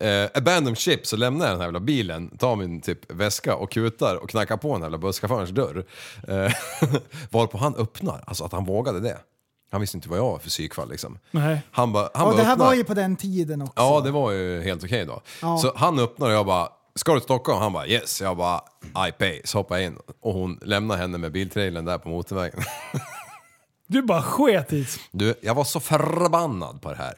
Speaker 2: Eh, abandon ship så lämnar jag den här jävla bilen, tar min typ väska och kutar och knackar på den här jävla busschaufförens dörr. Eh, *laughs* varpå han öppnar, alltså att han vågade det. Han visste inte vad jag var för psykfall liksom.
Speaker 3: Nej.
Speaker 2: Han bara, han
Speaker 8: Och
Speaker 2: bara
Speaker 8: det här
Speaker 2: öppnar.
Speaker 8: var ju på den tiden också.
Speaker 2: Ja, det var ju helt okej då. Så han öppnar och jag bara, ska du till Stockholm? Han bara, yes. Jag bara, I pay. Så hoppar jag in och hon lämnar henne med biltrailern där på motorvägen. *laughs*
Speaker 3: Du bara sket i det.
Speaker 2: Du, jag var så förbannad på det här.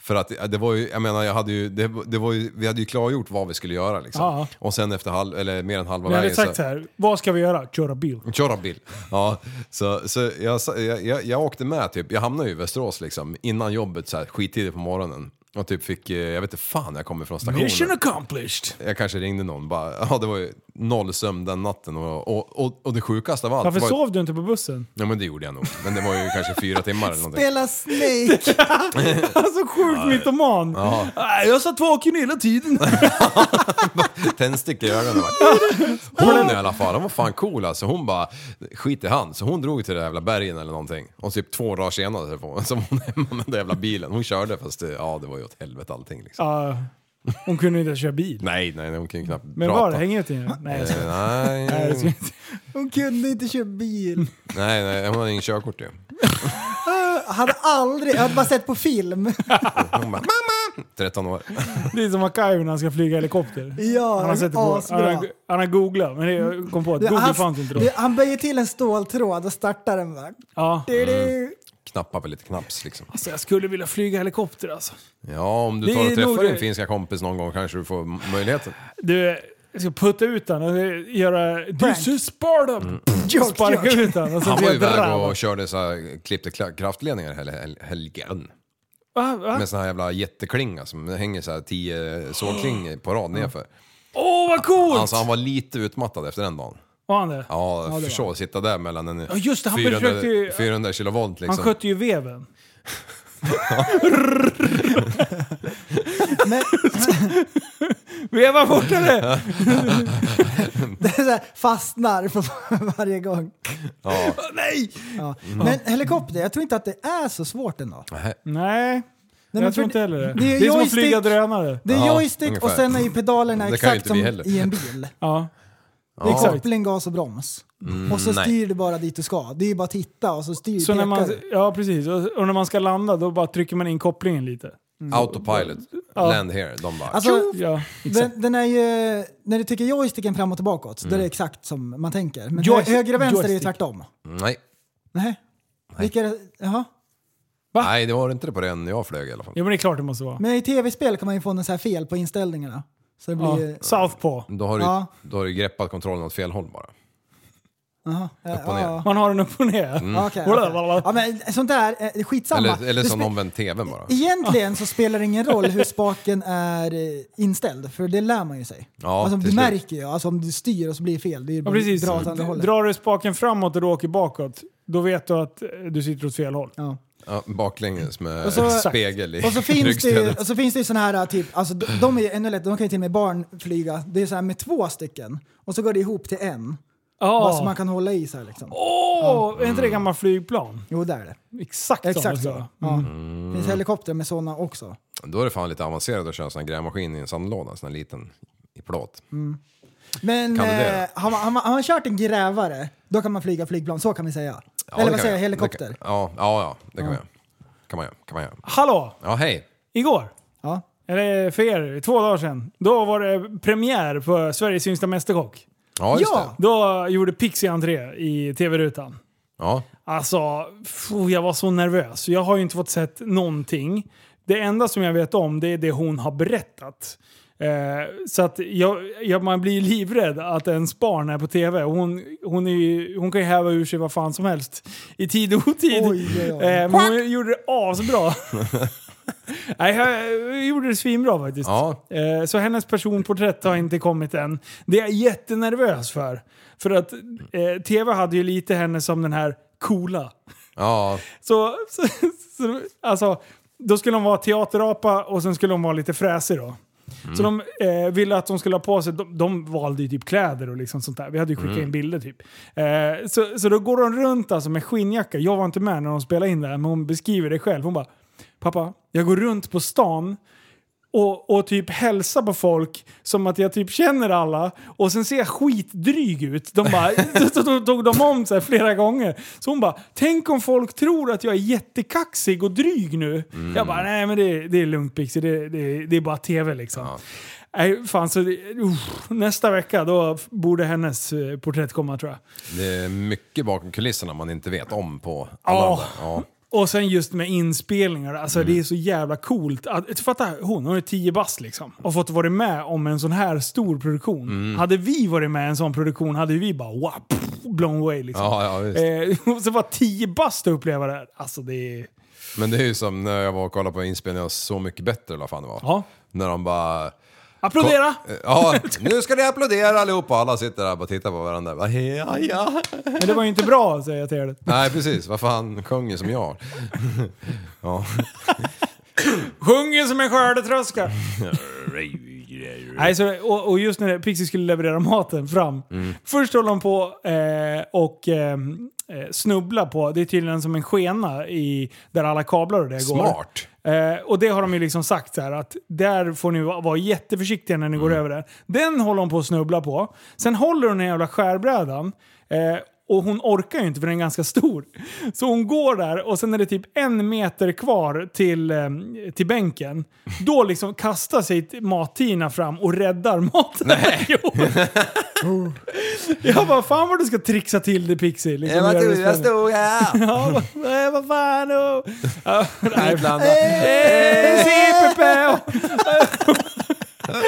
Speaker 2: För att det- det var ju, jag menar, jag hade ju, det, det var ju, vi hade ju klargjort vad vi skulle göra liksom.
Speaker 3: Ja.
Speaker 2: Och sen efter halv, eller mer än halva
Speaker 3: Jag hade
Speaker 2: vägen
Speaker 3: sagt så här, vad ska vi göra? Köra bil.
Speaker 2: Köra bil. Ja, så, så jag, sa- jag, jag, jag åkte med typ, jag hamnade ju i Västerås liksom innan jobbet så här skittidigt på morgonen. Och typ fick, eh, jag vet inte fan när jag kommer från stationen.
Speaker 3: Mission accomplished!
Speaker 2: Jag kanske ringde någon bara, *laughs* ja det var ju noll sömn den natten och, och, och, och det sjukaste av allt
Speaker 3: Varför
Speaker 2: var ju-
Speaker 3: sov du inte på bussen? *laughs*
Speaker 2: Ja men det gjorde jag nog, men det var ju kanske fyra timmar eller någonting.
Speaker 8: Spela Snake!
Speaker 3: Alltså sjukt mytoman! Nej, Jag satt vaken hela tiden.
Speaker 2: Tändstickor i ögonen. va? Hon i alla fall, hon var fan cool alltså. Hon bara, skit i han. Så hon drog till det jävla bergen eller någonting. Och typ två dagar senare så var- så var hon hemma med den jävla bilen. Hon körde fast det, ja det var ju åt helvete allting liksom.
Speaker 3: Ja, hon kunde inte köra bil.
Speaker 2: Nej, nej, nej, hon kunde ju knappt
Speaker 3: Men
Speaker 2: prata.
Speaker 3: var det? Hänger inte i den? Nej, jag skojar.
Speaker 2: Eh,
Speaker 3: Nej,
Speaker 2: Nej,
Speaker 3: jag
Speaker 2: nej,
Speaker 3: skojar inte.
Speaker 8: Hon kunde inte köra bil.
Speaker 2: nej, hon hade ingen körkort ju.
Speaker 8: Jag hade aldrig, jag hade bara sett på film.
Speaker 2: Hon bara, mamma! 13 år.
Speaker 3: Det är som MacGyver när han ska flyga helikopter.
Speaker 8: Ja,
Speaker 3: han, har sett det på, han,
Speaker 8: asbra.
Speaker 3: har, han har googlat, men det, jag kom på att
Speaker 8: Det-
Speaker 3: Google
Speaker 8: han-
Speaker 3: fanns inte då.
Speaker 8: det- Han böjer till en ståltråd och startar den bara.
Speaker 3: Ja.
Speaker 2: Mm.
Speaker 8: Du-du.
Speaker 2: Knappar väl lite knapps liksom.
Speaker 3: Alltså, jag skulle vilja flyga helikopter alltså.
Speaker 2: Ja, om du
Speaker 3: Det
Speaker 2: tar och
Speaker 3: är
Speaker 2: träffar
Speaker 3: nog
Speaker 2: din
Speaker 3: det-
Speaker 2: finska kompis någon gång kanske du får m- möjligheten.
Speaker 3: Du, jag ska putta ut den och göra... This is Sparta!
Speaker 8: Jok,
Speaker 3: Sparka
Speaker 8: jok.
Speaker 3: ut den och sen
Speaker 2: Han var
Speaker 3: blir
Speaker 2: ju
Speaker 3: jag
Speaker 2: iväg
Speaker 3: drabbad.
Speaker 2: och körde så här, klippte kla- kraftledningar hel- hel- helgen.
Speaker 3: Va, va?
Speaker 2: Med sån här jävla jätteklinga som hänger så här tio sågklingor på rad nerför.
Speaker 3: Åh vad Ah. coolt!
Speaker 2: Alltså han var lite utmattad efter den dagen.
Speaker 3: Var han det?
Speaker 2: Ja,
Speaker 3: det
Speaker 2: förstå, sitta där mellan en
Speaker 3: just det, han
Speaker 2: 400,
Speaker 3: försökte ju-
Speaker 2: 400 kilovolt
Speaker 3: Han
Speaker 2: liksom.
Speaker 3: skötte ju veven.
Speaker 8: Men
Speaker 3: Veva
Speaker 8: *laughs*
Speaker 3: fortare!
Speaker 8: det är så här, fastnar på *laughs* varje gång.
Speaker 2: Ja. Mm.
Speaker 8: Nej! Ja. Men helikopter, jag tror inte att det är så svårt ändå.
Speaker 2: Nej.
Speaker 3: Nej,
Speaker 8: Nej,
Speaker 3: jag
Speaker 8: men
Speaker 3: tror
Speaker 8: för
Speaker 3: inte heller det.
Speaker 8: det
Speaker 3: Det
Speaker 8: är
Speaker 3: är, som att
Speaker 8: joystick.
Speaker 3: flyga drönare.
Speaker 8: Det är
Speaker 2: Ja,
Speaker 8: joystick
Speaker 2: ungefär.
Speaker 8: och sen är ju pedalerna
Speaker 2: Det kan ju
Speaker 8: exakt
Speaker 2: inte
Speaker 8: som
Speaker 2: vi heller.
Speaker 8: i en
Speaker 2: *laughs*
Speaker 8: bil.
Speaker 3: Ja.
Speaker 8: Det är
Speaker 2: Ja. Mm,
Speaker 8: koppling, gas och broms. och så
Speaker 2: nej.
Speaker 8: styr du bara dit du ska. Det är ju bara att titta och så styr
Speaker 3: Så när
Speaker 8: pekar
Speaker 3: man,
Speaker 8: du.
Speaker 3: ja, precis. Och, och när man ska landa då bara trycker man in kopplingen lite.
Speaker 2: Autopilot, land here. De bara...
Speaker 8: Alltså,
Speaker 3: Ja, exakt.
Speaker 8: den, den är ju, när du trycker joysticken fram och tillbakåt, då är
Speaker 2: Mm.
Speaker 8: det exakt som man tänker. Men
Speaker 3: Joystick-
Speaker 8: höger och vänster är ju
Speaker 3: joystick.
Speaker 8: tvärtom.
Speaker 2: Nej.
Speaker 8: Nej. Vilka är det- Jaha.
Speaker 2: Nej, det var inte det på den jag flög i alla fall.
Speaker 3: Ja men det är klart det måste vara.
Speaker 8: Men i tv-spel kan man ju få något så här fel på inställningarna. Så det
Speaker 3: Ja.
Speaker 8: blir ju...
Speaker 3: Southpaw.
Speaker 2: Då har du,
Speaker 8: Ja.
Speaker 2: då har du greppat kontrollen åt fel håll bara.
Speaker 8: Jaha. Ja,
Speaker 2: Upp och ner. Mm.
Speaker 8: ja.
Speaker 3: Man har den upp och ner.
Speaker 8: Ja, okej,
Speaker 3: Walla,
Speaker 8: okej.
Speaker 3: walla.
Speaker 8: Ja, men sånt där, eh, skitsamma.
Speaker 2: Eller, eller
Speaker 8: Du
Speaker 2: som
Speaker 8: spe-
Speaker 2: omvänd tvn bara.
Speaker 8: Egentligen så spelar det ingen roll hur spaken är eh, inställd, för det lär man ju sig.
Speaker 2: Ja,
Speaker 8: alltså,
Speaker 2: till
Speaker 8: du
Speaker 2: slut.
Speaker 8: märker ju, alltså, om du styr och så blir det fel, det är ju
Speaker 3: Ja,
Speaker 8: bara
Speaker 3: precis.
Speaker 8: bra åt andra hållet.
Speaker 3: Drar du spaken framåt och du åker bakåt, då vet du att eh, du sitter åt fel håll.
Speaker 8: Ja.
Speaker 2: Ja, baklänges med *laughs*
Speaker 8: Och så-
Speaker 2: spegel i
Speaker 8: Och så finns det ju
Speaker 2: ryggstödet.
Speaker 8: och så finns det ju såna här, typ, alltså, de- de är ju ännu lättare, de kan ju till och med barn flyga. Det är så här med två stycken, och så går det ihop till en. Bara
Speaker 3: Ja.
Speaker 8: så man kan hålla i så här liksom.
Speaker 3: Åh! Är inte det gamla flygplan?
Speaker 8: Jo, där är det.
Speaker 3: Exakt,
Speaker 8: Exakt
Speaker 3: så. Mm.
Speaker 8: så. Ja. Det finns helikoptrar med sådana också.
Speaker 2: Då är det fan lite avancerat att köra en sån här grävmaskin i en sandlåda, en sån här liten i plåt.
Speaker 8: Mm. Men
Speaker 2: Kan du det
Speaker 8: eh, har, man, har, man, har man kört en grävare, då kan man flyga flygplan, så kan vi säga.
Speaker 2: Ja, det
Speaker 8: Eller
Speaker 2: kan
Speaker 8: vad säger
Speaker 2: jag.
Speaker 8: jag, helikopter.
Speaker 2: Det kan- Ja, ja, ja, det kan man göra. Kan man göra, kan man göra.
Speaker 3: Hallå!
Speaker 2: Ja, hej!
Speaker 3: Igår,
Speaker 8: Ja.
Speaker 3: eller för er, två dagar sedan, då var det premiär på Sveriges yngsta mästerkock.
Speaker 2: Ja, just
Speaker 8: Ja!
Speaker 2: det.
Speaker 3: Då gjorde Pixie entré i tv-rutan.
Speaker 2: Ja,
Speaker 3: Alltså, pff, jag var så nervös. Jag har ju inte fått sett någonting. Det enda som jag vet om det är det hon har berättat. Eh, så att jag, jag, man blir ju livrädd att ens barn är på tv. Hon, hon, är ju, hon kan ju häva ur sig vad fan som helst. I tid och otid.
Speaker 8: Oj, oj, oj.
Speaker 3: Eh, men hon gjorde det asbra. Nej, jag gjorde det svinbra faktiskt.
Speaker 2: Ja.
Speaker 3: Eh, Så hennes personporträtt har inte kommit än. Det är jag jättenervös för. För att eh, TV hade ju lite henne som den här coola.
Speaker 2: ja,
Speaker 3: Så, så, *laughs* så alltså, då skulle hon vara teaterapa och sen skulle hon vara lite fräsig då. Så de eh, ville att de skulle ha på sig, de, de valde ju typ kläder och liksom sånt där. Vi hade ju skickat in bilder typ. Eh, så, så då går hon runt alltså med skinnjacka. Jag var inte med när de spelade in det här, men hon beskriver det själv. Hon bara, pappa, jag går runt på stan och, och typ hälsa på folk som att jag typ känner alla och sen ser jag skitdryg ut. De bara, så- så tog- tog de om så här flera gånger. Så hon bara, tänk om folk tror att jag är jättekaxig och dryg nu. Jag bara, nej men det, det är lugnt Pixie, det, det, det är bara tv liksom. Nej, fan, så det, uff, nästa vecka då f- borde hennes eh, porträtt komma tror jag.
Speaker 2: det är mycket bakom kulisserna man inte vet om på alla
Speaker 3: Ja.
Speaker 2: de där. ja.
Speaker 3: Och sen just med inspelningar, alltså det är så jävla coolt. Att, fatta, hon, hon är 10 bast liksom. Och fått vara med om en sån här stor produktion. Hade vi varit med i en sån produktion hade vi bara wow, pff, blown away liksom.
Speaker 2: Ja, ja, visst.
Speaker 3: Eh, *laughs* och så var 10 bast att uppleva det här. Alltså det är...
Speaker 2: Men det är ju som när jag var och kollade på inspelningen av Så Mycket Bättre eller vad fan det var.
Speaker 3: Ja.
Speaker 2: När de bara...
Speaker 3: Applådera!
Speaker 2: Ja, nu ska ni applådera allihopa! Alla sitter där och bara tittar på varandra. Bara, ja, ja.
Speaker 3: Men det var ju inte bra säger jag till er.
Speaker 2: Nej, precis. Vad fan, sjunger som jag. *laughs* Ja.
Speaker 3: Sjunger som en skördetröska! Nej, så, och, och just när det- Pixie skulle leverera maten fram. Först håller hon på eh, och eh, snubbla på, det är tydligen som en skena i, där alla kablar och det går.
Speaker 2: Smart!
Speaker 3: Eh, och det har de ju liksom sagt så här att där får ni va- vara jätteförsiktiga när ni går över där. Den håller hon på att snubbla på. Sen håller hon den jävla skärbrädan. Eh, och hon orkar ju inte för den är ganska stor. *laughs* Så hon går där och sen är det typ en meter kvar till, eh, till bänken. Då liksom kastar sig mattina fram och räddar *laughs* maten. Nej. Jo. Jag bara, fan vad du ska trixa till det Pixie. Liksom, göra det spännande.
Speaker 2: stod här!
Speaker 3: Ja, nej, vad fan. oh. Och, ja, *laughs* nej,
Speaker 2: Ibland-
Speaker 3: Eh, se Pepe! *laughs*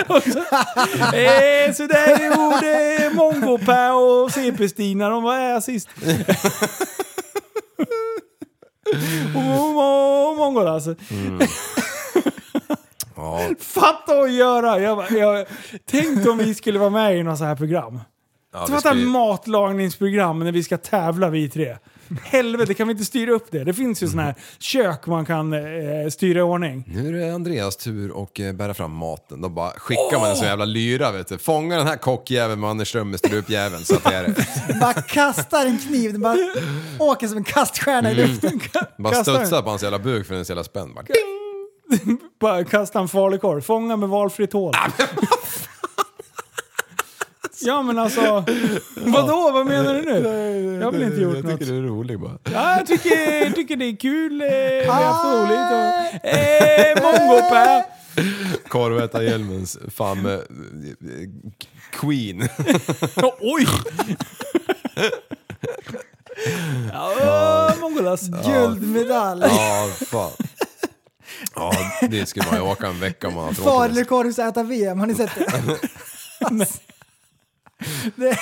Speaker 3: Och- och så- Eh, Så där gjorde Mongo-Per och CP-Stina, de var här sist.
Speaker 2: Mm.
Speaker 3: Och mo- Mongo alltså.
Speaker 2: Ja,
Speaker 3: Fatta att göra! Jag, bara- jag, tänk om vi skulle vara med i något så här program.
Speaker 2: ja, vi
Speaker 3: Fatta
Speaker 2: ska ju-
Speaker 3: matlagningsprogram när vi ska tävla vi tre. Helvete, kan vi inte styra upp det? Det finns ju sådana
Speaker 2: Mm.
Speaker 3: här kök man kan eh, styra i ordning.
Speaker 2: Nu är det Andreas tur och eh, bära fram maten. Då bara skickar man en sån jävla lyra vet du. Fånga den här kockjäveln med Anders Strömmes strupjäveln så att det är
Speaker 3: *laughs*
Speaker 2: det.
Speaker 8: Bara kastar en kniv, den bara åker som en kaststjärna i luften.
Speaker 2: Mm. Bara
Speaker 3: Kastar den.
Speaker 2: studsar på hans jävla buk för den är så jävla spänd. Bara,
Speaker 3: Bara kasta en falukorv. Fånga med valfritt hål. Ja men alltså, vadå? Vad menar du nu? Jag har väl inte gjort
Speaker 2: jag
Speaker 3: något.
Speaker 2: tycker du är rolig bara.
Speaker 3: Ja, jag tycker, jag tycker det är kul, eh, vi har haft roligt och... Eh,
Speaker 2: *laughs*
Speaker 3: Mongo-Per!
Speaker 2: Korvätarhjälmens fan eh, eh, queen.
Speaker 3: *laughs* Ja, oj! ja, Mongolas.
Speaker 8: Guldmedalj.
Speaker 2: Ja, fan. Ja, det skulle man ju åka en vecka om man har tråkigt.
Speaker 8: Falukorvs-ätar-VM, har ni sett det?
Speaker 2: *laughs*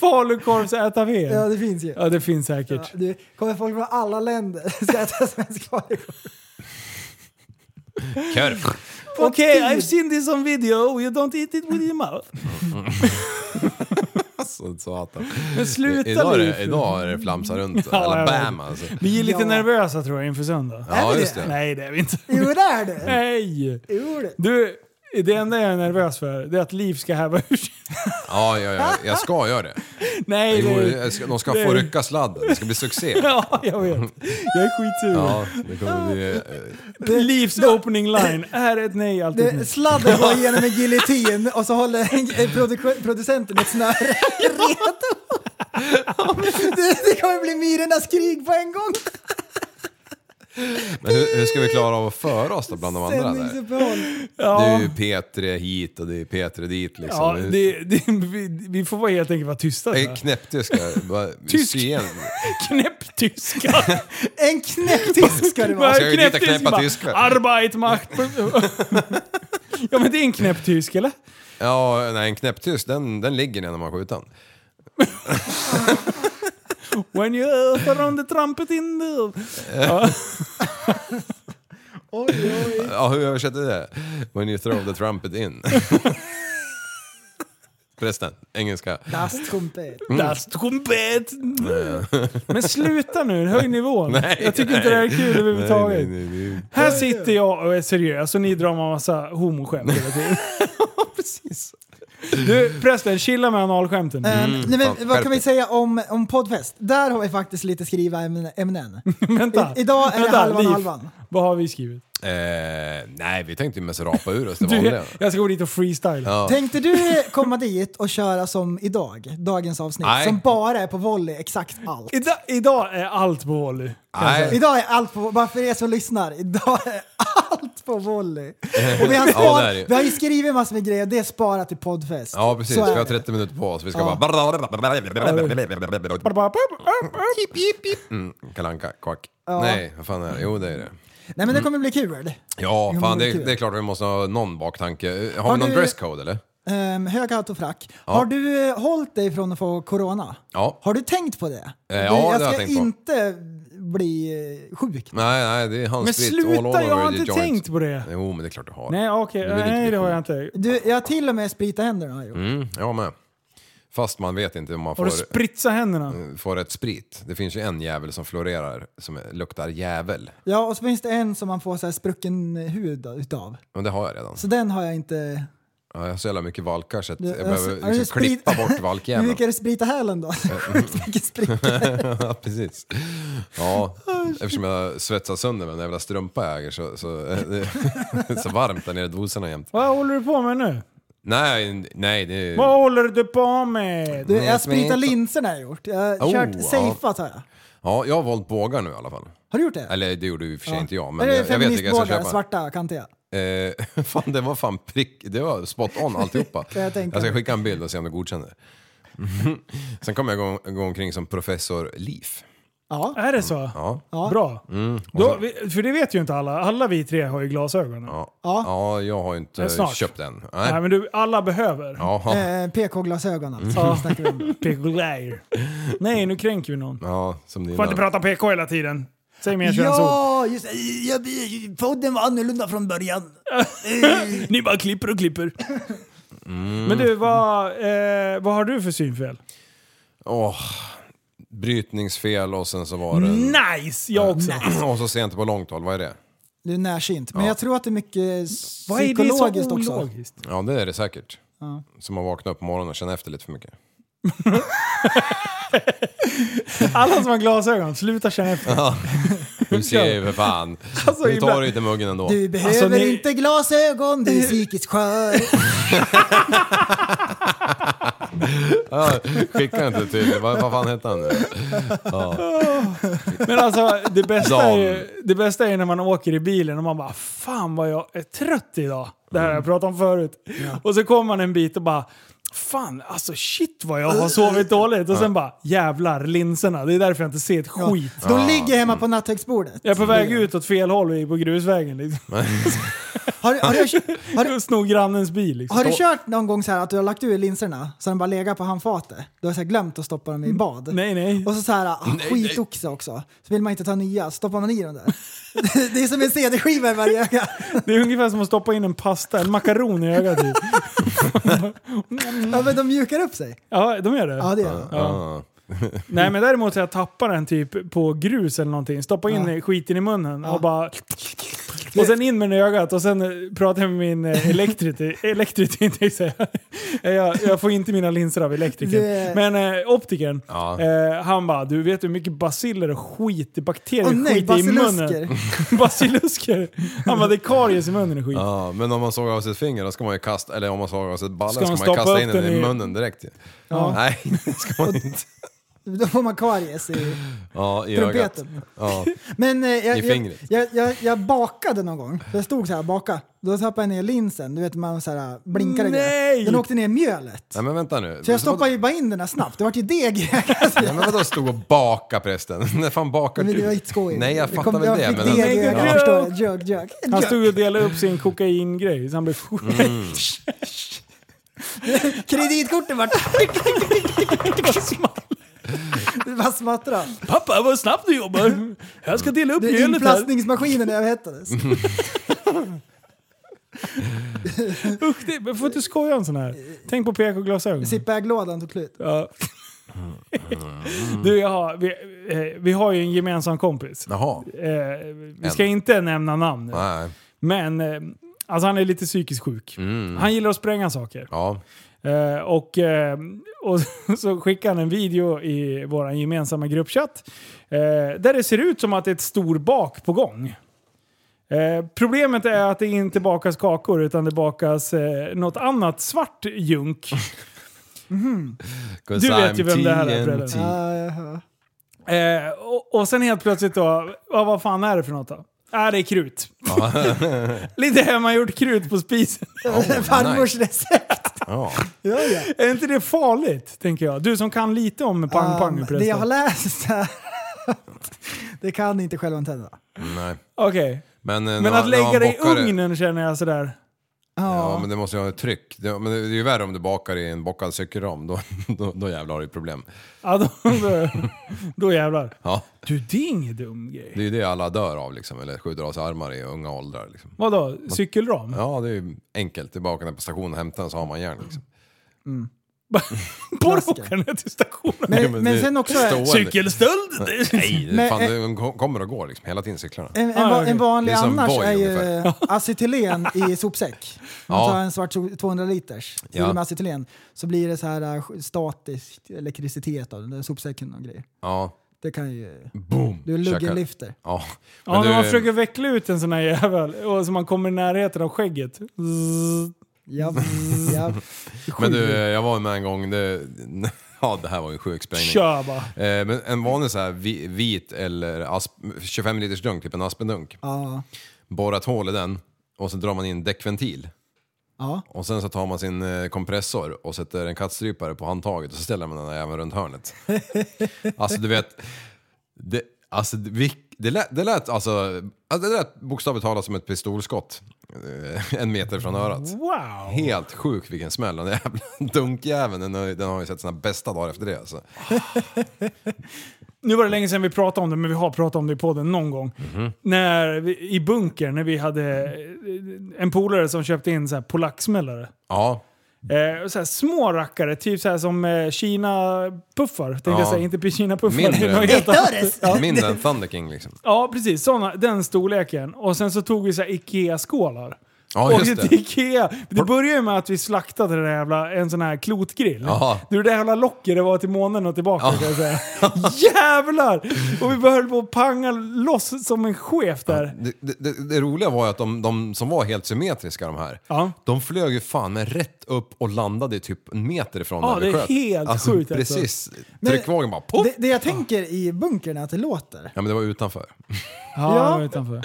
Speaker 3: Falukorvs-ätar-VM.
Speaker 8: Ja,
Speaker 3: Ja,
Speaker 8: det finns ju.
Speaker 3: det finns säkert.
Speaker 8: Ja, du, kommer folk från alla länder *laughs* ska äta svensk falukorv.
Speaker 2: Körv.
Speaker 3: Okej, okay, I've seen this on video. You don't eat it with your mouth.
Speaker 2: *laughs* Så satan.
Speaker 3: Men sluta
Speaker 2: Idag är
Speaker 3: nu.
Speaker 2: det, idag är det flamsa runt.
Speaker 3: *laughs* Ja, jag
Speaker 2: Alabama alltså.
Speaker 3: Vi är lite
Speaker 8: Ja.
Speaker 3: nervösa tror jag inför söndag.
Speaker 2: Ja,
Speaker 8: vi
Speaker 2: just
Speaker 8: det?
Speaker 2: det.
Speaker 3: Nej, det är vi inte.
Speaker 8: Jo, det är det.
Speaker 3: Nej!
Speaker 8: Jo, det.
Speaker 3: Du, Det enda jag är nervös för det är att Liv ska häva ur sig. *laughs*
Speaker 2: Ja, ja, ja, jag ska göra det.
Speaker 3: Nej,
Speaker 2: Jo,
Speaker 3: det,
Speaker 2: jag ska, de ska
Speaker 3: det-
Speaker 2: få rycka sladden, det ska bli succé.
Speaker 3: *laughs* Ja, jag vet. Jag är skitsur.
Speaker 2: Ja, det kommer bli... eh,
Speaker 3: Livs opening line är ett nej, alltid ett
Speaker 8: Det,
Speaker 3: nej.
Speaker 8: sladden går igenom en giljotin och så håller eh, produk- producenten ett snöre redo. Det, det kommer bli myrornas krig på en gång.
Speaker 2: Men hur, hur ska vi klara av att föra oss då bland de andra där?
Speaker 8: Sändningsuppehåll.
Speaker 2: Det
Speaker 3: Ja,
Speaker 2: är ju P3 hit och det är P3 dit liksom.
Speaker 3: ja det, det, vi, vi får vara helt enkelt vara tysta.
Speaker 2: Jag är knäpptyska. Bara
Speaker 3: Tysk.
Speaker 2: sy igen.
Speaker 3: Knäpptyska!
Speaker 8: En knäpptysk ska
Speaker 3: *laughs*
Speaker 8: det vara.
Speaker 2: Ska jag ju dit och knäppa
Speaker 3: bara,
Speaker 2: tyskar?
Speaker 3: Arbeit macht... *laughs* ja men det är en knäpptysk eller?
Speaker 2: Ja, nej en knäpptysk den, den ligger ner när man skjuter den.
Speaker 3: When you are on the trumpet in the... Ja.
Speaker 2: Ja, hur översätter du det? When you throw the
Speaker 3: *laughs*
Speaker 2: trumpet in. Förresten, engelska.
Speaker 8: Das trumpet.
Speaker 2: Mm.
Speaker 3: Das Trumpet! Men sluta nu, höj nivån. jag tycker inte det här är kul överhuvudtaget.
Speaker 2: Nej, nej, nej, nej.
Speaker 3: Här sitter jag och är seriös och ni drar med en massa homoskämt hela
Speaker 2: *laughs*
Speaker 3: tiden. Precis. Du prästen, chilla med analskämten.
Speaker 8: Ehm, nej,
Speaker 2: fan,
Speaker 8: men, vad
Speaker 2: skärp
Speaker 8: kan vi
Speaker 2: dig.
Speaker 8: säga om, om poddfest? Där har vi faktiskt lite skriva ämnen- ämnen.
Speaker 3: *laughs* Vänta.
Speaker 8: I, idag är det
Speaker 3: Vänta,
Speaker 8: halvan
Speaker 3: Liv.
Speaker 8: halvan.
Speaker 3: Vad har vi skrivit?
Speaker 2: Eh, nej, vi tänkte ju mest rapa ur oss det
Speaker 3: Du,
Speaker 2: vanliga.
Speaker 3: jag ska gå dit och freestyla.
Speaker 2: Ja.
Speaker 8: Tänkte du komma dit och köra som idag, dagens avsnitt,
Speaker 2: Nej.
Speaker 8: som bara är på volley, exakt allt?
Speaker 3: Ida, idag är allt på volley.
Speaker 2: Nej,
Speaker 8: Idag är allt på, bara för er som lyssnar, idag är allt på volley. Och vi,
Speaker 2: *laughs*
Speaker 8: har
Speaker 2: Ja,
Speaker 8: spar,
Speaker 2: det är det.
Speaker 8: vi har ju skrivit massor med grejer, det är sparat till poddfest.
Speaker 2: ja precis.
Speaker 8: Så är
Speaker 2: Vi har
Speaker 8: det.
Speaker 2: 30 minuter på oss. Vi ska
Speaker 8: Ja.
Speaker 2: bara... Mm, Kalanka, kvack. Nej, vad fan är det? Jo, det är det.
Speaker 8: Nej
Speaker 2: Mm.
Speaker 8: men det kommer bli kul.
Speaker 2: Ja,
Speaker 8: Jo,
Speaker 2: fan
Speaker 8: men
Speaker 2: det,
Speaker 8: kul.
Speaker 2: det är klart vi måste ha någon baktanke. Eh, Har,
Speaker 8: Har
Speaker 2: vi någon
Speaker 8: du-
Speaker 2: dresscode eller?
Speaker 8: Um, hög hatt och frack. Har du eh, hållit dig från att få corona?
Speaker 2: Ja.
Speaker 8: Har du tänkt på det?
Speaker 2: Eh, ja,
Speaker 8: Du,
Speaker 2: det har
Speaker 8: jag
Speaker 2: jag
Speaker 8: ska
Speaker 2: tänkt på.
Speaker 8: inte bli eh, sjuk.
Speaker 2: Nej, nej, det är
Speaker 3: Men
Speaker 2: handsprit all over
Speaker 3: sluta, jag har
Speaker 2: the
Speaker 3: inte
Speaker 2: joint.
Speaker 3: tänkt på det.
Speaker 2: Jo, men det är klart du har.
Speaker 3: Nej, okej.
Speaker 2: Du vill inte
Speaker 3: Nej,
Speaker 2: bli
Speaker 3: det har jag
Speaker 2: sjuk.
Speaker 3: inte.
Speaker 8: Du, jag har till och med spritat händerna. har jag gjort.
Speaker 2: Mm, jag med. Fast man vet inte om man
Speaker 3: Har du
Speaker 2: får, eh,
Speaker 3: spritsat händerna?
Speaker 2: får rätt sprit. Det finns ju en jävel som florerar som är- luktar jävel.
Speaker 8: Ja, och så finns det en som man får så här sprucken hud utav.
Speaker 2: Men det har jag redan.
Speaker 8: Så den har jag inte...
Speaker 2: Ja, jag har så jävla mycket valkar så att jag
Speaker 8: Alltså, har
Speaker 2: behöver
Speaker 8: du
Speaker 2: liksom
Speaker 8: sprit-
Speaker 2: klippa
Speaker 8: *laughs*
Speaker 2: bort
Speaker 8: Hur
Speaker 2: valkjäveln.
Speaker 8: mycket är det sprita hälen
Speaker 2: Eh,
Speaker 8: *laughs* då? Sjukt mycket spricka.
Speaker 2: *laughs* ja, precis.
Speaker 8: *laughs*
Speaker 2: Ja,
Speaker 8: Ah,
Speaker 2: eftersom jag svetsar sönder med den jävla strumpa jag äger så, så *laughs* det är så varmt där nere i dosorna jämt.
Speaker 3: Vad håller du på med
Speaker 2: Mm.
Speaker 3: nu?
Speaker 2: Nej, nej, det är...
Speaker 3: Vad håller du på
Speaker 2: Mm.
Speaker 3: med?
Speaker 8: Du, jag
Speaker 2: smit.
Speaker 8: spritar linserna har jag gjort. Jag har
Speaker 2: Oh,
Speaker 8: kört
Speaker 2: ja.
Speaker 8: safeat har jag.
Speaker 2: Ja, jag har valt bågar nu i alla fall.
Speaker 8: Har du gjort det?
Speaker 2: Eller det gjorde ju i och för sig inte jag,
Speaker 8: är
Speaker 2: men
Speaker 8: det
Speaker 2: jag, jag vet vilka jag ska
Speaker 8: feministbågar,
Speaker 2: köpa.
Speaker 8: svarta, kantiga?
Speaker 2: Eh, *laughs* fan, det var fan prick, det var spot on alltihopa.
Speaker 8: *laughs* Kan jag tänka
Speaker 2: ska
Speaker 8: mig.
Speaker 2: skicka en bild och se om du godkänner. *laughs* Sen kommer jag gå, gå omkring som professor Leaf.
Speaker 8: Ja.
Speaker 3: Är det så?
Speaker 2: Ja. Mm.
Speaker 3: Bra. Då, vi- för det vet ju inte alla. Alla vi tre har ju glasögon.
Speaker 2: Ja,
Speaker 8: Ja.
Speaker 2: ja jag har ju
Speaker 3: Men
Speaker 2: inte
Speaker 3: snart.
Speaker 2: köpt den. Nej.
Speaker 3: Nej, men du, alla behöver.
Speaker 2: Jaha.
Speaker 8: Eh, PK-glasögon alltså.
Speaker 2: Mm.
Speaker 3: Ja.
Speaker 8: snackar vi om.
Speaker 3: PK-grejer. Nej, nu kränker vi någon.
Speaker 2: Ja, som dina.
Speaker 3: Får inte prata PK hela tiden. Säg mer könsord.
Speaker 8: Ja, just det. Jag- Podden var annorlunda från början.
Speaker 3: Ni bara klipper och klipper.
Speaker 2: Mm.
Speaker 3: Men du, vad, eh, vad har du för synfel?
Speaker 2: Åh, brytningsfel och sen så var det...
Speaker 3: Nice! Mm, Jag också.
Speaker 2: *clears throat* Och så sent på långt håll, vad är det?
Speaker 8: Du är närsynt. Men jag tror att det är mycket psykologiskt
Speaker 3: Vad är det så
Speaker 8: också.
Speaker 3: ologiskt?
Speaker 2: Ja, det är det säkert. Som har vaknat upp på morgonen och känner efter lite för mycket.
Speaker 3: Alla som har glasögon, sluta känna efter.
Speaker 2: Du ser ju för fan.
Speaker 3: *laughs* Alltså,
Speaker 2: du tar
Speaker 3: ibland-
Speaker 2: dig inte muggen ändå.
Speaker 8: Du behöver
Speaker 3: Alltså, ni-
Speaker 8: inte glasögon, du är
Speaker 2: *laughs*
Speaker 8: psykiskt skör.
Speaker 2: Skicka inte till... Vad, vad fan hette han nu?
Speaker 3: Men alltså det bästa, är
Speaker 2: Dan.
Speaker 3: ju, det bästa är ju när man åker i bilen och man bara Fan vad jag är trött idag. Det här har jag pratat om förut. Och så kommer man en bit och bara Fan alltså shit vad jag har sovit dåligt. Och sen bara jävlar linserna. Det är därför jag inte ser ett skit.
Speaker 8: De ligger hemma
Speaker 2: Mm.
Speaker 8: på natthögsbordet.
Speaker 3: Jag är på väg ut åt fel håll och är på grusvägen. Liksom.
Speaker 8: Har, har, du,
Speaker 2: *laughs*
Speaker 8: har, du,
Speaker 3: Jag *laughs* snor grannens bil. Liksom.
Speaker 8: har du kört någon gång så här att du har lagt ur linserna så de bara legat på handfatet? Du har så här glömt att stoppa
Speaker 2: Mm.
Speaker 8: dem i bad?
Speaker 3: Nej nej.
Speaker 8: Och så så här, ah, skitoxe också. Så vill man inte ta nya, stoppar man i dem där. *laughs* det är som en CD-skiva i varje öga.
Speaker 3: Det är ungefär som att stoppa in en pasta, en makaron i ögat. Typ.
Speaker 8: Ja, men de mjukar upp sig.
Speaker 3: Ja de gör det.
Speaker 8: Ja, det gör de.
Speaker 2: Ja.
Speaker 8: *laughs*
Speaker 3: Nej men däremot så jag tappar den typ på grus eller någonting. Stoppa in skiten i munnen och bara... Och sen in med den i ögat och sen eh, pratar jag med min
Speaker 8: *laughs*
Speaker 3: eh, elektriker. elektriker tänkte jag säga. *laughs* jag, jag får inte mina linser av elektrikern.
Speaker 8: Det-
Speaker 3: Men eh, optikern,
Speaker 2: Ja.
Speaker 3: eh, han bara du vet hur mycket basiller och skit, bakterier
Speaker 8: Åh nej,
Speaker 3: skiter i munnen. *laughs*
Speaker 8: basilusker.
Speaker 3: Basilusker. Han bara det är karies i munnen och skit.
Speaker 2: Ja, men om man sågar av sitt finger då ska man ju kasta, eller om man sågar av sitt balle
Speaker 3: Ska man
Speaker 2: ska, man ju
Speaker 3: stoppa
Speaker 2: kasta
Speaker 3: upp
Speaker 2: in den
Speaker 3: den
Speaker 2: i
Speaker 3: i-
Speaker 2: munnen direkt ju.
Speaker 3: Ja.
Speaker 2: Nej, *laughs* det ska man inte.
Speaker 8: Då får man karies i
Speaker 2: Ja, i ögat.
Speaker 8: trumpeten.
Speaker 2: Ja.
Speaker 8: Men eh, jag,
Speaker 2: I
Speaker 8: jag,
Speaker 2: fingret.
Speaker 8: jag, jag, jag bakade någon gång. Jag stod så här och bakade. Då tappade jag ner linsen. Du vet man så här blinkar och grejer.
Speaker 3: Nej!
Speaker 8: Den åkte ner i mjölet.
Speaker 2: Nej men vänta nu.
Speaker 8: Så jag stoppade ju bara in den här snabbt. Det vart ju deg *laughs* i ögat.
Speaker 2: Nej men vadå stod och baka prästen? *laughs* När fan bakar
Speaker 8: Men
Speaker 2: du?
Speaker 8: det var inte skoj.
Speaker 2: Nej jag
Speaker 8: Det
Speaker 2: fattar
Speaker 8: kom-
Speaker 2: väl det.
Speaker 8: Jag
Speaker 2: Men
Speaker 8: fick deg i
Speaker 3: Ja.
Speaker 8: ögat, förstår du? Jug, jug.
Speaker 3: Han
Speaker 8: Jug.
Speaker 3: stod och delade upp sin kokaingrej så han blev
Speaker 8: Mm.
Speaker 3: *laughs*
Speaker 8: Kreditkorten vart... *laughs* Det bara smattrade.
Speaker 3: Pappa vad snabbt du jobbar! Jag ska dela upp
Speaker 8: Du,
Speaker 3: mjölet här.
Speaker 8: Inplastningsmaskinen överhettades.
Speaker 3: Usch, det, men får inte skoja om sån här. Tänk på PK-glasögon.
Speaker 8: Zipbag-lådan tog slut.
Speaker 3: Ja. Du, jag har, vi, eh, vi har ju en gemensam kompis.
Speaker 2: Jaha.
Speaker 3: Eh, vi ska inte nämna namn nu.
Speaker 2: Nej.
Speaker 3: Men eh, alltså han är lite psykiskt sjuk. Han gillar att spränga saker.
Speaker 2: Ja.
Speaker 3: Eh, och, eh, och *laughs* så skickade han en video i vår gemensamma gruppchatt. Eh, där det ser ut som att det är ett stor bak på gång. Eh, problemet är att det inte bakas kakor utan det bakas eh, något annat svart
Speaker 8: *laughs*
Speaker 3: junk.
Speaker 2: 'Cause
Speaker 3: Du vet ju
Speaker 2: I'm
Speaker 3: vem det här är,
Speaker 2: TNT.
Speaker 3: Fredrik.
Speaker 8: Ja, ja,
Speaker 3: Eh, och, och sen helt plötsligt då, ja, vad fan är det för något då? Äh, det är krut. *laughs*
Speaker 8: Ah. *laughs*
Speaker 2: *laughs*
Speaker 3: Lite hemmagjort krut på spisen. *laughs*
Speaker 8: ja. Farmors recept.
Speaker 2: Ja.
Speaker 8: Ja, ja.
Speaker 3: Är inte det farligt, tänker jag? Du som kan lite om pang pang
Speaker 8: Um,
Speaker 3: förresten.
Speaker 8: det jag har läst här. *laughs* det kan inte självantändande.
Speaker 2: Nej.
Speaker 3: Okej.
Speaker 2: Men, eh, när
Speaker 3: Men
Speaker 2: man-
Speaker 3: att
Speaker 2: när man
Speaker 3: lägga det i
Speaker 2: bakar det-
Speaker 3: ugnen känner jag sådär.
Speaker 2: Ja men det måste ju ha ett tryck. Det, men det är ju värre om du bakar i en bakad cykelram. Då, *laughs* då, då jävlar har du problem.
Speaker 3: Ja, då, då, *laughs* då jävlar.
Speaker 2: Ja.
Speaker 3: Du, det är ingen dum grej.
Speaker 2: Det är ju det alla dör av liksom. Eller skjuter av sig armar i unga åldrar liksom.
Speaker 3: Vadå? Cykelram?
Speaker 2: Ja det är ju enkelt. Det är bara att åka ner på stationen och hämta den så har man järn liksom.
Speaker 3: *laughs* Bara åka ner till stationen?
Speaker 2: Ja,
Speaker 8: Men,
Speaker 2: men
Speaker 8: men
Speaker 2: det-
Speaker 8: sen också,
Speaker 2: stå-
Speaker 8: en,
Speaker 3: Cykelstöld? *laughs*
Speaker 2: Nej,
Speaker 8: Men,
Speaker 2: fan,
Speaker 8: eh,
Speaker 2: de kom- kommer och går liksom hela tiden cyklarna.
Speaker 8: en,
Speaker 3: Ah,
Speaker 8: va-
Speaker 3: okej.
Speaker 8: en vanlig
Speaker 2: Det är som
Speaker 8: annars
Speaker 2: Voi
Speaker 8: är ju
Speaker 2: ungefär. *laughs*
Speaker 8: acetylen i sopsäck. Man
Speaker 2: Ja.
Speaker 8: tar en svart so- 200 liters fyller
Speaker 2: Ja.
Speaker 8: med acetylen så blir det så här eh, statisk elektricitet av den där sopsäcken och grejer.
Speaker 2: Ja,
Speaker 8: Det kan ju...
Speaker 2: boom.
Speaker 8: Du är luggenlifter.
Speaker 2: Ja, men
Speaker 3: Ja,
Speaker 2: du,
Speaker 3: när man försöker veckla ut en sån här jävel och så man kommer i närheten av skägget. Zzz.
Speaker 2: *laughs*
Speaker 8: Ja, ja.
Speaker 2: men du, jag var med en gång, det, *laughs* ja det här var ju en sjuk sprängning.
Speaker 3: Kör bara.
Speaker 2: Eh, men en vanlig så här vi- vit eller asp- 25 liters dunk, typ en aspendunk.
Speaker 8: Ja.
Speaker 2: Borra ett hål i den och så drar man in däckventil.
Speaker 8: Ja.
Speaker 2: Och sen så tar man sin eh, kompressor och sätter en kattstrypare på handtaget och så ställer man den där även runt
Speaker 8: *laughs*
Speaker 2: hörnet. alltså du vet, det, alltså, det, vilk- det, lät, det lät alltså, alltså, det lät bokstavligt talat som ett pistolskott. eh, *laughs* En meter från
Speaker 8: Mm.
Speaker 2: örat.
Speaker 3: Wow!
Speaker 2: Helt sjuk vilken smäll, den där jävla *laughs* dunkjäveln, den, har ju- den har ju sett sina bästa dagar efter det alltså.
Speaker 3: Nu var det länge sedan vi pratade om det, men vi har pratat om det i podden någon gång.
Speaker 2: Mhm.
Speaker 3: När vi, I bunker när vi hade eh, en polare som köpte in så här polacksmällare.
Speaker 2: Ja,
Speaker 3: Eh, och så här små rackare, typ så här som eh, Kina-puffar. Tänkte
Speaker 2: Ja.
Speaker 3: jag säga, inte Kina-puffar.
Speaker 2: Mindre.
Speaker 3: det är något helt annat.
Speaker 2: ja. mindre än Thunder King liksom.
Speaker 3: Ja, precis. Såna, den storleken. Och sen så tog vi så här Ikea-skålar.
Speaker 2: Ja
Speaker 3: och
Speaker 2: just
Speaker 3: till
Speaker 2: det.
Speaker 3: Ikea. Det började ju med att vi slaktade den där jävla, en sån här klotgrill.
Speaker 2: Ja.
Speaker 3: Du, det där jävla locket det var till månen och tillbaka kan jag
Speaker 2: *laughs*
Speaker 3: säga. Jävlar! Och vi började på att panga loss som en chef där.
Speaker 2: Det, det, det, det roliga var ju att de, de som var helt symmetriska de här,
Speaker 3: Ja.
Speaker 2: de flög ju fan med rätt upp och landade typ en meter ifrån
Speaker 3: Ja,
Speaker 2: när vi
Speaker 3: det är
Speaker 2: sköt.
Speaker 3: helt sjukt, alltså.
Speaker 2: Precis,
Speaker 8: Men-
Speaker 2: tryckvågen bara poff!
Speaker 8: Det, det jag tänker i bunkern är att det låter.
Speaker 2: Ja men det var utanför.
Speaker 3: Ja,
Speaker 8: Ja.
Speaker 3: det var utanför.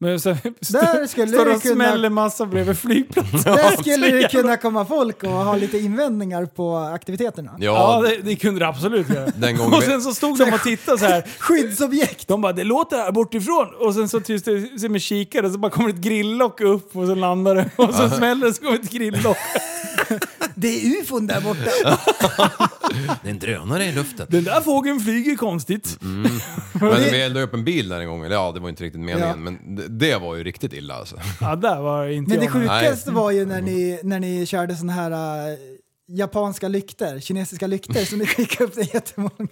Speaker 3: Men så,
Speaker 8: Där skulle
Speaker 3: står
Speaker 8: det
Speaker 3: och
Speaker 8: kunna-
Speaker 3: smäller massa bredvid flygplatsen.
Speaker 8: Där skulle det kunna komma folk och ha lite invändningar på aktiviteterna.
Speaker 3: Ja,
Speaker 2: Ja,
Speaker 3: det, det kunde det absolut göra.
Speaker 2: *laughs* Den gången
Speaker 3: och
Speaker 2: vi-
Speaker 3: sen så stod de och tittade så här.
Speaker 8: Skyddsobjekt!
Speaker 3: De bara “det låter här bortifrån” och sen så tyst det sig med kikare så bara kommer ett grilllock upp och så landar det *laughs* och så smäller det så kommer ett
Speaker 2: *laughs*
Speaker 3: grilllock.
Speaker 8: Det är ufon där borta.
Speaker 2: det är en drönare i luften.
Speaker 3: Den där fågeln flyger konstigt.
Speaker 2: Mm. Men vi eldade upp en bil där en gång, eller ja det var inte riktigt meningen,
Speaker 8: Ja.
Speaker 2: men det, det var ju riktigt illa alltså. *laughs*
Speaker 3: Ja, där var inte
Speaker 8: Men det
Speaker 3: jag med.
Speaker 8: sjukaste var ju när ni, när ni körde sån här äh, japanska lykter, kinesiska lykter som ni skickade upp, det är jättemånga.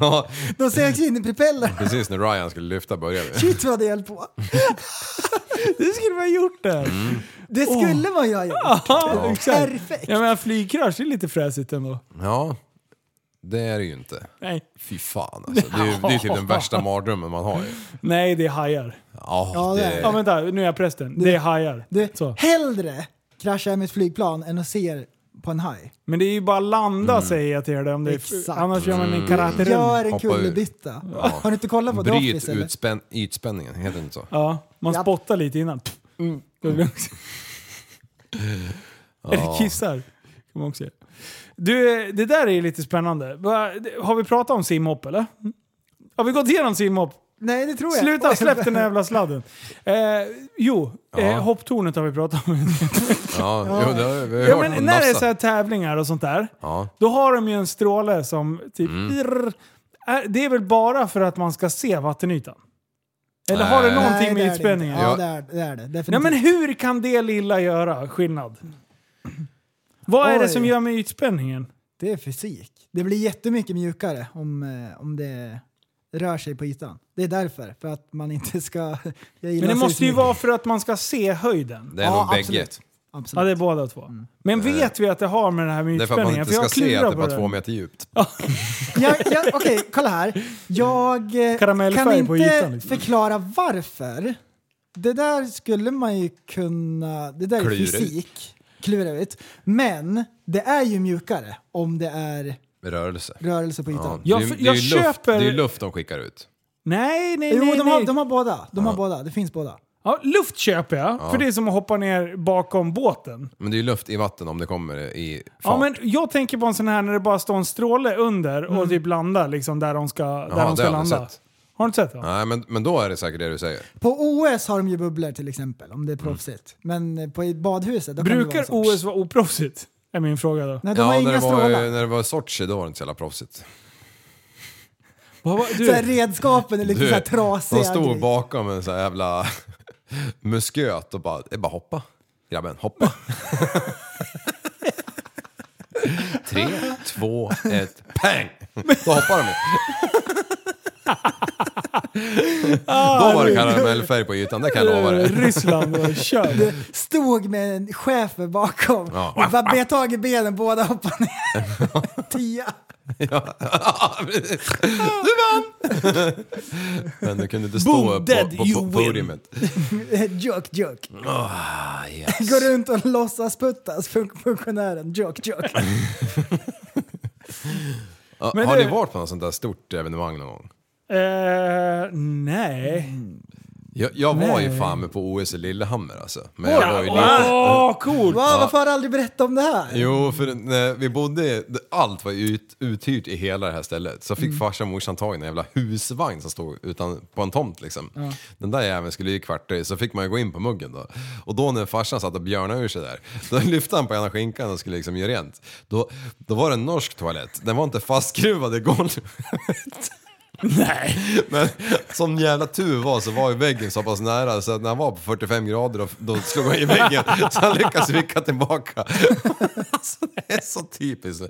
Speaker 2: Ja,
Speaker 8: De sögs in i propellern.
Speaker 2: precis när Ryan skulle lyfta började vi.
Speaker 8: Shit vad det höll på.
Speaker 3: Det skulle man ha gjort där.
Speaker 2: Mm.
Speaker 8: Det skulle man ju ha gjort.
Speaker 3: *laughs* Ja, exakt.
Speaker 8: Perfekt.
Speaker 3: Jag menar flygkrasch, det är lite fräsigt ändå.
Speaker 2: Ja, det är det ju inte.
Speaker 3: Nej,
Speaker 2: Fy fan alltså. Det är ju det är typ den värsta mardrömmen man har ju.
Speaker 3: Nej det är hajar.
Speaker 2: Ja,
Speaker 8: Ja, det är-
Speaker 3: Ja,
Speaker 2: det,
Speaker 3: vänta, nu är jag prästen. Det är hajar.
Speaker 8: Du,
Speaker 3: Så.
Speaker 8: hellre kraschar jag med ett flygplan än att se på en haj.
Speaker 3: Men det är ju bara landa
Speaker 2: Mm.
Speaker 3: säger jag till er. Om det är,
Speaker 8: Exakt.
Speaker 3: annars gör man en karaterull.
Speaker 8: Gör en
Speaker 2: Hoppa ur.
Speaker 8: kullerbytta. Har du inte kollat på The
Speaker 2: bryt
Speaker 8: Office eller?
Speaker 2: utspän- ytspänningen, heter det inte så?
Speaker 3: Ja, man
Speaker 8: Japp. Mm.
Speaker 3: spottar lite innan.
Speaker 8: *laughs*
Speaker 3: Eller kissar. Kan man också göra. Du, det där är ju lite spännande. Va- Har vi pratat om simhopp eller? Har vi gått igenom simhopp?
Speaker 8: Nej, det tror jag.
Speaker 3: Sluta, släpp den här jävla sladden. Eh, jo, eh,
Speaker 2: Ja.
Speaker 3: hopptornet har vi pratat
Speaker 8: *laughs*
Speaker 3: om.
Speaker 2: Ja, jo, det har vi- vi har
Speaker 3: Ja,
Speaker 2: hört
Speaker 3: men
Speaker 2: om
Speaker 3: när det är
Speaker 2: Nafsa.
Speaker 3: så här tävlingar och sånt där,
Speaker 2: Ja.
Speaker 3: då har de ju en stråle som typ...
Speaker 8: Mm.
Speaker 3: Irr, är- det är väl bara för att man ska se vattenytan? Eller har det
Speaker 2: Nej.
Speaker 3: någonting
Speaker 8: det är
Speaker 3: med
Speaker 8: det
Speaker 3: ytspänningen?
Speaker 8: inte. Ja, det är det. Är det. Definitivt.
Speaker 3: Nej men hur kan det lilla göra skillnad? Vad är det
Speaker 8: Oj.
Speaker 3: som gör med ytspänningen?
Speaker 8: Det är fysik. Det blir jättemycket mjukare om, eh, om det rör sig på ytan. Det är därför. För att man inte *laughs* ska... Jag
Speaker 3: Men det
Speaker 8: gillar seismik.
Speaker 3: måste ju vara för att man ska se höjden.
Speaker 2: Det är
Speaker 8: Ja,
Speaker 2: nog
Speaker 8: absolut.
Speaker 2: bägge.
Speaker 3: Ja,
Speaker 8: Absolut.
Speaker 3: det är båda två.
Speaker 8: Mm.
Speaker 3: Men vet vi att det har med det här med
Speaker 2: Det är för att man
Speaker 3: ytspänningen?
Speaker 2: inte
Speaker 3: För
Speaker 2: ska
Speaker 3: jag
Speaker 2: se att
Speaker 3: klurar
Speaker 2: det
Speaker 3: på
Speaker 2: var
Speaker 3: det.
Speaker 2: två meter djupt.
Speaker 8: Jag, jag, Okej, kolla här. Jag eh, kan
Speaker 3: Karamellfärg
Speaker 8: inte
Speaker 3: på ytan, liksom.
Speaker 8: förklara varför. Det där skulle man ju kunna... Det där är
Speaker 2: Klura ut.
Speaker 8: fysik. Klura ut. Men det är ju mjukare om det är
Speaker 2: Rörelse.
Speaker 8: rörelse på ytan.
Speaker 3: Jag-
Speaker 2: Ja, det, är ju- det, är
Speaker 3: jag
Speaker 2: ju luft, det
Speaker 3: köper-
Speaker 2: är ju luft de skickar ut.
Speaker 3: Nej, nej,
Speaker 8: Jo,
Speaker 3: nej.
Speaker 8: de har,
Speaker 3: nej.
Speaker 8: de har båda. De har båda. Det finns båda.
Speaker 3: Ja, luft köper jag, för det är som att hoppa ner bakom båten.
Speaker 2: Men det är ju luft i vatten om det kommer i fart.
Speaker 3: Ja, men jag tänker på en sån här när det bara står en stråle under
Speaker 8: Mm.
Speaker 3: och typ landar liksom där de ska, där
Speaker 2: Jaha,
Speaker 3: de
Speaker 2: det
Speaker 3: ska
Speaker 2: har jag
Speaker 3: landa.
Speaker 2: sett.
Speaker 3: Har du inte sett det?
Speaker 2: Nej, men, men då är det säkert det du säger.
Speaker 8: På OS har de ju bubblor till exempel, om det
Speaker 2: Mm.
Speaker 8: är proffsigt. Men eh, på i badhuset... Då kan
Speaker 3: Brukar
Speaker 8: det vara en sån.
Speaker 3: OS vara oproffsigt? Är min fråga då.
Speaker 8: Nej, de
Speaker 2: Ja,
Speaker 8: har
Speaker 2: när det,
Speaker 8: inga
Speaker 2: var,
Speaker 8: strålar.
Speaker 2: när det var Sochi då var det inte så jävla proffsigt.
Speaker 3: Vad var-
Speaker 8: Så här,
Speaker 3: Du,
Speaker 8: redskapen är lite
Speaker 2: Du,
Speaker 8: så här trasiga.
Speaker 2: De stod
Speaker 8: grejer.
Speaker 2: bakom en sån här jävla *laughs* musköt och bara, det är bara hoppa. Grabben, hoppa.
Speaker 8: *laughs*
Speaker 2: Tre, två, ett, pang! Då hoppar de ju. Då var det karamellfärg på ytan, det kan jag lova
Speaker 3: eh,
Speaker 2: dig.
Speaker 3: Ryssland och kör.
Speaker 8: Stod med en chef bakom.
Speaker 2: Ja.
Speaker 8: Och bara bet tag i benen, båda hoppade ner. *laughs* Tia.
Speaker 2: Ja. *laughs* precis. Du vann! Men du kunde inte stå
Speaker 3: Boom,
Speaker 2: upp
Speaker 3: dead,
Speaker 2: på, på,
Speaker 3: you
Speaker 2: på
Speaker 3: win.
Speaker 2: podiumet.
Speaker 8: Joke, joke.
Speaker 2: Ah, yes.
Speaker 8: Går runt och låtsas puttas, fun- funktionären. Joke,
Speaker 2: *laughs*
Speaker 8: joke.
Speaker 2: Ja,
Speaker 3: Men
Speaker 2: Har
Speaker 3: du-
Speaker 2: ni varit på något sånt där stort evenemang någon gång?
Speaker 3: Eh, nej.
Speaker 2: Jag, jag var ju
Speaker 3: Nej.
Speaker 2: fan med på OS i Lillehammer alltså. Men jag var ju liten.
Speaker 3: Åh, Ah, coolt!
Speaker 8: Va, varför har du aldrig berättat om det här?
Speaker 2: Jo, för när vi bodde, allt var ut, uthyrt i hela det här stället. Så fick farsan och morsan tag i en jävla husvagn som stod utan, på en tomt liksom. Den där jäveln skulle ju kvarta i, så fick man ju gå in på muggen då. Och då när farsan satt och björnade ur sig där, *laughs* då lyfte han på ena skinkan och skulle liksom göra rent. Då, då var det en norsk toalett, den var inte fastskruvad i golvet. Nej. Men som jävla tur var så var ju väggen så pass nära så att när han var på 45 grader då, då slog han i väggen så han lyckades vicka tillbaka. Alltså *laughs* det är så typiskt.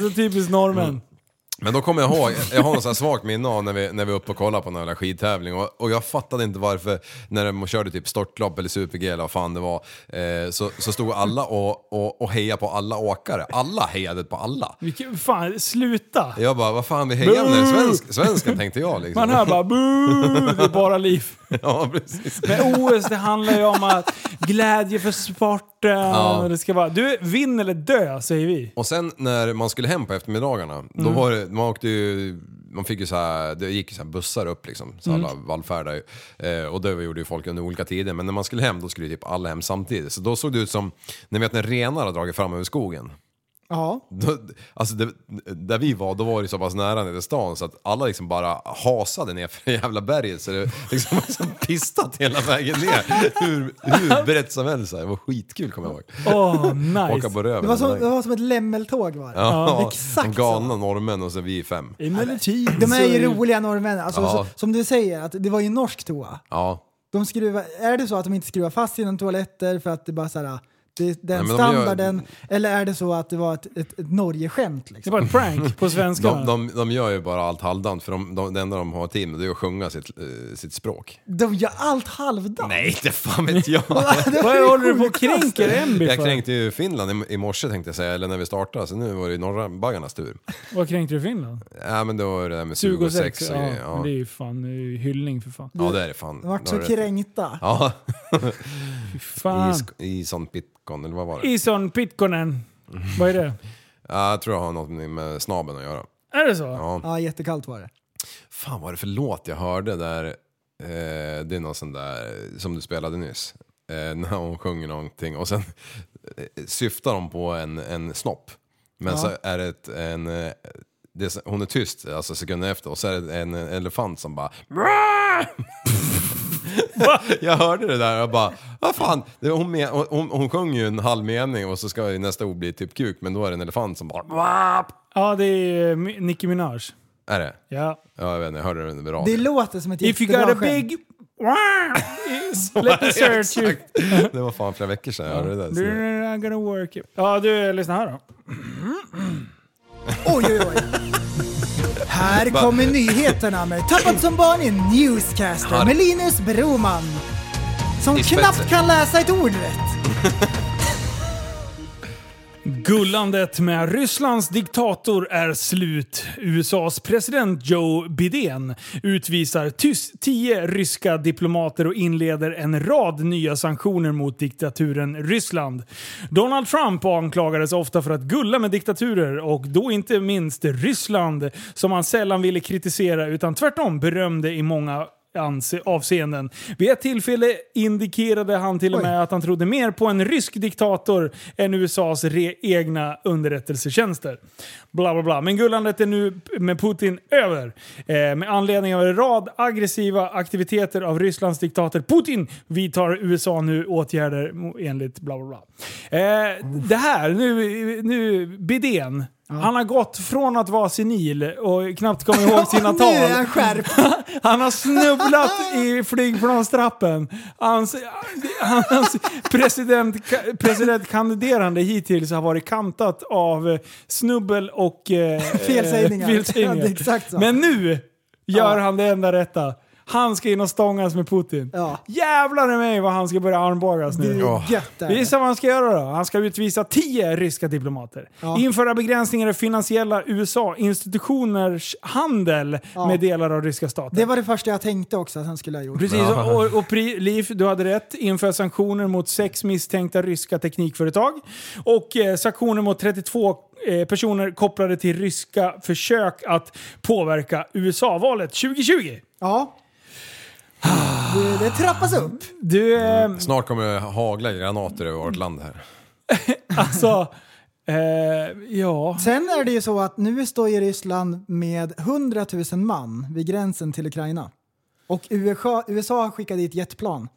Speaker 3: Så typiskt norrmän.
Speaker 2: *laughs* Men då kommer jag ihåg, jag har något så här svagt minne av när vi, när vi var uppe och kollade på någon jävla skidtävling och, och jag fattade inte varför när de körde typ störtlopp eller super-G eller vad fan det var eh, så, så stod alla och, och, och hejade på alla åkare. Alla hejade på alla.
Speaker 3: Vilken, fan, sluta!
Speaker 2: Jag bara, vad fan vi hejar om den svensk, svensken tänkte jag liksom.
Speaker 3: Man hör bara buu, det är bara liv.
Speaker 2: *laughs* Ja, precis.
Speaker 3: Men OS, det handlar ju om att glädje för sporten. och Det ska vara, du, vinn eller dö, säger vi.
Speaker 2: Och sen när man skulle hem på eftermiddagarna,
Speaker 8: Mm.
Speaker 2: då var det, man åkte ju, man fick ju så här, det gick ju så här bussar upp liksom, så alla
Speaker 8: Mm.
Speaker 2: vallfärdade ju. Eh, och det gjorde ju folk under olika tider, men när man skulle hem då skulle ju typ alla hem samtidigt. Så då såg det ut som, ni vet när renar har dragit fram över skogen.
Speaker 8: Ja.
Speaker 2: Då, alltså det, där vi var, då var det så pass nära nere till stan så att alla liksom bara hasade ner för det jävla berget så det liksom var som pistat hela vägen ner. Hur, hur brett som helst. så här. Det var skitkul kommer jag ihåg.
Speaker 3: Åh,
Speaker 2: Åka
Speaker 3: nice.
Speaker 2: på röven.
Speaker 8: Det var, som,
Speaker 2: hela
Speaker 8: det
Speaker 2: vägen.
Speaker 8: var som ett lämmeltåg var det.
Speaker 2: Ja,
Speaker 8: exakt så.
Speaker 2: galna norrmän och så vi fem.
Speaker 3: Emellertid
Speaker 8: De är
Speaker 3: så
Speaker 8: ju roliga norrmännen. Alltså,
Speaker 2: Ja.
Speaker 8: så, som du säger, att det var ju norsk toa.
Speaker 2: Ja.
Speaker 8: De skruvar, är det så att de inte skruvar fast sina toaletter för att det bara så här, Det är den
Speaker 2: men de gör-
Speaker 8: standarden. Eller är det så att det var ett, ett, ett Norge-skämt?
Speaker 3: Det
Speaker 8: Liksom?
Speaker 3: var ett prank på svenska.
Speaker 2: De, de, de gör ju bara allt halvdant för de, de, det enda de har tid med det är att sjunga sitt, eh, sitt språk.
Speaker 8: De gör allt halvdant.
Speaker 2: Nej, inte fan vet *laughs* jag!
Speaker 8: Det var
Speaker 3: Vad
Speaker 8: ju
Speaker 3: håller du på och
Speaker 8: sjukaste.
Speaker 3: kränker Emby
Speaker 2: Jag
Speaker 3: för?
Speaker 2: kränkte ju Finland i, i morse tänkte jag säga, eller när vi startade, så nu var det ju norra baggarnas tur.
Speaker 3: Vad kränkte du Finland?
Speaker 2: Ja men då är det där med sug och
Speaker 3: 26?
Speaker 2: sex och
Speaker 3: ja,
Speaker 2: grejer.
Speaker 3: Men
Speaker 2: Ja.
Speaker 3: det är ju fan det är ju hyllning för fan.
Speaker 2: ja, det är det fan.
Speaker 8: De vart
Speaker 2: Då
Speaker 8: så
Speaker 2: har du rätt.
Speaker 8: kränkta.
Speaker 2: Ja,
Speaker 3: Fy fan.
Speaker 2: *laughs* i San Pitcon, eller vad var det?
Speaker 3: Ison Pitkonen. Vad är det?
Speaker 2: Ja, jag tror det har något med snabeln att göra.
Speaker 3: Är det så?
Speaker 8: Ja, jättekallt var det.
Speaker 2: Fan vad är det för låt jag hörde där, eh, det är någon sån där som du spelade nyss. Eh, när hon sjunger någonting och sen eh, syftar de på en, en snopp. Men så är det ett, en, eh, det är, så- hon är tyst alltså sekunden efter och så är det en elefant som bara *laughs* Jag hörde det där och jag bara, vad fan, det, hon, men, hon, hon, hon sjöng ju en halv mening och så ska ju nästa ord bli typ kuk men då är det en elefant som bara
Speaker 3: Ja, det är eh, Mi- Nicki Minaj.
Speaker 2: Är det?
Speaker 3: Ja.
Speaker 2: Ja jag vet inte, jag hörde det under radion.
Speaker 8: Det låter som ett
Speaker 3: If you got a
Speaker 8: jättebra skämt.
Speaker 3: big... *laughs* Let me search you. *laughs*
Speaker 2: Exakt. Det var fan flera veckor sedan jag hörde det där.
Speaker 3: Du,
Speaker 2: Så-
Speaker 3: I'm gonna work it. Ja, du, lyssna här då.
Speaker 8: Oj, oj,
Speaker 2: *laughs*
Speaker 8: oj. Här kommer nyheterna med Tappat som barn i Newscaster med Linus Broman. Som
Speaker 2: I spetsen.
Speaker 8: knappt kan läsa ett ord rätt.
Speaker 3: Gullandet med Rysslands diktator är slut. USAs president Joe Biden utvisar tys- tio ryska diplomater och inleder en rad nya sanktioner mot diktaturen Ryssland. Donald Trump anklagades ofta för att gulla med diktaturer och då inte minst Ryssland som han sällan ville kritisera utan tvärtom berömde i många anse- avseenden. Vid ett tillfälle indikerade han till och med att han trodde mer på en rysk diktator än USAs re- egna underrättelsetjänster. Bla bla bla. Men gullandet är nu p- med Putin över. Eh, med anledning av en rad aggressiva aktiviteter av Rysslands diktator Putin vidtar USA nu åtgärder mo- enligt bla bla bla. Eh, det här, nu, nu Bidén. Han har gått från att vara senil och knappt komma
Speaker 8: *laughs*
Speaker 3: ihåg sina
Speaker 8: nu är
Speaker 3: tal.
Speaker 8: han skärpt.
Speaker 3: Han har snubblat i flygplanstrappen. Hans, hans president, presidentkandiderande hittills har varit kantat av eh, snubbel och eh,
Speaker 8: *laughs* Felsägningar.
Speaker 3: eh,
Speaker 8: Ja, *laughs* det är exakt så.
Speaker 3: Men nu gör
Speaker 8: Ja.
Speaker 3: han det enda rätta. Han ska in och stångas med Putin.
Speaker 8: Ja.
Speaker 3: Jävlar i mig vad han ska börja armbågas nu.
Speaker 8: Det
Speaker 2: Ja.
Speaker 8: är gött där.
Speaker 3: Gissa vad han ska göra då? Han ska utvisa 10 ryska diplomater.
Speaker 8: Ja.
Speaker 3: Införa begränsningar i finansiella USA-institutioners handel
Speaker 8: Ja.
Speaker 3: med delar av ryska staten.
Speaker 8: Det var det första jag tänkte också att han skulle ha gjort.
Speaker 3: Precis, och, och, och pri, Liv, du hade rätt. Inför sanktioner mot sex misstänkta ryska teknikföretag. Och eh, sanktioner mot 32 eh, personer kopplade till ryska försök att påverka USA-valet 2020.
Speaker 8: Ja. Det, det trappas upp.
Speaker 3: Du, eh,
Speaker 2: Snart kommer det hagla granater över vårt land här.
Speaker 3: alltså... Eh, ja...
Speaker 8: Sen är det ju så att nu står ju Ryssland med 100 000 man vid gränsen till Ukraina. Och USA, USA har skickat dit jetplan.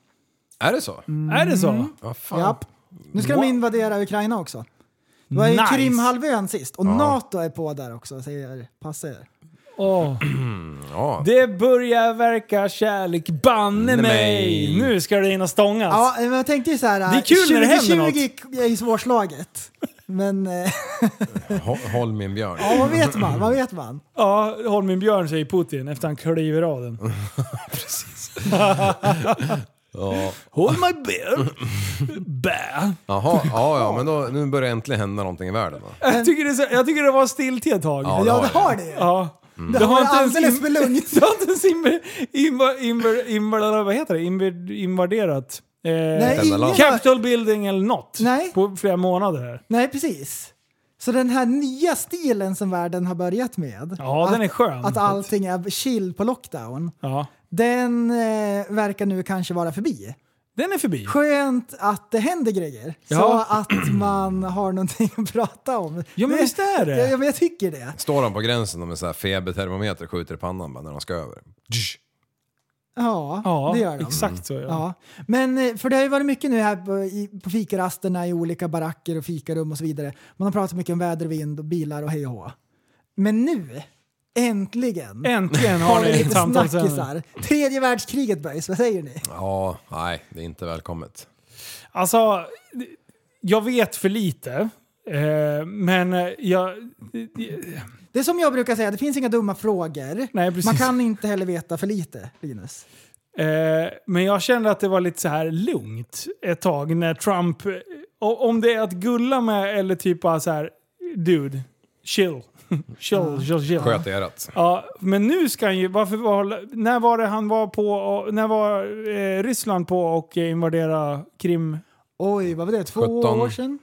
Speaker 2: Är det så?
Speaker 3: Är det
Speaker 8: Mm.
Speaker 3: så?
Speaker 2: Vad fan?
Speaker 8: Japp. Nu ska
Speaker 2: What?
Speaker 8: de invadera Ukraina också. Det var ju
Speaker 3: Nice.
Speaker 8: Krimhalvön sist och NATO är på där också, säger passa er.
Speaker 3: Alltså-
Speaker 8: *clears throat*
Speaker 3: Åh.
Speaker 2: Ja.
Speaker 3: Det börjar verka kärlek, banne mig!
Speaker 2: Nej.
Speaker 3: Nu ska det in och stångas.
Speaker 8: Ja, men jag tänkte ju så här.
Speaker 3: Det är kul när det händer något.
Speaker 8: 2020 är ju svårslaget. Men eh,
Speaker 2: Hå- Håll min björn.
Speaker 8: ja, *laughs* vad vet man? Vad vet man?
Speaker 3: Ja, håll min björn säger Putin efter han kliver av
Speaker 8: *laughs*
Speaker 3: den. *laughs*
Speaker 2: Ja.
Speaker 3: Håll my björn! Bä!
Speaker 2: Jaha, ja, ja men då, nu börjar äntligen hända någonting i världen då.
Speaker 3: Jag tycker det, är så, jag tycker det var stiltje ett tag.
Speaker 2: Ja.
Speaker 8: Ja,
Speaker 2: det har
Speaker 8: det har
Speaker 2: jag.
Speaker 8: det ju.
Speaker 3: Ja.
Speaker 8: Det har varit alldeles för lugnt.
Speaker 3: *laughs* Det har inte ens inv- inv- inv- inv- vad heter det? Inv- invaderat eh,
Speaker 8: Nej,
Speaker 2: ingen har-
Speaker 3: Capitol building eller något
Speaker 8: Nej.
Speaker 3: på flera månader. här.
Speaker 8: Nej, precis. Så den här nya stilen som världen har börjat med.
Speaker 3: Ja, den är skön.
Speaker 8: Att allting är chill på lockdown.
Speaker 3: Ja.
Speaker 8: Den eh, verkar nu kanske vara förbi.
Speaker 3: Den är förbi.
Speaker 8: Skönt att det händer grejer.
Speaker 3: Ja.
Speaker 8: Så att *clears throat* man har någonting att prata om.
Speaker 3: Ja, men visst är det.
Speaker 8: Ja, men jag tycker det.
Speaker 2: Står de på gränsen och med så här febertermometer skjuter i pannan bara när de ska över. Tsch.
Speaker 8: Ja,
Speaker 3: Ja,
Speaker 8: det gör de.
Speaker 3: exakt så. Ja.
Speaker 8: Ja. Men eh, för det har ju varit mycket nu här på, i, på fikarasterna i olika baracker och fikarum och så vidare. Man har pratat mycket om väder och vind och bilar och hej och hå. Men nu, äntligen, *laughs*
Speaker 3: Äntligen har
Speaker 8: har vi
Speaker 3: ni ett
Speaker 8: lite
Speaker 3: samtal sen.
Speaker 8: snackisar. Tredje världskriget böjs, vad säger ni?
Speaker 2: Ja, nej, det är inte välkommet.
Speaker 3: Alltså, jag vet för lite. Eh, men eh, jag...
Speaker 8: Det är som jag brukar säga, det finns inga dumma frågor.
Speaker 3: Nej, precis.
Speaker 8: Man kan inte heller veta för lite, Linus.
Speaker 3: Eh, men jag kände att det var lite så här lugnt ett tag när Trump... eh, o- Om det är att gulla med eller typ bara så här... Dude, chill. *laughs* chill, chill, chill.
Speaker 2: Sköt i örat.
Speaker 3: Ja, men nu ska han ju... Varför var, när var det han var på... och- När var eh, Ryssland på och eh, invadera Krim?
Speaker 8: Oj, vad var det? Två
Speaker 2: 17.
Speaker 8: år sedan?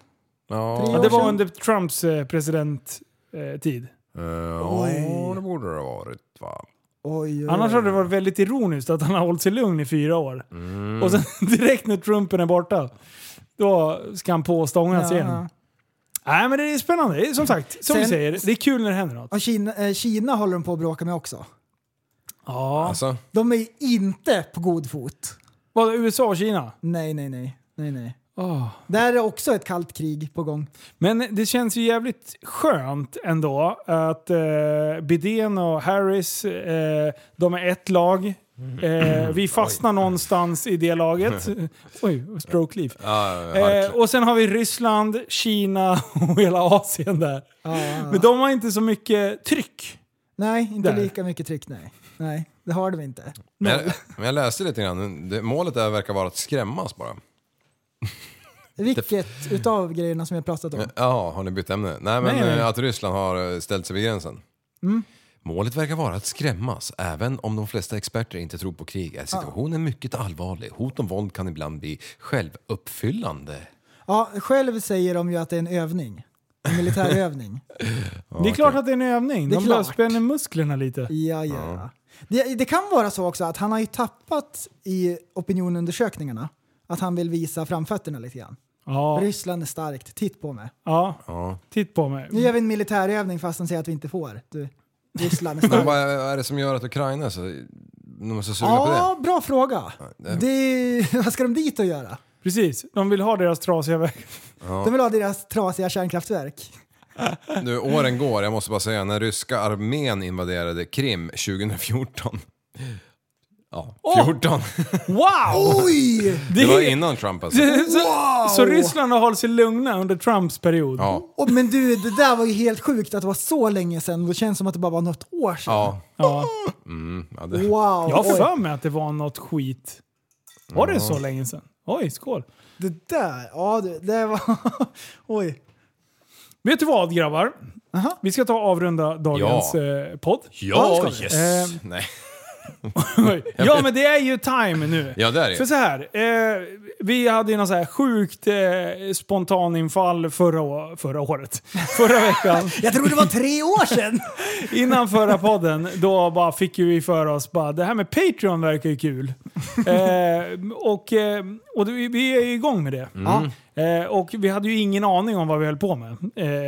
Speaker 3: Ja,
Speaker 2: Ja,
Speaker 3: det var
Speaker 8: sedan.
Speaker 3: under Trumps eh, presidenttid.
Speaker 2: eh, ja, det borde det ha varit va?
Speaker 8: Oj, oj,
Speaker 3: Annars
Speaker 8: oj.
Speaker 3: hade det varit väldigt ironiskt att han har hållit sig lugn i fyra år.
Speaker 8: Mm.
Speaker 3: Och sen *laughs* direkt när Trumpen är borta, då ska han på och stångas
Speaker 8: Ja.
Speaker 3: igen. Nej men det är spännande. Det är Som sagt, som vi
Speaker 8: Sen-
Speaker 3: säger, det är kul när det händer något.
Speaker 8: Och Kina, eh, Kina håller de på att bråka med också.
Speaker 3: Ja.
Speaker 2: Alltså,
Speaker 8: De är inte på god fot.
Speaker 3: Vad, USA och Kina?
Speaker 8: Nej, nej, nej. nej, nej.
Speaker 3: Åh.
Speaker 8: Där är också ett kallt krig på gång.
Speaker 3: Men det känns ju jävligt skönt ändå att eh, Bidén och Harris, eh, de är ett lag. Eh, vi fastnar någonstans i det
Speaker 8: *laughs*
Speaker 3: laget. Oj, stroke leave. Eh, och sen har vi Ryssland, Kina *laughs* och hela Asien där. Men de har inte så mycket tryck.
Speaker 8: Nej, inte
Speaker 3: Där.
Speaker 8: lika mycket tryck, nej. Nej, det har de inte.
Speaker 2: men, jag, men jag läste lite grann, det, målet där verkar vara att skrämmas bara.
Speaker 8: Vilket utav grejerna som jag pratat om?
Speaker 2: Ja, har ni bytt ämne? Nej men
Speaker 3: Nej, nej. Mm.
Speaker 2: eh, att Ryssland har eh, ställt sig vid gränsen. Målet verkar vara att skrämmas, även om de flesta experter inte tror på krig är situationen mycket allvarlig. Hot om våld kan ibland bli självuppfyllande.
Speaker 8: Ja, själv säger de ju att det är en övning. En militärövning.
Speaker 3: det är klart att det är en övning.
Speaker 8: Det är
Speaker 3: De bara
Speaker 8: klart.
Speaker 3: spänner musklerna lite.
Speaker 8: Ja, ja. Det, det kan vara så också att han har ju tappat i opinionundersökningarna att han vill visa framfötterna lite grann.
Speaker 3: Ja,
Speaker 8: Ryssland är starkt, titt på mig.
Speaker 3: ja.
Speaker 2: Ja.
Speaker 3: titt på mig.
Speaker 8: Nu gör vi en militärövning fast han säger att vi inte får. Du, Ryssland är
Speaker 2: Men
Speaker 8: starkt.
Speaker 2: vad är det som gör att Ukraina är så, de är så sugna på det?
Speaker 8: Ja, bra fråga. Det, *laughs* vad ska de dit och göra?
Speaker 3: Precis, de vill ha deras trasiga väg. *laughs*
Speaker 8: De vill ha deras trasiga kärnkraftverk.
Speaker 2: Nu, åren går, jag måste bara säga, när ryska armén invaderade Krim 2014. *laughs* Ja, 14.
Speaker 3: Wow!
Speaker 8: Oj!
Speaker 2: Det var
Speaker 3: är-
Speaker 2: innan Trump alltså.
Speaker 3: *laughs* Så, så Ryssland har hållit sig lugna under Trumps period?
Speaker 2: Ja,
Speaker 8: Och, men du, det där var ju helt sjukt att det var så länge sedan. Det känns som att det bara var något år sedan.
Speaker 2: ja.
Speaker 3: Ja.
Speaker 2: Mm, ja det,
Speaker 8: Wow!
Speaker 3: Jag har
Speaker 8: oj.
Speaker 3: för mig att det var något skit. Var det så länge sedan? Oj, skål.
Speaker 8: Det där, ja det, det var... *laughs* Oj.
Speaker 3: Vet du vad grabbar?
Speaker 8: Aha.
Speaker 3: Vi ska ta och avrunda dagens
Speaker 2: Ja.
Speaker 3: eh, podd.
Speaker 2: ja yes!
Speaker 3: Eh,
Speaker 2: Nej.
Speaker 3: ja, men det är ju time nu.
Speaker 2: Ja, det är det ju.
Speaker 3: För så här, eh, vi hade ju någon så här sjukt eh, spontaninfall förra, å- förra året. Förra veckan.
Speaker 8: Jag tror det var tre år sedan!
Speaker 3: Innan förra podden, då bara fick ju vi för oss bara det här med Patreon verkar ju
Speaker 8: *laughs*
Speaker 3: kul. eh, och eh, och vi, vi är ju igång med det. Eh, och vi hade ju ingen aning om vad vi höll på med.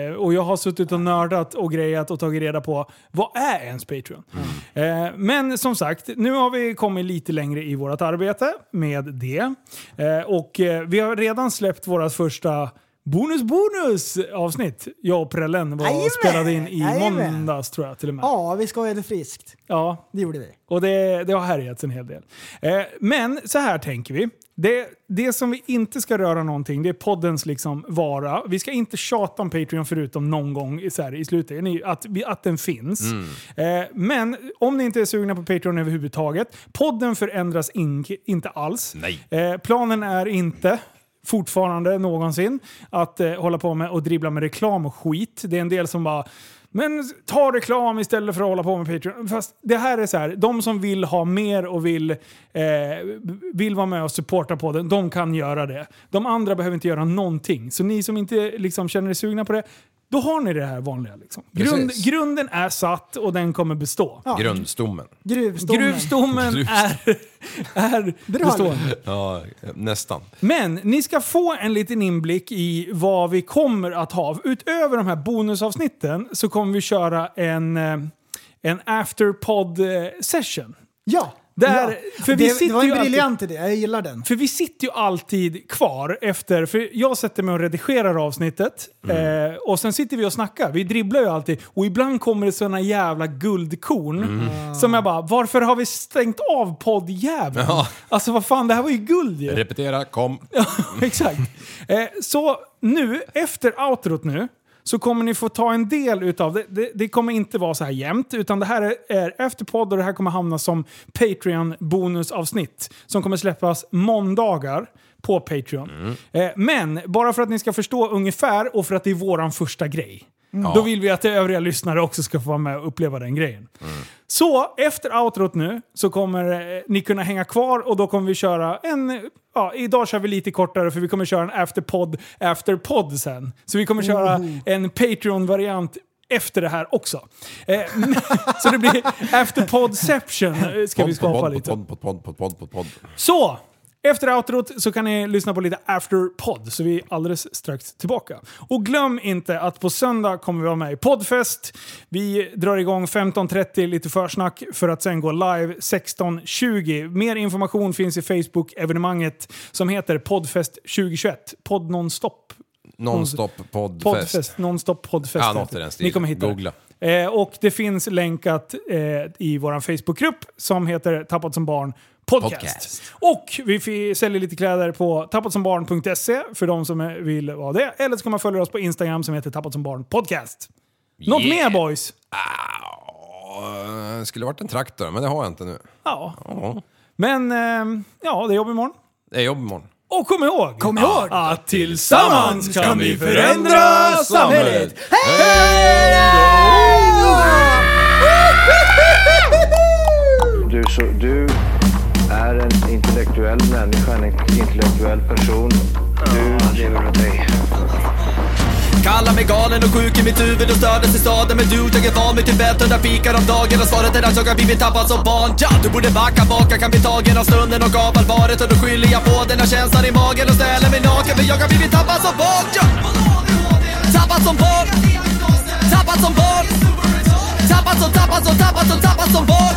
Speaker 3: Eh, och jag har suttit och nördat och grejat och tagit reda på vad är ens Patreon? Eh, men som sagt, nu har vi kommit lite längre i vårt arbete med det. Eh, och eh, vi har redan släppt våra första Bonus bonus avsnitt! Jag och Prellen var
Speaker 8: Jajamän!
Speaker 3: spelade in i
Speaker 8: Jajamän!
Speaker 3: måndags tror jag till och med.
Speaker 8: Ja, vi skojade friskt.
Speaker 3: Ja,
Speaker 8: Det gjorde vi.
Speaker 3: och det, det har härjats en hel del. Eh, men så här tänker vi. Det, det som vi inte ska röra någonting, det är poddens liksom vara. Vi ska inte tjata om Patreon förutom någon gång i, så här, i slutet, ni- att, vi- att den finns. Eh, men om ni inte är sugna på Patreon överhuvudtaget, podden förändras in, inte alls. Eh, planen är inte fortfarande någonsin att eh, hålla på med och dribbla med reklam och skit. Det är en del som bara men ta reklam istället för att hålla på med Patreon. Fast det här är så här, de som vill ha mer och vill, eh, vill vara med och supporta podden, de kan göra det. De andra behöver inte göra någonting. Så ni som inte liksom, känner er sugna på det, då har ni det här vanliga. Liksom. Grund,
Speaker 2: Precis.
Speaker 3: grunden är satt och den kommer bestå.
Speaker 2: Grundstommen.
Speaker 8: Gruvstommen.
Speaker 3: Gruvstommen är, är bestående.
Speaker 2: Ja, nästan.
Speaker 3: Men ni ska få en liten inblick i vad vi kommer att ha. Utöver de här bonusavsnitten så kommer vi köra en, eh, en afterpod eh, session.
Speaker 8: Ja,
Speaker 3: Där, för vi
Speaker 8: det,
Speaker 3: sitter
Speaker 8: det var en
Speaker 3: ju alltid-
Speaker 8: briljant idé, jag gillar den.
Speaker 3: För vi sitter ju alltid kvar efter, för jag sätter mig och redigerar avsnittet eh, och sen sitter vi och snackar. Vi dribblar ju alltid och ibland kommer det sådana jävla guldkorn som jag bara, varför har vi stängt av poddjäveln?
Speaker 2: Ja.
Speaker 3: Alltså vad fan, det här var ju guld ju.
Speaker 2: Repetera, kom.
Speaker 3: Ja, *laughs* exakt. Eh, så nu, efter outrot nu, så kommer ni få ta en del utav det. Det, det kommer inte vara så här jämnt, utan det här är, är efter podd och det här kommer hamna som Patreon-bonusavsnitt som kommer släppas måndagar på Patreon. Eh, men bara för att ni ska förstå ungefär och för att det är våran första grej. Då vill vi att övriga lyssnare också ska få vara med och uppleva den grejen. Så efter outrot nu så kommer eh, ni kunna hänga kvar och då kommer vi köra en... Ja, idag kör vi lite kortare för vi kommer köra en afterpod afterpod sen. Så vi kommer köra en Patreon-variant efter det här också. Eh, *laughs* men- så det blir afterpodception eh, ska vi
Speaker 2: Podd,
Speaker 3: skapa
Speaker 2: podd,
Speaker 3: lite.
Speaker 2: podd, podd, podd, podd, podd, podd, podd.
Speaker 3: Så! Efter outrot så kan ni lyssna på lite afterpod, så vi är alldeles strax tillbaka. Och glöm inte att på söndag kommer vi vara med i poddfest. Vi drar igång 15.30, lite försnack, för att sen gå live 16.20. Mer information finns i Facebook-evenemanget som heter Poddfest 2021. Podd nonstop.
Speaker 2: Nonstop
Speaker 3: Poddfest.
Speaker 2: poddfest.
Speaker 3: Nonstop poddfest.
Speaker 2: Ja, något i den stilen.
Speaker 3: Ni kommer hitta det.
Speaker 2: Googla.
Speaker 3: Eh, och det finns länkat eh, i vår Facebookgrupp som heter Tappat som barn podcast.
Speaker 2: Podcast.
Speaker 3: Och vi fi- säljer lite kläder på tappatsombarn.se för de som eh, vill vara det. Eller så kan man följa oss på Instagram som heter Tappat som barn podcast. Något
Speaker 2: Yeah.
Speaker 3: mer boys?
Speaker 2: Ah, skulle varit en traktor, men det har jag inte nu.
Speaker 3: Ja. Men ehm, ja, det är jobb imorgon.
Speaker 2: Det är jobb imorgon.
Speaker 3: Och kom ihåg! Kom
Speaker 8: ihåg.
Speaker 3: Att tillsammans kan vi förändra samhället!
Speaker 4: Du, så, du är en intellektuell människa, en intellektuell person. Du lever av dig.
Speaker 5: Kallar mig galen och sjuk i mitt huvud och stördes i staden Men du, jag är van vid Tibet och där fikar om dagen Och svaret är att jag har blivit tappad som barn ja! Du borde backa bak, jag kan bli tagen av stunden och av allvaret Och då skyller jag på den här känslan i magen och ställer mig naken För jag har blivit tappad som barn ja! Tappad som barn Tappad som barn Tappad som, tappad som, tappad som, tappad som barn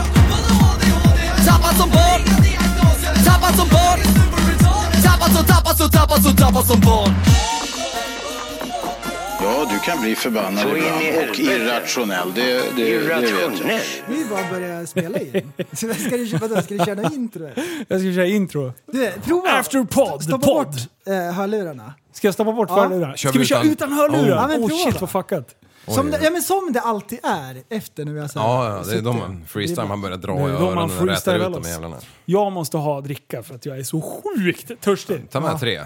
Speaker 5: Tappad som barn Tappad som barn Tappad som, tappad som, tappad som, tappad som barn
Speaker 6: Ja, du kan bli förbannad
Speaker 4: Så in i
Speaker 6: ibland och
Speaker 4: helvete.
Speaker 6: irrationell. Det, det, det vet jag.
Speaker 4: Irrationell.
Speaker 8: Vi bara börjar
Speaker 3: *laughs*
Speaker 8: spela in. *laughs* Så vad ska, du, vadå, ska du köra något intro?
Speaker 3: Jag ska köra intro.
Speaker 8: Du, prova!
Speaker 3: Afterpod,
Speaker 8: Stoppa
Speaker 3: podd.
Speaker 8: bort eh, hörlurarna.
Speaker 3: Ska jag stoppa bort
Speaker 8: Ja.
Speaker 3: hörlurarna?
Speaker 2: Kör
Speaker 3: Ska vi
Speaker 2: vi
Speaker 3: köra
Speaker 2: utan-
Speaker 3: utan hörlurar?
Speaker 2: Oh.
Speaker 8: Ja, men
Speaker 3: oh
Speaker 8: prova.
Speaker 3: shit vad fuckat.
Speaker 8: Som
Speaker 2: Oj.
Speaker 8: det, ja, men som det alltid är efter när vi har så här,
Speaker 2: Ja, ja, det är då
Speaker 8: suttit.
Speaker 2: man freestyle, man börjar dra i
Speaker 3: Det är då man
Speaker 2: öronen och rätar
Speaker 3: freestylar
Speaker 2: ut de
Speaker 3: loss.
Speaker 2: jävlarna.
Speaker 3: Jag måste ha dricka för att jag är så sjukt törstig.
Speaker 8: Mm.
Speaker 2: Ta med tre.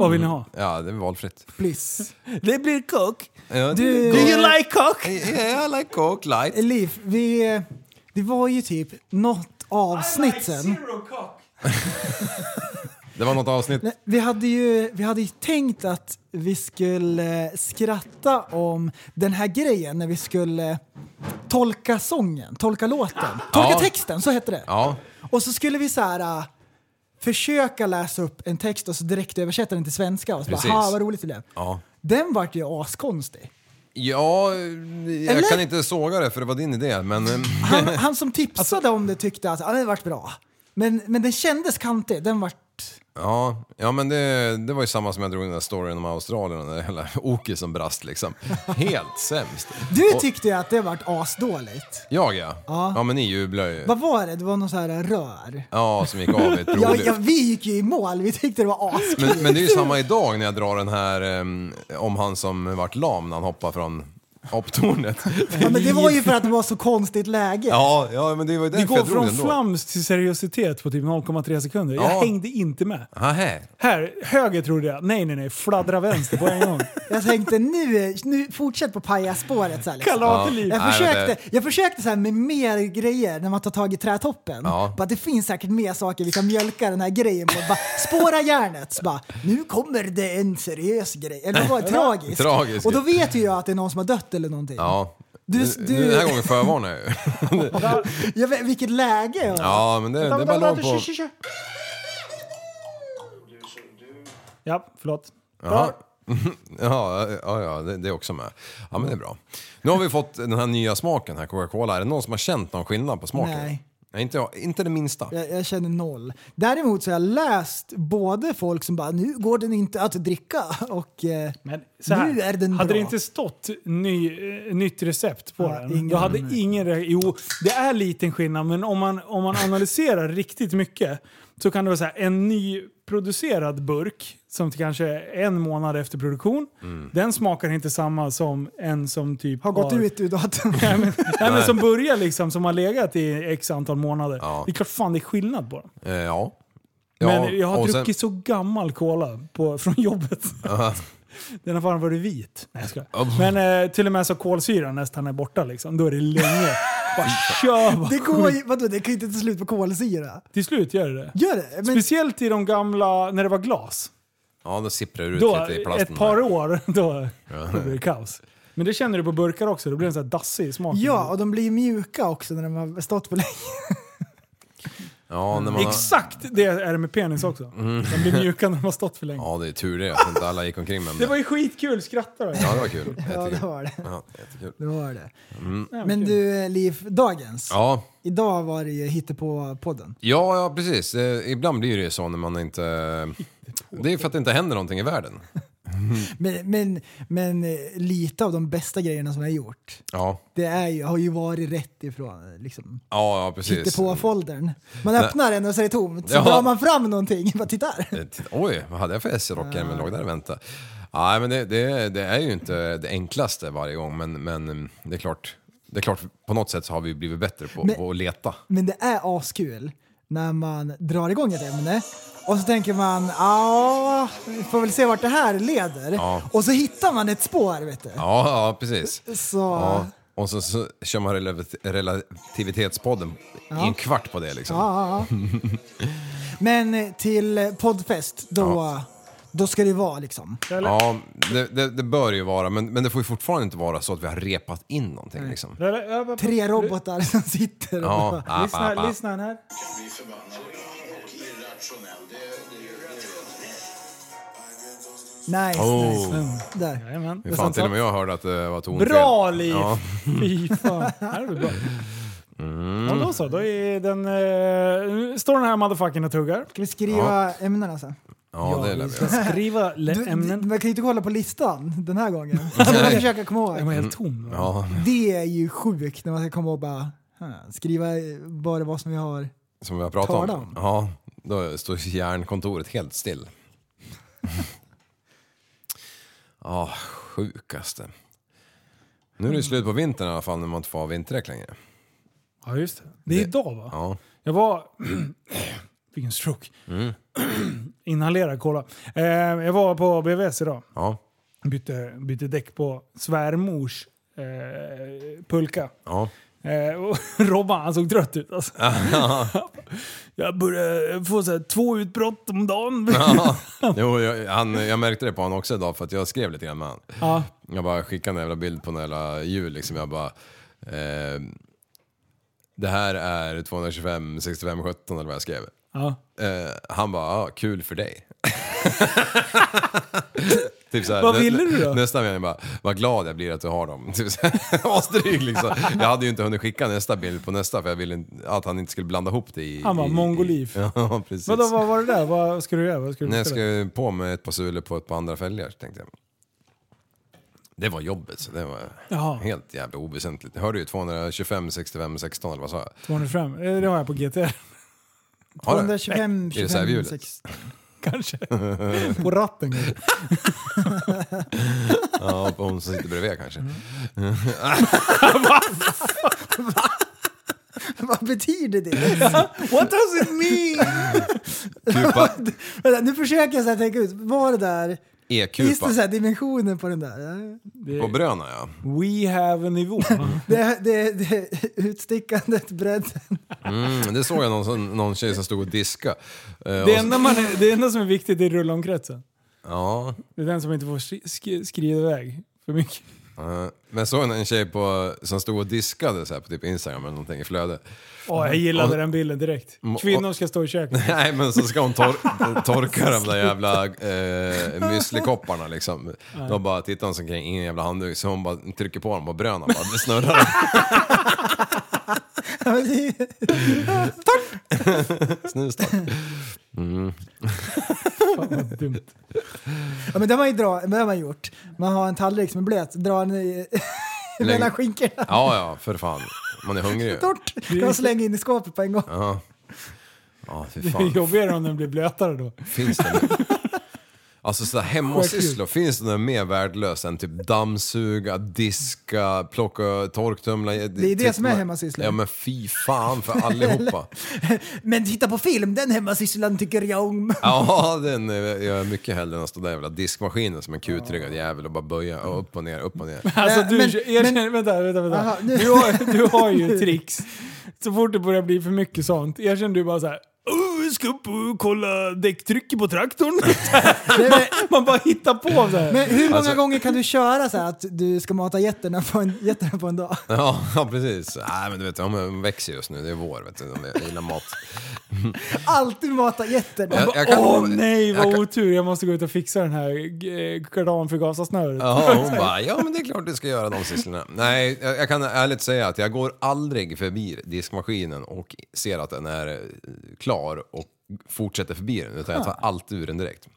Speaker 3: Vad vill ni ha?
Speaker 2: Ja, det är valfritt.
Speaker 8: Please.
Speaker 3: *laughs* Det blir kock.
Speaker 2: Ja,
Speaker 8: Du-
Speaker 3: Do you like cock?
Speaker 2: Yeah, I like coke light.
Speaker 8: Liv, vi, det var ju typ något avsnitt sen.
Speaker 2: Det var något avsnitt.
Speaker 8: Nej, Vi hade, ju, vi hade ju tänkt att vi skulle eh, skratta om den här grejen när vi skulle eh, tolka sången, tolka låten, tolka
Speaker 2: Ja.
Speaker 8: texten, så hette det.
Speaker 2: Ja,
Speaker 8: Och så skulle vi så här äh, försöka läsa upp en text och så direkt översätta den till svenska och så
Speaker 2: Precis.
Speaker 8: bara ha vad roligt det blev.
Speaker 2: Ja.
Speaker 8: Den vart ju askonstig.
Speaker 2: ja jag
Speaker 8: Eller?
Speaker 2: kan inte såga det för det var din idé, men... eh,
Speaker 8: Han, han som tipsade om det tyckte att ah, det vart bra. Men, men den kändes kantig, den vart...
Speaker 2: Ja, ja men det, det var ju samma som jag drog den där storyn om Australien och den där *laughs* hela oket som brast liksom.
Speaker 8: *laughs*
Speaker 2: Helt sämst.
Speaker 8: Du
Speaker 2: Och-
Speaker 8: tyckte ju att det vart asdåligt.
Speaker 2: Jag ja. ja. men ni jublar ju.
Speaker 8: Vad var det? Det var någon så här rör.
Speaker 2: Ja, som gick av i ett
Speaker 8: *laughs* Ja,
Speaker 2: provlyft.
Speaker 8: ja, vi gick ju i mål, vi tyckte det var askul.
Speaker 2: Men, men det är ju samma idag när jag drar den här ehm, om han som vart lam när han hoppade från
Speaker 8: *laughs*
Speaker 2: hopptornet.
Speaker 8: Ja, men det var ju för att det var så konstigt läge.
Speaker 2: Ja, ja men det var ju
Speaker 3: Det
Speaker 2: därför
Speaker 3: går
Speaker 2: jag drog
Speaker 3: från
Speaker 2: den då.
Speaker 3: flams till seriositet på typ 0,3 sekunder. Jag
Speaker 2: Ja.
Speaker 3: hängde inte med.
Speaker 2: Nähä.
Speaker 3: Här, höger trodde jag. Nej, nej, nej. Fladdra vänster på en
Speaker 8: *laughs*
Speaker 3: gång.
Speaker 8: Jag tänkte nu, nu fortsätt på pajaspåret. Så här, liksom.
Speaker 3: Kalateliv.
Speaker 8: Jag
Speaker 2: Nej,
Speaker 8: försökte,
Speaker 2: men
Speaker 8: jag försökte så här med mer grejer när man tar tag i trätoppen.
Speaker 2: Ja.
Speaker 8: Bara, det finns säkert mer saker vi kan mjölka den här grejen på. Bara, spåra järnet. Så Bara, nu kommer det en seriös grej. Eller vad var det? Tragisk.
Speaker 2: Tragisk.
Speaker 8: Och då vet ju jag att det är någon som har dött eller någonting.
Speaker 2: Ja.
Speaker 8: Du-
Speaker 2: Nu-
Speaker 8: du-
Speaker 2: Den här gången förvarnar jag ju.
Speaker 8: *laughs* Jag vet, vilket läge! jag har.
Speaker 2: Ja, men det, det är bara låg på...
Speaker 3: Ja, förlåt.
Speaker 2: Ja, ja, ja, ja det, det är också med. Ja, men det är bra. Nu har vi fått den här nya smaken här, Coca-Cola. Är det någon som har känt någon skillnad på smaken?
Speaker 8: Nej.
Speaker 2: Nej, inte, jag. inte det minsta.
Speaker 8: Jag, jag känner noll. Däremot så har jag läst både folk som bara nu går den inte att dricka och eh,
Speaker 3: Men så här,
Speaker 8: nu är den
Speaker 3: hade
Speaker 8: bra.
Speaker 3: det inte stått ny, eh, nytt recept på
Speaker 8: Ja,
Speaker 3: den,
Speaker 8: ingen-
Speaker 3: då hade ingen re- Jo, det är liten skillnad, men om man, om man analyserar *laughs* riktigt mycket så kan det vara så här, en nyproducerad burk som till kanske är en månad efter produktion, den smakar inte samma som en som typ
Speaker 8: har gått ut ur datorn.
Speaker 3: *laughs* Nej, men, nej, men som börjar liksom, som har legat i x antal månader. Det är klart fan det är skillnad på dem.
Speaker 2: Eh, ja.
Speaker 3: Men jag har
Speaker 2: och sen-
Speaker 3: druckit så gammal cola på, *laughs* från jobbet. Den har fan varit vit. Nej, jag skojar. Men eh, till och med så kolsyran nästan är borta liksom. Då är det länge. Bara kör bara.
Speaker 8: Det går ju, vadå, det kan ju inte ta slut på kolsyra.
Speaker 3: Till slut gör det det.
Speaker 8: Gör det? Men,
Speaker 3: Speciellt i de gamla, när det var glas.
Speaker 2: Ja, då sipprar det ut
Speaker 3: Då,
Speaker 2: lite i plasten.
Speaker 3: ett par
Speaker 2: där.
Speaker 3: år, *laughs* då, då blir det kaos. Men det känner du på burkar också, då blir den så här dassig i smaken.
Speaker 8: ja, och de blir ju mjuka också när de har stått på länge.
Speaker 2: Ja, när man har...
Speaker 3: Exakt det är det med penis också. Mm. De blir mjuka när de har stått för länge.
Speaker 2: Ja, det är tur det att inte alla gick omkring med
Speaker 3: Det
Speaker 2: det.
Speaker 3: var ju skitkul, skrattar du?
Speaker 2: Ja, det var kul.
Speaker 8: *laughs* Ja, det
Speaker 2: Jättekul.
Speaker 8: var det.
Speaker 2: Ja, jättekul.
Speaker 8: det, var det. Men du, Liv, dagens.
Speaker 2: Ja,
Speaker 8: Idag var det ju hittepå-podden.
Speaker 2: ja, ja precis. Eh, ibland blir det ju så när man inte... Det är för att det inte händer någonting i världen.
Speaker 8: Men, men, men eh, lite av de bästa grejerna som jag har gjort,
Speaker 2: Ja,
Speaker 8: det är ju, har ju varit rätt ifrån eh, liksom,
Speaker 2: ja, ja precis.
Speaker 8: hittepå-foldern. Man öppnar den och så är det tomt. Så
Speaker 2: Ja.
Speaker 8: drar man fram någonting. *laughs* Bara, titta här!
Speaker 2: Eh, titta, Oj, vad hade jag för S-rock i ärmen? Låg där och väntade. Nej, men det, det, det är ju inte det enklaste varje gång, men, men mm, det är klart. Det är klart, på något sätt så har vi blivit bättre på,
Speaker 8: Men-
Speaker 2: på att leta.
Speaker 8: Men det är askul när man drar igång ett ämne och så tänker man ja, vi får väl se vart det här leder.
Speaker 2: Ja.
Speaker 8: Och så hittar man ett spår vet du.
Speaker 2: Ja, ja precis.
Speaker 8: Så
Speaker 2: Ja.
Speaker 8: ja.
Speaker 2: Och så, så kör man relati- relativitetspodden i en kvart på det liksom.
Speaker 8: Ja, ja. Men eh, till eh, poddfest, då, då ska det vara liksom.
Speaker 2: Ja, det, det, det bör ju vara, men, men det får ju fortfarande inte vara så att vi har repat in någonting liksom.
Speaker 8: Tre robotar som sitter och...
Speaker 2: Ja,
Speaker 8: Ja.
Speaker 2: app, app, app.
Speaker 3: Lyssna här.
Speaker 8: Nice,
Speaker 2: Oh.
Speaker 8: nice. Där.
Speaker 3: Jajamän.
Speaker 2: Hur fan, till och med jag hörde att det var tonfel.
Speaker 3: Bra liv!
Speaker 2: *laughs* Ja.
Speaker 3: Fy fan. Här är det bra.
Speaker 2: Mm.
Speaker 3: Ja, då så. Då är den, eh, nu står den här motherfuckern och tuggar.
Speaker 8: Ska vi skriva ämnena sen?
Speaker 2: Ja, det lär vi
Speaker 3: ska
Speaker 2: göra. *laughs*
Speaker 3: skriva le-
Speaker 8: Du, du,
Speaker 3: ämnen.
Speaker 8: man kan ju inte kolla på listan den här gången. Man kan försöka komma
Speaker 3: Den
Speaker 8: ihåg.
Speaker 3: var helt tom. va?
Speaker 2: Mm. Ja,
Speaker 8: Det är ju sjukt när man ska komma och bara huh, skriva eh, bara vad som vi har.
Speaker 2: som vi har pratat
Speaker 8: Tala
Speaker 2: om.
Speaker 8: om.
Speaker 2: Ja, då står järnkontoret helt still. *laughs* Ja, sjukaste. Nu är det ju slut på vintern i alla fall när man inte får ha vinterdäck längre.
Speaker 3: Ja, just det. Det är
Speaker 2: Det-
Speaker 3: idag va?
Speaker 2: Ja.
Speaker 3: Jag var... *clears throat* Fick en stroke.
Speaker 2: Mm.
Speaker 3: *clears throat* Inhalerad kolla. Eh, jag var på BVS idag.
Speaker 2: Ja,
Speaker 3: Bytte, bytte däck på svärmors eh, pulka.
Speaker 2: ja. *laughs*
Speaker 3: Eh, och *laughs* Robban han såg trött ut alltså. jag börjar få så här, två utbrott om dagen.
Speaker 2: ja. Jo, jag, han, jag märkte det på honom också idag för att jag skrev lite grann med honom.
Speaker 3: *laughs* Ja.
Speaker 2: Jag bara skickade en jävla bild på en jävla jul liksom. Jag bara... Eh, det här är 225, 65, 17 eller vad jag skrev.
Speaker 3: Ja.
Speaker 2: Eh, han bara, ah, kul
Speaker 3: *laughs*
Speaker 2: för dig. typ så här,
Speaker 3: Vad
Speaker 2: nä-
Speaker 3: ville du då?
Speaker 2: Nästa mening bara, vad glad jag blir att du har dem. *laughs* Typ så här, asdryg liksom. Jag hade ju inte hunnit skicka nästa bild på nästa för jag ville inte- att han inte skulle blanda ihop det i...
Speaker 3: Han bara,
Speaker 2: i-
Speaker 3: mongoliv.
Speaker 2: i- *laughs* Ja, precis.
Speaker 3: Vadå, vad var det där? Vad ska du göra? Vad ska du
Speaker 2: Nej, jag
Speaker 3: spela?
Speaker 2: skrev på med ett par sulor på ett par andra fälgar, tänkte jag. Det var jobbet, så det var
Speaker 3: Jaha.
Speaker 2: helt jävla oväsentligt. Jag hörde ju 225, 65, 16 eller vad sa jag?
Speaker 3: 205? Eh, Det har jag på GTR
Speaker 2: Har du?
Speaker 8: 125,
Speaker 2: Är det så här vid
Speaker 8: 25,
Speaker 2: hjulet?
Speaker 8: 6.
Speaker 3: *laughs*
Speaker 2: *laughs*
Speaker 3: kanske. på ratten kanske.
Speaker 2: Ja, på hon som sitter bredvid kanske.
Speaker 8: *laughs*
Speaker 3: Mm.
Speaker 8: Vad betyder det? What does it mean?
Speaker 2: Kupa,
Speaker 3: *laughs*
Speaker 8: Vänta, nu försöker jag så här tänka ut, var det där, finns
Speaker 2: E-kupa.
Speaker 8: det så här dimensionen på den där?
Speaker 2: På Bröna ja.
Speaker 3: We have a nivå.
Speaker 8: Det, det, det utstickandet, bredden.
Speaker 2: Mm, det såg jag någon, som- någon tjej som stod och diska. Eh, och
Speaker 3: Det
Speaker 2: så-
Speaker 3: enda, man är, det enda som är viktigt är rullomkretsen.
Speaker 2: Ja.
Speaker 3: Det är den som inte får skri- skri- skrida iväg för mycket.
Speaker 2: eh, Men såg jag en tjej på, som stod och diskade så här på typ Instagram eller någonting i flödet.
Speaker 3: Åh, jag gillade den bilden direkt. Kvinnor ska stå i köket.
Speaker 2: *laughs* Nej men så ska hon
Speaker 3: *laughs*
Speaker 2: tor- torka de där jävla eh, müslekopparna liksom. Då bara tittar hon
Speaker 3: *laughs*
Speaker 2: sig omkring, ingen jävla handduk, så hon bara trycker på dem och bröna bara snurrar. Snus då.
Speaker 3: Fan vad dumt.
Speaker 8: Ja, men det har man ju dra, men det har man gjort. Man har en tallrik som är blöt, drar den i, mellan skinkorna.
Speaker 2: Ja, ja, för fan. Man är hungrig ju.
Speaker 8: Torrt! Kan man slänga in i skåpet på en gång.
Speaker 2: Ja. Ja, fy
Speaker 3: Det är
Speaker 2: fan.
Speaker 3: *laughs* jobbigare om den blir blötare då.
Speaker 2: Finns det nu?
Speaker 8: *laughs*
Speaker 2: Alltså sådär hemmasysslor, finns det något mer värdelöst än typ dammsuga, diska, plocka, torktumla?
Speaker 8: Det är det som är hemmasysslor.
Speaker 2: Ja men fy fan för
Speaker 8: *laughs*
Speaker 2: allihopa.
Speaker 8: Men titta på film, den hemmasysslan tycker jag om.
Speaker 2: Ja, den eh, gör jag mycket hellre än att stå där jävla diskmaskinen som en kutryggad jävel och bara böja och upp och ner, upp och
Speaker 8: *laughs*
Speaker 2: ner.
Speaker 3: Alltså
Speaker 8: Nej,
Speaker 3: du,
Speaker 8: Eh, men-
Speaker 3: erkänn, vänta, vänta, vänta.
Speaker 8: Aha, nu-
Speaker 3: du, har,
Speaker 8: *laughs*
Speaker 3: du har ju tricks. Så fort det börjar bli för mycket sånt, erkänn du bara så här. Oh, jag ska upp och kolla däcktrycket på traktorn. man, *laughs* man bara hittar på så här.
Speaker 8: Men hur många
Speaker 2: Alltså-
Speaker 8: gånger kan du köra så här att du ska mata getterna på en, getterna på en dag?
Speaker 2: Ja, *laughs* ja precis. Nej men du vet, de växer just nu, det är vår vet du, de gillar mat.
Speaker 8: Alltid mata getterna.
Speaker 2: Jag- jag kan-
Speaker 3: Åh nej vad
Speaker 2: jag kan-
Speaker 3: otur, jag måste gå ut och fixa den här eh, kardanförgasarsnöret.
Speaker 2: Ja, hon bara, ja men det är klart du ska göra de sysslorna. Nej, jag, jag kan ärligt säga att jag går aldrig förbi diskmaskinen och ser att den är eh, klar och fortsätter förbi den, utan jag tar alltid ur den direkt.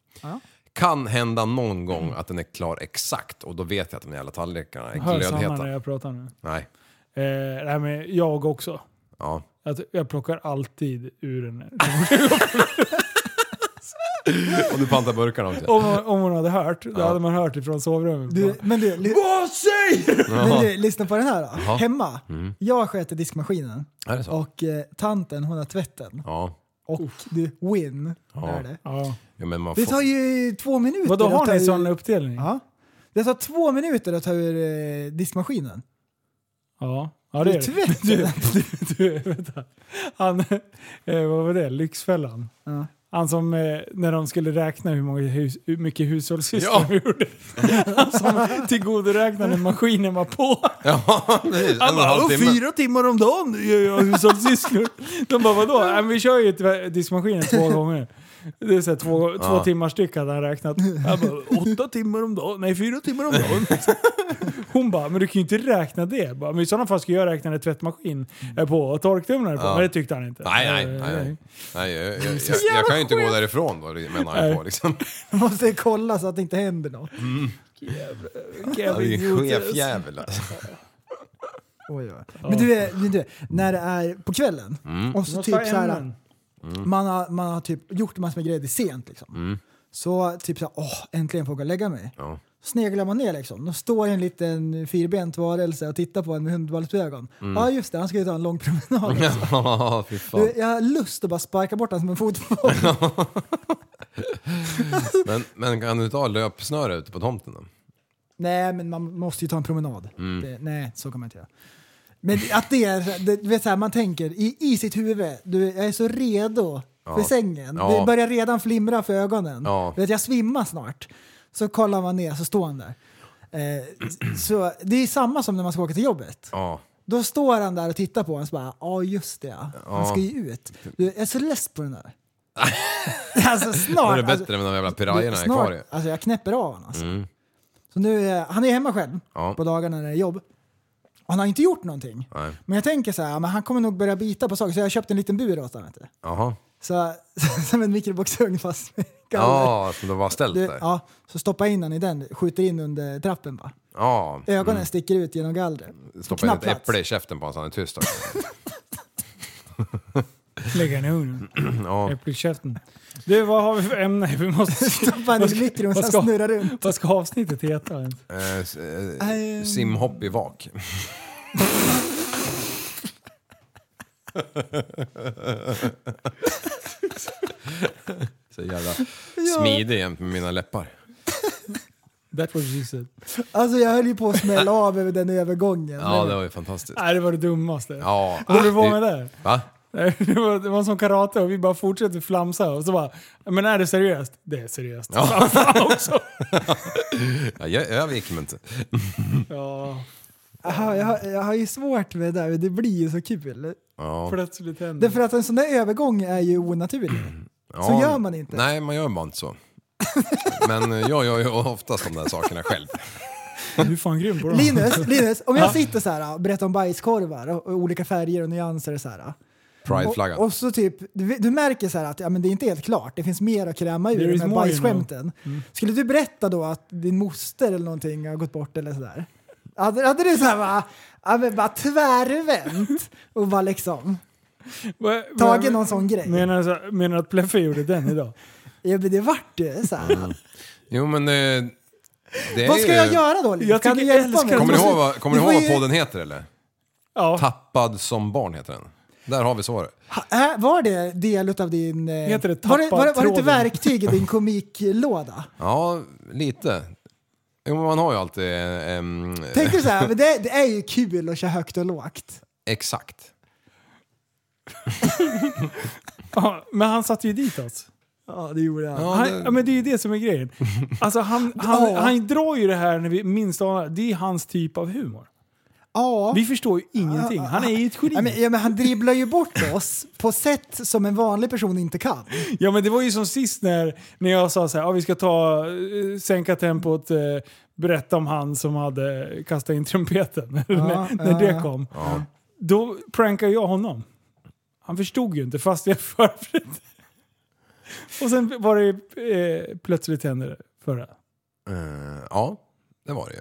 Speaker 2: Kan hända någon gång att den är klar exakt och då vet jag att de jävla tallrikarna är
Speaker 3: Hör samma när
Speaker 2: glödheta.
Speaker 3: jag pratar nu.
Speaker 2: Nej,
Speaker 3: Eh, nej, men jag också.
Speaker 2: ja.
Speaker 3: Att jag plockar alltid ur den.
Speaker 2: Och du pantar burkarna också.
Speaker 3: Om, man- om hon hade hört, då hade man hört det från sovrummet.
Speaker 8: Du, men du, li-
Speaker 3: Vad säger du?
Speaker 8: men du, lyssna på den här då.
Speaker 2: Jaha.
Speaker 8: Hemma,
Speaker 3: Mm.
Speaker 8: jag sköter diskmaskinen
Speaker 2: Är det så?
Speaker 8: och eh, tanten hon har tvätten.
Speaker 2: Ja.
Speaker 8: Och du, win är det.
Speaker 3: Ja.
Speaker 2: ja men man
Speaker 8: Det tar
Speaker 2: får...
Speaker 8: ju två minuter.
Speaker 3: Vadå,
Speaker 8: att
Speaker 3: har
Speaker 8: ta
Speaker 3: ni
Speaker 8: ur-
Speaker 3: sån uppdelning? Ja.
Speaker 8: Ja. Det tar två minuter att ta ur eh, diskmaskinen.
Speaker 3: ja. det är *laughs* det.
Speaker 8: Tvätten.
Speaker 3: Du, du, vänta. Han, eh, vad var det? Lyxfällan.
Speaker 8: Ja.
Speaker 3: Han som, eh, när de skulle räkna hur, många hus, hur mycket hushållssysslor
Speaker 2: Ja.
Speaker 3: de gjorde. *laughs* Han som tillgodoräknade när maskinen var på.
Speaker 2: *laughs* Ja, precis. En och en halv timme.
Speaker 3: timmar om dagen gör jag hushållssysslor. De bara vadå? Nej, men vi kör ju tv- diskmaskinen
Speaker 8: *laughs*
Speaker 3: två gånger. Det är så här, två, två timmar styck hade han räknat. Han bara, åtta timmar om dagen? Nej, fyra timmar om dagen. *laughs* Hon bara, men du kan ju inte räkna det. Jag Bara, men i sådana fall ska jag räkna när tvättmaskin är på och torktumlaren är på.
Speaker 2: Mm. Ja.
Speaker 3: Men det tyckte han inte.
Speaker 2: Nej, nej, nej. nej. nej jag, jag, jag, jag kan ju inte gå därifrån då, menar jag på liksom.
Speaker 8: Man måste kolla så att det inte händer något.
Speaker 3: Mm. Eh,
Speaker 2: Ja, det är en chefjävel alltså.
Speaker 8: Oj, oj. Men du, är- men du, när det är på kvällen
Speaker 3: Mm.
Speaker 8: och så typ så här, man, har, man har typ gjort massor med grejer, det är sent liksom. Så typ så här, åh, äntligen får jag gå och lägga mig.
Speaker 2: Ja.
Speaker 8: Sneglar man ner liksom, då står en liten fyrbent varelse och tittar på en med hundvalpsögon. Ja just det, han ska ju ta en lång promenad.
Speaker 2: *laughs* Ja, fy fan.
Speaker 8: Du, jag har lust att bara sparka bort honom som en fotboll.
Speaker 2: Men, men kan du ta löpsnöre ute på tomten då?
Speaker 8: nej, men man måste ju ta en promenad.
Speaker 2: Mm.
Speaker 8: Det, nej, så kan man inte göra. Men att det är, det, du vet så här, man tänker i, i sitt huvud, du, jag är så redo för sängen.
Speaker 2: Ja.
Speaker 8: Det börjar redan flimra för ögonen.
Speaker 2: Ja.
Speaker 8: Du vet, jag svimmar snart. Så kollar man ner så står han där. Eh, så det är samma som när man ska åka till jobbet.
Speaker 2: Ja.
Speaker 8: Då står han där och tittar på en och så bara ja just det, ja. han ska ju ut. Du, jag är så less på den där. *laughs* alltså
Speaker 2: Då
Speaker 8: snart.
Speaker 2: är det
Speaker 8: alltså-
Speaker 2: bättre än de jävla pirajerna
Speaker 8: det-
Speaker 2: är
Speaker 8: snart-
Speaker 2: kvar i.
Speaker 8: Alltså jag knäpper av honom. Alltså. Så nu, är- han är hemma själv
Speaker 2: Ja.
Speaker 8: på dagarna när det är jobb. Och han har inte gjort någonting.
Speaker 2: Nej.
Speaker 8: Men jag tänker så här, ja, men han kommer nog börja bita på saker. Så jag har köpt en liten bur åt honom. vet du.
Speaker 2: Jaha.
Speaker 8: Så, *laughs* som en mikroboxugn fast med galler.
Speaker 2: Ja, som de var ställt
Speaker 8: Du,
Speaker 2: där.
Speaker 8: ja, så stoppa in den i den, skjuter in under trappen bara.
Speaker 2: Ja.
Speaker 8: Ögonen sticker ut genom gallret.
Speaker 2: Mm. Stoppa in ett
Speaker 8: knappt plats.
Speaker 2: äpple i käften på honom så han är tyst också.
Speaker 3: Lägga ner
Speaker 2: Mm.
Speaker 3: ugnen.
Speaker 2: *laughs* Ja.
Speaker 3: Äpple i käften. Du, vad har vi för ämne? Vi måste...
Speaker 8: *laughs* Stoppa in
Speaker 3: Vad
Speaker 8: i
Speaker 3: ska-
Speaker 8: mikron så
Speaker 3: vad
Speaker 8: han
Speaker 3: ska-
Speaker 8: snurrar runt.
Speaker 3: Vad ska avsnittet heta ens?
Speaker 2: Eh, s- eh, Simhopp i *laughs* vak. Så jävla smidig jämt med mina läppar.
Speaker 3: That was you said.
Speaker 8: Alltså jag höll ju på att smälla av över den övergången.
Speaker 2: Ja, det var ju fantastiskt.
Speaker 3: Nej, det var det dummaste.
Speaker 2: Ja.
Speaker 3: Kommer du vara med där?
Speaker 2: Va?
Speaker 3: Nej, *laughs* Det var, det var som karate och vi bara fortsätter flamsa och så bara “Men är det seriöst?” Det är seriöst. Ja.
Speaker 2: Ja.
Speaker 3: Fan *laughs*
Speaker 2: *laughs*
Speaker 3: också.
Speaker 2: Ja, jag övergick mig inte.
Speaker 3: Ja,
Speaker 8: Aha, jag, har- jag har ju svårt med det där, men det blir ju så kul.
Speaker 2: Ja.
Speaker 3: plötsligt händer
Speaker 8: Därför att en sån där övergång är ju onaturlig. Så
Speaker 2: Ja,
Speaker 8: gör man inte. *laughs*
Speaker 2: eh, Nej, man gör bara inte så. Men jag gör ju oftast de där sakerna själv.
Speaker 3: Du är fan grym på dem. *laughs*
Speaker 8: Linus, Linus, om jag sitter så här och berättar om bajskorvar och, och olika färger och nyanser och så här.
Speaker 2: Prideflaggan.
Speaker 8: Och, och så typ, du, du märker så här att ja, men det är inte helt klart, det finns mer att kräma ur
Speaker 3: There
Speaker 8: de
Speaker 3: is
Speaker 8: här
Speaker 3: more, you know. Mm.
Speaker 8: bajsskämten. Skulle du berätta då att din moster eller någonting har gått bort eller sådär? Hade, hade du så här bara, ja, men bara tvärvänt och bara liksom
Speaker 3: Va-
Speaker 8: tagit
Speaker 3: va-
Speaker 8: någon sån grej? Men,
Speaker 3: Menar du menar du att Pleffe gjorde den
Speaker 2: *laughs*
Speaker 3: idag?
Speaker 8: ja, men det vart det så här.
Speaker 3: Mm.
Speaker 2: Jo men... eh, Det är
Speaker 8: Vad ska
Speaker 2: ju-
Speaker 8: jag göra då? Linus?
Speaker 3: Jag
Speaker 8: kan du
Speaker 3: tycker-
Speaker 8: hjälpa
Speaker 3: älskar-
Speaker 8: mig?
Speaker 2: Kommer ni
Speaker 8: Du
Speaker 2: ihåg,
Speaker 8: måste-
Speaker 2: vad- kommer ni
Speaker 8: du
Speaker 2: ihåg
Speaker 8: får
Speaker 2: vad
Speaker 8: ju-
Speaker 2: podden heter eller?
Speaker 3: Ja.
Speaker 2: Tappad som barn heter den. Där har vi svaret.
Speaker 8: Ha- äh, var det del av din... eh,
Speaker 3: Heter det
Speaker 8: var, det, var, det, var det inte
Speaker 3: tappad tråden?
Speaker 8: verktyg i din komiklåda?
Speaker 2: Ja, lite. Jo men man har ju alltid... eh, em,
Speaker 8: Tänk dig så här, men det, det är ju kul att köra högt och lågt.
Speaker 2: Exakt.
Speaker 3: Ja, men han satte ju dit oss.
Speaker 8: Ja, det gjorde jag.
Speaker 2: Ja,
Speaker 3: Han, ja,
Speaker 2: det,
Speaker 3: men det är ju det som är
Speaker 2: *laughs*
Speaker 3: grejen. Alltså han, han, han drar ju det här när vi minst anar. Det är hans typ av humor.
Speaker 8: Ja.
Speaker 3: Vi förstår ju ingenting. Han är ju ett
Speaker 8: Ja, men,
Speaker 3: geni.
Speaker 8: ja, men han dribblar ju bort oss på sätt som en vanlig person inte kan.
Speaker 3: Ja men det var ju som sist när, när jag sa så här, ja, vi ska ta, eh, sänka tempot, eh, berätta om han som hade kastat in trumpeten. *laughs* när när
Speaker 8: ja,
Speaker 3: det
Speaker 8: ja.
Speaker 3: kom. Då prankade jag honom. Han förstod ju inte fast jag *laughs* förberedde. Och sen var det ju, eh, plötsligt hände det förra.
Speaker 2: eh, ja, det var det ju.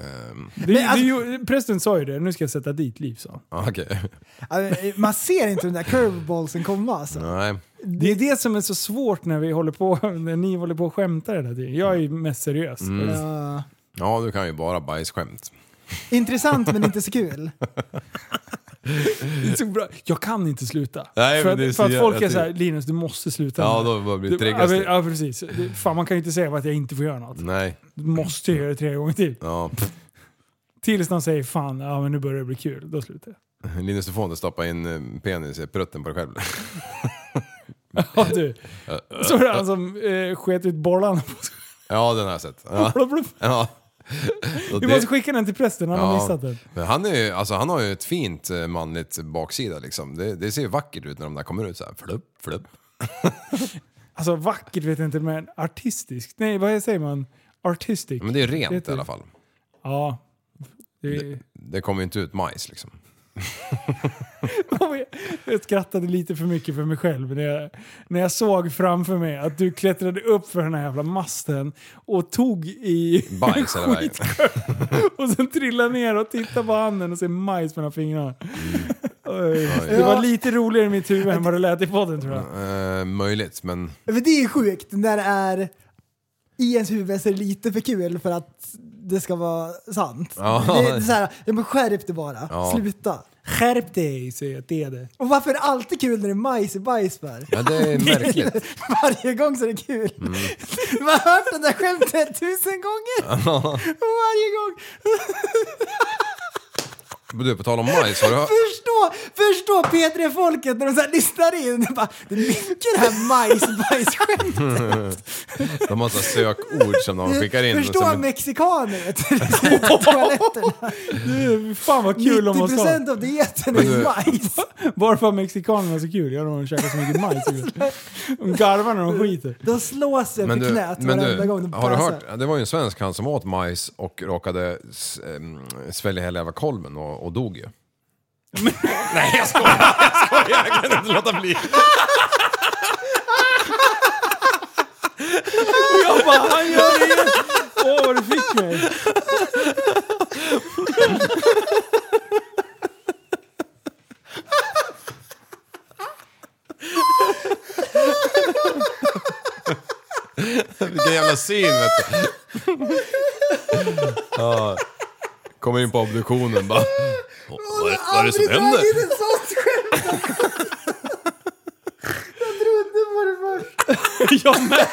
Speaker 2: Ehm,
Speaker 3: Det, det,
Speaker 8: alltså-
Speaker 3: ju- prästen sa ju det, nu ska jag sätta dit Liv sa han.
Speaker 2: ja, Okej. *laughs*
Speaker 8: Ja, men, Man ser inte den där curveballsen komma alltså.
Speaker 2: Nej.
Speaker 3: Det är det som är så svårt när vi håller på, när ni håller på och skämtar hela tiden. Jag är ju mest seriös.
Speaker 8: Ja.
Speaker 2: Ja, du kan ju bara bajsskämt.
Speaker 8: Intressant men inte så kul.
Speaker 3: Det är så bra. Jag kan inte sluta.
Speaker 2: Nej,
Speaker 3: för
Speaker 2: men
Speaker 3: att,
Speaker 2: det är så
Speaker 3: för att folk
Speaker 2: jävla
Speaker 3: är såhär, Linus du måste sluta.
Speaker 2: Ja,
Speaker 3: med det."
Speaker 2: då bara blir det
Speaker 3: Du- ja,
Speaker 2: triggas typ.
Speaker 3: men-
Speaker 2: det.
Speaker 3: Ja, precis. Det- Fan, man kan ju inte säga att jag inte får göra något.
Speaker 2: Nej.
Speaker 3: Du måste göra det tre gånger till.
Speaker 2: Ja. *laughs* pff.
Speaker 3: Tills någon säger fan, ja men nu börjar det bli kul. Då slutar jag.
Speaker 2: Linus, du får inte stoppa in eh, penis i prutten på dig själv. *laughs*
Speaker 3: Ja, du. Så var det han som eh, sket ut bollarna på sig.
Speaker 2: Ja, den har jag sett.
Speaker 3: *laughs*
Speaker 2: Ja.
Speaker 3: Blubb,
Speaker 2: *laughs*
Speaker 3: blubb.
Speaker 2: Ja. Och
Speaker 3: Vi
Speaker 2: det-
Speaker 3: måste skicka den till prästen, han har
Speaker 2: Ja.
Speaker 3: missat den.
Speaker 2: Men han, är ju, alltså, han har ju ett fint eh, manligt baksida liksom. Det, det ser ju vackert ut när de där kommer ut så här. Flupp, flupp.
Speaker 3: Alltså vackert vet jag inte, men artistiskt. Nej, vad säger man? Artistic.
Speaker 2: Men det är rent
Speaker 3: Det är
Speaker 2: i alla fall.
Speaker 3: Ja. Det,
Speaker 2: Det kommer ju inte ut majs liksom.
Speaker 3: Jag skrattade lite för mycket för mig själv när jag, när jag såg framför mig att du klättrade upp för den här jävla masten och tog i *laughs*
Speaker 2: Bajs hela vägen.
Speaker 3: och sen trillade ner och tittade på handen och ser majs mellan fingrarna. Oj. Det var lite roligare i mitt huvud än vad det lät i podden tror jag.
Speaker 2: Eh, möjligt, men
Speaker 8: Men det är ju sjukt när det är i ens huvud så är det lite för kul för att det ska vara sant.
Speaker 2: Ja.
Speaker 8: Det är så här, ja, men skärp dig bara.
Speaker 2: Ja.
Speaker 8: Sluta.
Speaker 3: Skärp dig säger jag till dig.
Speaker 8: Och varför är det alltid kul när det är majs i bajs för?
Speaker 2: ja, det är
Speaker 8: *laughs*
Speaker 2: märkligt. Mm.
Speaker 8: Varje gång så är det kul. *laughs* Man har hört det där skämtet *laughs* tusen gånger. Och *laughs* Varje gång.
Speaker 2: Du, på tal om majs, har du hört?
Speaker 8: Förstå, förstå P3-folket när de så här lyssnar in. Det är, bara, det är mycket det här
Speaker 2: *laughs*
Speaker 8: majs-bajs-skämtet.
Speaker 2: De har så här sökord som
Speaker 8: *laughs*
Speaker 2: de skickar in.
Speaker 8: Förstå
Speaker 2: som-
Speaker 8: mexikaner *laughs* vet
Speaker 2: *laughs*
Speaker 8: du, på toaletterna.
Speaker 3: Du, fan vad kul om man sa.
Speaker 8: 90% av dieten är
Speaker 2: du- *laughs*
Speaker 8: majs.
Speaker 3: Varför har mexikanerna så kul? Ja, de käkar så mycket majs. De garvar när de skiter.
Speaker 8: De slås sig på
Speaker 2: Men du,
Speaker 8: knät
Speaker 2: men
Speaker 8: varenda
Speaker 2: du
Speaker 8: gång de
Speaker 2: har du
Speaker 8: bajsar.
Speaker 2: hört? Det var ju en svensk han som åt majs och råkade s- ehm, svälja hela jävla kolven och, och dog ju. *laughs* Nej jag skojar, jag skojar, jag kan inte låta bli.
Speaker 3: Jag bara, han gör det igen! Åh, vad du fick mig!
Speaker 2: Vilken jävla syn vet du. Ja. Kommer in på obduktionen bara. Vad är, vad är det som
Speaker 8: Aldrig
Speaker 2: händer?
Speaker 8: dragit ett sånt skämt! Jag trodde på det
Speaker 3: *laughs*
Speaker 8: först.
Speaker 3: Jag med!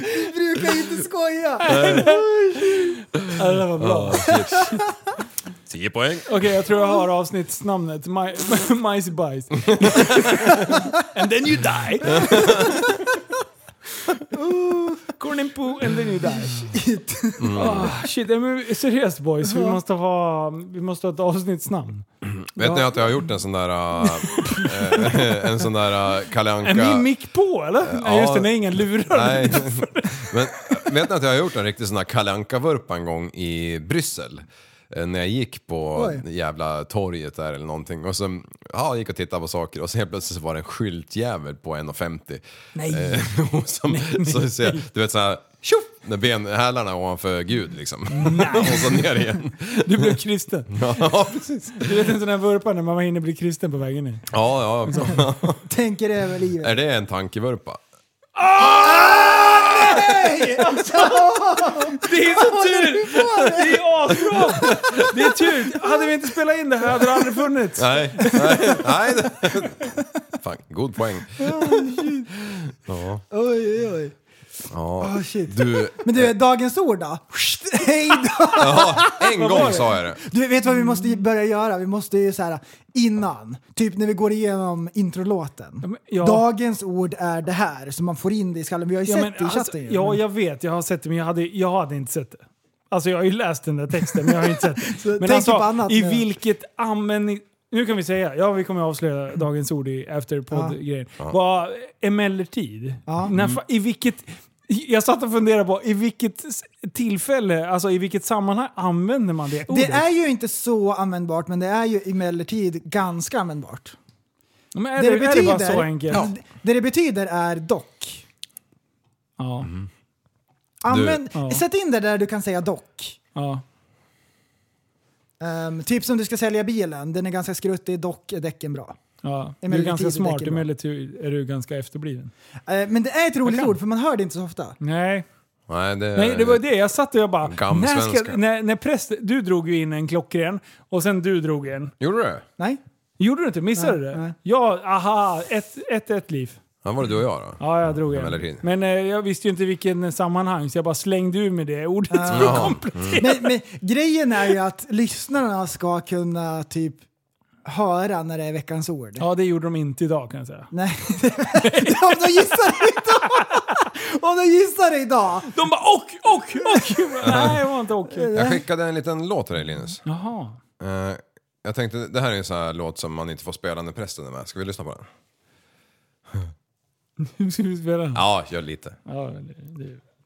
Speaker 8: Vi brukar ju inte skoja.
Speaker 3: Ja, det där var bra.
Speaker 2: Tio poäng.
Speaker 3: Okej, jag tror jag *laughs* har avsnittsnamnet. *laughs* Maj- Majs i *laughs* bajs. and then you *laughs* die! Ooh, Corn and poo and then you die. Shit. Ah, shit, nej, men seriöst boys, vi måste, ha, vi måste ha ett avsnittsnamn.
Speaker 2: Vet ni att jag har gjort en sån där... äh, *laughs* eh, en sån där äh, Kalle Anka...
Speaker 3: Är min mick på eller? Nej just det, nej ingen lurar.
Speaker 2: Nej. Men äh, vet ni att jag har gjort en riktig sån där Kalle Anka-vurpa en gång i Bryssel? Eh, När jag gick på
Speaker 8: Oj.
Speaker 2: jävla torget där eller någonting och så ja, jag gick och tittade på saker och så helt plötsligt så var det en skyltjävel på 1,50.
Speaker 8: Nej.
Speaker 2: Eh, *laughs* och som, så, så, jag- du vet såhär, tjoff! När benhälarna ovanför Gud liksom. *laughs* och så ner igen.
Speaker 3: Du blev kristen.
Speaker 2: ja, precis.
Speaker 3: Du vet en sån där vurpa när man hinner bli kristen på vägen in.
Speaker 2: Ja, ja.
Speaker 8: *laughs* Tänker över livet.
Speaker 2: Är det en tankevurpa?
Speaker 3: Det är så tur! Det är asbra! Det är tur! Hade vi inte spelat in det här hade det aldrig funnits.
Speaker 2: Nej, nej, nej. *laughs* Fan, god poäng.
Speaker 8: Oj, oj, oj.
Speaker 2: Ja.
Speaker 8: Oh, shit.
Speaker 2: Du,
Speaker 8: Men du, dagens ord då? Hej då!
Speaker 2: ja, en gång sa jag det.
Speaker 8: Du vet vad vi måste börja göra? Vi måste ju så här innan, typ när vi går igenom introlåten.
Speaker 3: men, ja.
Speaker 8: Dagens ord är det här, så man får in det i skallen. Vi har ju
Speaker 3: Ja,
Speaker 8: sett
Speaker 3: men
Speaker 8: det i
Speaker 3: alltså,
Speaker 8: chatten ju.
Speaker 3: ja,
Speaker 8: Men-
Speaker 3: jag vet. Jag har sett det, men jag hade, jag hade inte sett det. Alltså jag har ju läst den där texten, men jag har inte sett
Speaker 8: *laughs*
Speaker 3: det. men
Speaker 8: tänk
Speaker 3: alltså,
Speaker 8: på annat
Speaker 3: i
Speaker 8: nu.
Speaker 3: vilket användning... Nu kan vi säga, ja vi kommer att avslöja dagens ord i efterpodd-grejen. Var emellertid.
Speaker 8: Ja.
Speaker 3: När, fa- I vilket... Jag satt och funderade på i vilket s- tillfälle, alltså i vilket sammanhang använder man det ordet?
Speaker 8: Det är ju inte så användbart, men det är ju emellertid ganska användbart.
Speaker 3: men är
Speaker 8: det
Speaker 3: det,
Speaker 8: det
Speaker 3: är det bara
Speaker 8: betyder-
Speaker 3: så enkelt? Ja.
Speaker 8: Det det betyder är dock.
Speaker 3: Ja.
Speaker 8: Använd,
Speaker 3: ja.
Speaker 8: Sätt in det där du kan säga dock. Ehm, typ som du ska sälja bilen, den är ganska skruttig, dock är däcken bra.
Speaker 3: Ja. Du är
Speaker 8: Emellertid
Speaker 3: ganska
Speaker 8: är
Speaker 3: smart,
Speaker 8: det bra.
Speaker 3: emellertid är du ganska efterbliven.
Speaker 8: Eh, men det är ett roligt ord, för man hör det inte så ofta.
Speaker 3: Nej,
Speaker 2: Nej, det,
Speaker 3: Nej, det var det. Jag satt och jag bara... När
Speaker 2: Gamsvenska.
Speaker 3: ska, när, när präst, du drog ju in en klockren och sen du drog en.
Speaker 2: Gjorde du det?
Speaker 8: Nej?
Speaker 3: Gjorde du inte? Missade du
Speaker 8: Nej,
Speaker 3: det?
Speaker 8: nej.
Speaker 3: Ja, aha, ett, ett, ett liv.
Speaker 2: Ja, var det du och jag då?
Speaker 3: Ja, jag drog en.
Speaker 2: Emellertid.
Speaker 3: Men eh, jag visste ju inte vilken sammanhang så jag bara slängde ur med det ordet *laughs* för att
Speaker 2: Ja.
Speaker 3: komplettera. *laughs*
Speaker 8: Men, men grejen är ju att lyssnarna ska kunna typ höra när det är veckans ord.
Speaker 3: Ja, det gjorde de inte idag kan jag säga.
Speaker 8: Nej, *laughs* om de gissar det idag! Om de gissar det idag!
Speaker 3: De bara och, och, och! *laughs* Nej, det var inte och.
Speaker 2: Jag skickade en liten låt till dig Linus.
Speaker 3: Jaha. *laughs*
Speaker 2: Eh, jag tänkte, det här är en sån här låt som man inte får spela när prästen är med. Ska vi lyssna på den?
Speaker 3: Nu ska vi spela den.
Speaker 2: Ja, gör lite.
Speaker 3: Ja, det,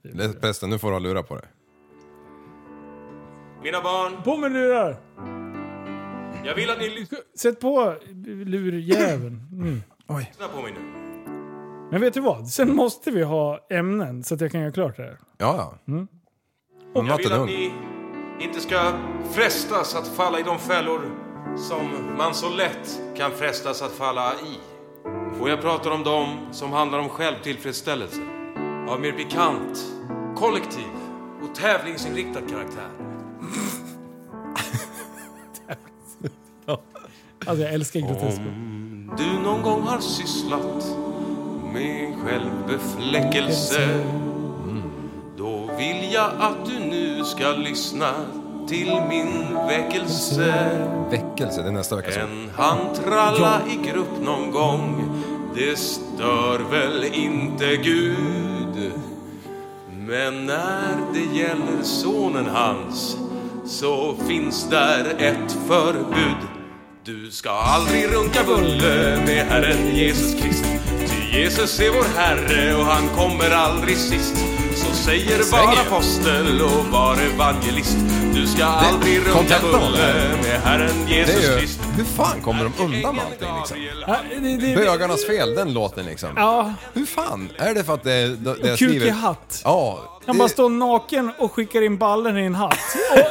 Speaker 3: det.
Speaker 2: Lä- Prästen, nu får du ha lurar på dig.
Speaker 9: Mina barn,
Speaker 3: På med lurar!
Speaker 9: jag vill att ni lyssnar
Speaker 3: Sätt på lurjäveln nu.
Speaker 9: på mig nu.
Speaker 3: Men vet du vad? Sen måste vi ha ämnen så att jag kan göra klart det här.
Speaker 2: Ja, ja. Mm.
Speaker 9: Jag
Speaker 2: Natten
Speaker 9: vill
Speaker 2: är
Speaker 9: att
Speaker 2: ung.
Speaker 9: ni inte ska frestas att falla i de fällor som man så lätt kan frestas att falla i. Och jag pratar om dem som handlar om självtillfredsställelse av mer pikant, kollektiv och tävlingsinriktad karaktär.
Speaker 3: Alltså jag älskar grotesk.
Speaker 9: Du någon gång har sysslat med självbefläckelse Då vill jag att du nu ska lyssna till min väckelse
Speaker 2: Väckelse, det är nästa vecka. Så.
Speaker 9: En handtralla i grupp någon gång Det stör väl inte Gud Men när det gäller sonen hans Så finns där ett förbud Du ska aldrig runka bulle med Herren Jesus Krist Ty Jesus är vår Herre och han kommer aldrig sist Så säger
Speaker 2: Svänger
Speaker 9: var
Speaker 2: ju.
Speaker 9: apostel och var evangelist Du ska aldrig runka
Speaker 2: kontentan av det
Speaker 9: bulle
Speaker 2: här.
Speaker 9: med Herren
Speaker 2: Det
Speaker 9: Jesus
Speaker 2: är ju,
Speaker 9: Krist
Speaker 2: hur fan kommer de undan med allting liksom?
Speaker 3: Ja, Äh, det, det,
Speaker 2: Bögarnas fel, den låten liksom.
Speaker 3: ja,
Speaker 2: Hur fan? Är det för att det, det jag
Speaker 3: kuk
Speaker 2: skriver...
Speaker 3: i hatt.
Speaker 2: Ja.
Speaker 3: Han
Speaker 2: det-
Speaker 3: bara står naken och skickar in ballen i en hatt.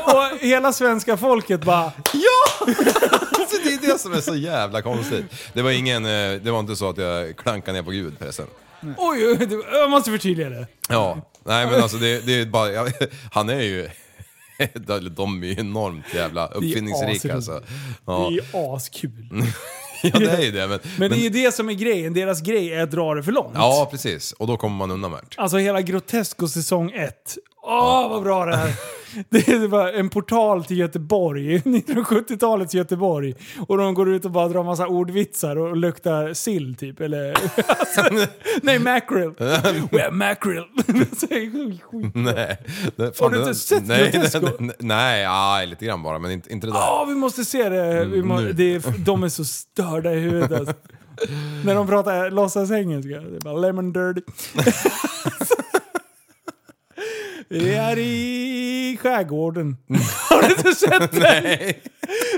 Speaker 3: Och, och hela svenska folket bara...
Speaker 2: Ja! alltså, det är det som är *laughs* så jävla konstigt. Det var ingen, eh, det var inte så att jag klankade ner på Gud förresten.
Speaker 3: Oj, oj, det- jag måste förtydliga det.
Speaker 2: Ja, nej men alltså det, det är bara, jag, *laughs* han är ju, de är ju enormt jävla
Speaker 3: asroligt.
Speaker 2: uppfinningsrika alltså.
Speaker 3: Det är
Speaker 2: Ja,
Speaker 3: ju askul.
Speaker 2: ja, det är ju det. Men,
Speaker 3: Men det är ju det som är grejen. Deras grej är att dra det för långt.
Speaker 2: Ja, precis. Och då kommer man undan med det. *laughs*
Speaker 3: Alltså hela Grotesco säsong ett. Åh, vad bra det här. *laughs* Det är bara en portal till Göteborg, *laughs* 1970-talets Göteborg. Och de går ut och bara drar massa ordvitsar och luktar sill typ. Eller, *laughs* alltså, nej, mackerel. We have mackerel. *laughs* Så det är skit.
Speaker 2: Nej. det-
Speaker 3: Har du
Speaker 2: det-
Speaker 3: inte sett
Speaker 2: nej,
Speaker 3: Grotesco?
Speaker 2: *laughs*
Speaker 3: Ah,
Speaker 2: nej, nej, nej, ja, lite grann bara, men inte, inte det där.
Speaker 3: Ja, vi måste se det. Vi må,
Speaker 2: Mm, nu.
Speaker 3: det är, de är så störda i huvudet. Alltså. När de pratar låtsasengelska. Det är bara lemon
Speaker 2: *laughs*
Speaker 3: dirty. Vi är i skärgården. *laughs* Har du inte sett den?
Speaker 2: Mm. *laughs* Nej.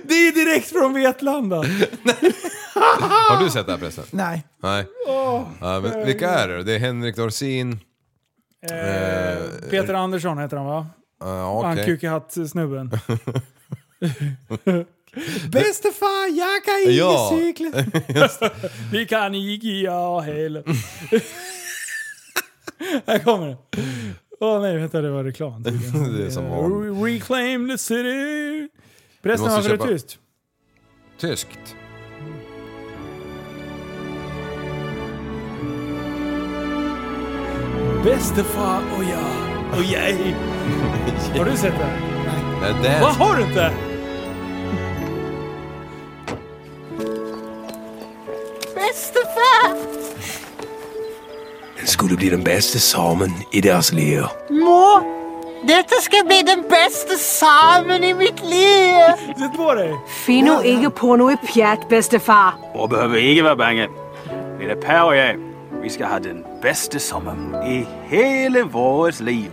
Speaker 3: Det är direkt från Vetlanda.
Speaker 2: Har du sett det här förresten?
Speaker 8: Nej.
Speaker 2: Nej. ja, men, vilka är det? Det är Henrik Dorsin.
Speaker 3: Eh, Peter Andersson heter han va?
Speaker 2: Uh,
Speaker 3: Han
Speaker 2: *laughs*
Speaker 3: kukehatt-snubben. Bäste fan, jag kan inte
Speaker 2: Ja.
Speaker 3: cykla.
Speaker 2: *laughs*
Speaker 3: Vi kan inte jag heller. Här kommer den. Åh nej, vänta det var
Speaker 2: *laughs*
Speaker 3: reklam tydligen.
Speaker 2: Det är som
Speaker 3: Eh,
Speaker 2: vanligt.
Speaker 3: Reclaim the city. Förresten
Speaker 2: Du måste
Speaker 3: varför är det
Speaker 2: köpa-
Speaker 3: tyst?
Speaker 2: Tyskt.
Speaker 3: Bäste fan och jag och
Speaker 2: *laughs*
Speaker 3: jag. Har du sett det?
Speaker 2: Nej, det är-
Speaker 3: Vad har du inte?
Speaker 9: Skulle bli den bästa samen i deras liv.
Speaker 3: Sätt på dig!
Speaker 10: Fino ikke porno i pjat, bedstefar.
Speaker 9: Og behøver ikke være bange. Det er Per og jeg. Vi skal have den bedste sommer i hele vores liv.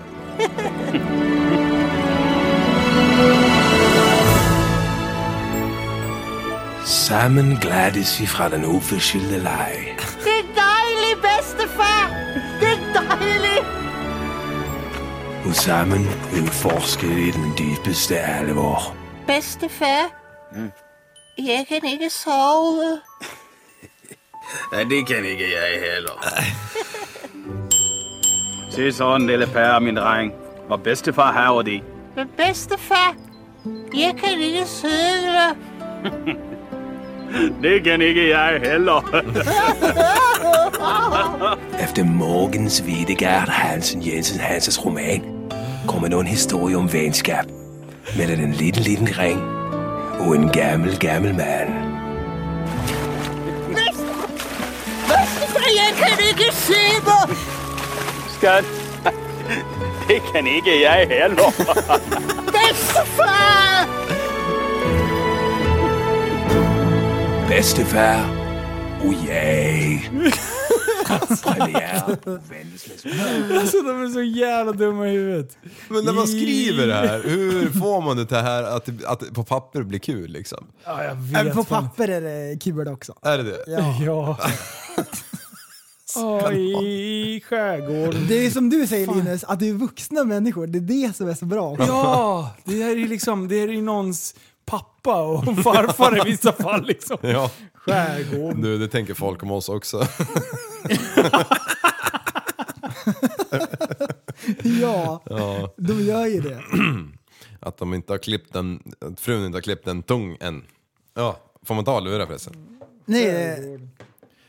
Speaker 9: Sammen glædes vi fra den uforskyldte leje. Det er dejligt, bedstefar! Det er dejligt! Og sammen udforsker vi den dybeste alvor. Mm. *laughs* Nej, det kan ikke jeg heller. *laughs* Se sådan, lille pære, min dreng. Hvor bedstefar har det. Men bedstefar, jeg kan ikke sidde. *laughs* det kan ikke jeg heller. Efter Morgens Hvidegard Hansen Jensen Hansens roman kommer nu en historie om venskab mellem en lille, lille ring og en gammel, gammel mand. Skat, det kan ikke jeg heller. Bedstefar! Bedstefar, oh yeah. Premiere.
Speaker 3: Alltså de är så jävla dumma i huvudet.
Speaker 2: Men när man skriver det här,
Speaker 8: *laughs*
Speaker 2: hur får man det till här att, det- att det på papper blir kul liksom?
Speaker 3: Ja, jag vet
Speaker 8: Även på
Speaker 3: fan.
Speaker 8: papper är det kul också.
Speaker 2: Är det det?
Speaker 8: Ja.
Speaker 3: *laughs* Ja. Åh, i skärgården.
Speaker 8: Det är ju som du säger Linus, att det är vuxna människor. Det är det som är så bra.
Speaker 3: Ja, det här är ju liksom, det här är ju någons pappa och *laughs* farfar i vissa fall liksom.
Speaker 2: Ja.
Speaker 3: Skärgården.
Speaker 2: Du, det tänker folk om oss också. *laughs*
Speaker 8: Ja, de gör ju det.
Speaker 2: Att de inte har klippt den, att frun inte har klippt en tung än. Ja, får man ta lurar förresten?
Speaker 8: Nej, eh,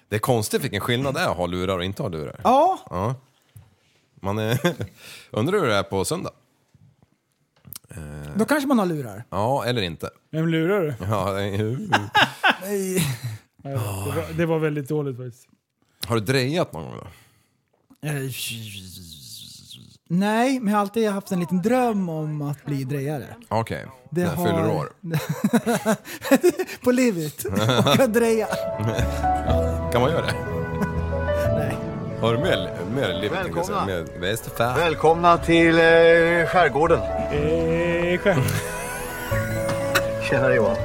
Speaker 2: Det är konstigt vilken skillnad det är att ha lurar och inte ha lurar.
Speaker 8: ja,
Speaker 2: Man är... *laughs* Undrar hur det är på söndag?
Speaker 8: då kanske man har lurar.
Speaker 2: Ja, eller inte.
Speaker 3: Vem lurar du?
Speaker 2: Ja, det är-
Speaker 3: Det var, det var väldigt dåligt faktiskt.
Speaker 2: har du drejat någon gång då?
Speaker 8: Nej, men jag har alltid haft en liten dröm om att bli drejare.
Speaker 2: Okej,
Speaker 8: Det
Speaker 2: när jag
Speaker 8: har-
Speaker 2: fyller år.
Speaker 8: *laughs* På livet. Åka dreja.
Speaker 2: Kan
Speaker 3: *laughs*
Speaker 2: man göra det? Nej. Har du mer, mer liv? Välkomna! Mer västerfärd?
Speaker 9: Välkomna till eh, skärgården.
Speaker 3: Eh, skär- *laughs*
Speaker 9: Tjena Johan.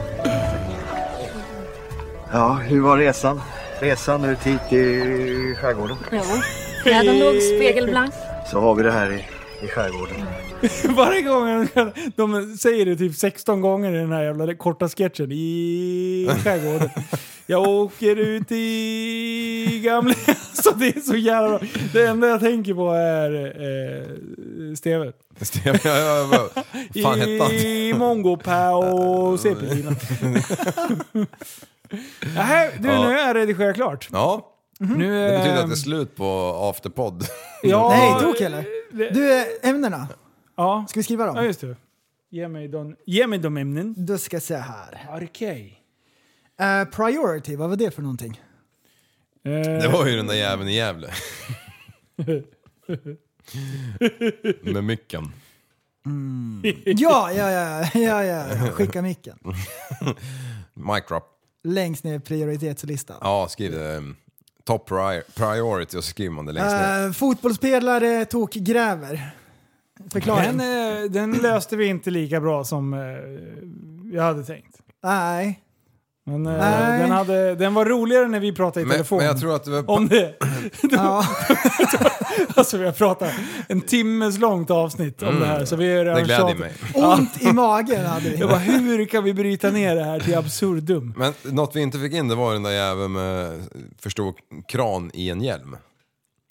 Speaker 9: Ja, hur var resan? Resan ut hit till skärgården.
Speaker 10: Kläden låg spegelblank.
Speaker 9: Så har vi det här i, i skärgården.
Speaker 3: Varje gång de säger det typ 16 gånger i den här jävla korta sketchen. I skärgården. Jag åker ut i gamla... *laughs* Alltså det är så jävla bra. Det enda jag tänker på är eh, Steve.
Speaker 2: Sten- *laughs* ja, ja, vad fan hette han?
Speaker 3: I Mongopä och
Speaker 2: *laughs*
Speaker 3: CP-bilen. Nej, du
Speaker 2: Ja.
Speaker 3: nu är jag redigerat klart.
Speaker 2: Ja,
Speaker 3: Nu är...
Speaker 2: det betyder att det är slut på afterpod. *laughs*
Speaker 3: ja,
Speaker 8: Nej, tok eller?
Speaker 3: det-
Speaker 8: Du, eh, ämnena.
Speaker 3: Ja.
Speaker 8: Ska vi skriva dem?
Speaker 3: Ja, just det. Ge mig, don, ge mig de ämnen.
Speaker 8: Då ska jag se här.
Speaker 3: Okej.
Speaker 8: Eh, priority, vad var det för någonting?
Speaker 3: *laughs*
Speaker 2: Det var ju den där jäveln i Gävle. Med mycken.
Speaker 8: Ja, ja, ja, ja, ja, ja. skicka micken.
Speaker 2: Mic drop.
Speaker 8: Längst ner i prioritetslistan.
Speaker 2: Ja, skriv det. ehm, Top prior priority och så skriver man det längst
Speaker 3: Äh,
Speaker 2: ner.
Speaker 8: Eh, fotbollsspelare tokgräver. Förklaring?
Speaker 3: Den, eh, den löste vi inte lika bra som eh, jag hade tänkt.
Speaker 2: *laughs*
Speaker 8: Nej.
Speaker 3: Men eh,
Speaker 8: Nej.
Speaker 3: den, hade, den var roligare när vi pratade i
Speaker 2: Men,
Speaker 3: telefon.
Speaker 2: men jag tror att det var...
Speaker 3: Om det. *laughs*
Speaker 2: *laughs*
Speaker 8: Ja.
Speaker 3: Alltså vi har pratat en timmes långt avsnitt om det här. Så vi är redan
Speaker 2: Mm. Det gläder
Speaker 3: tjatat.
Speaker 2: mig.
Speaker 8: Ont i magen hade vi.
Speaker 3: Jag bara, hur kan vi bryta ner det här till absurdum?
Speaker 2: Men något vi inte fick in det var den där jäveln med för stor kran i en hjälm.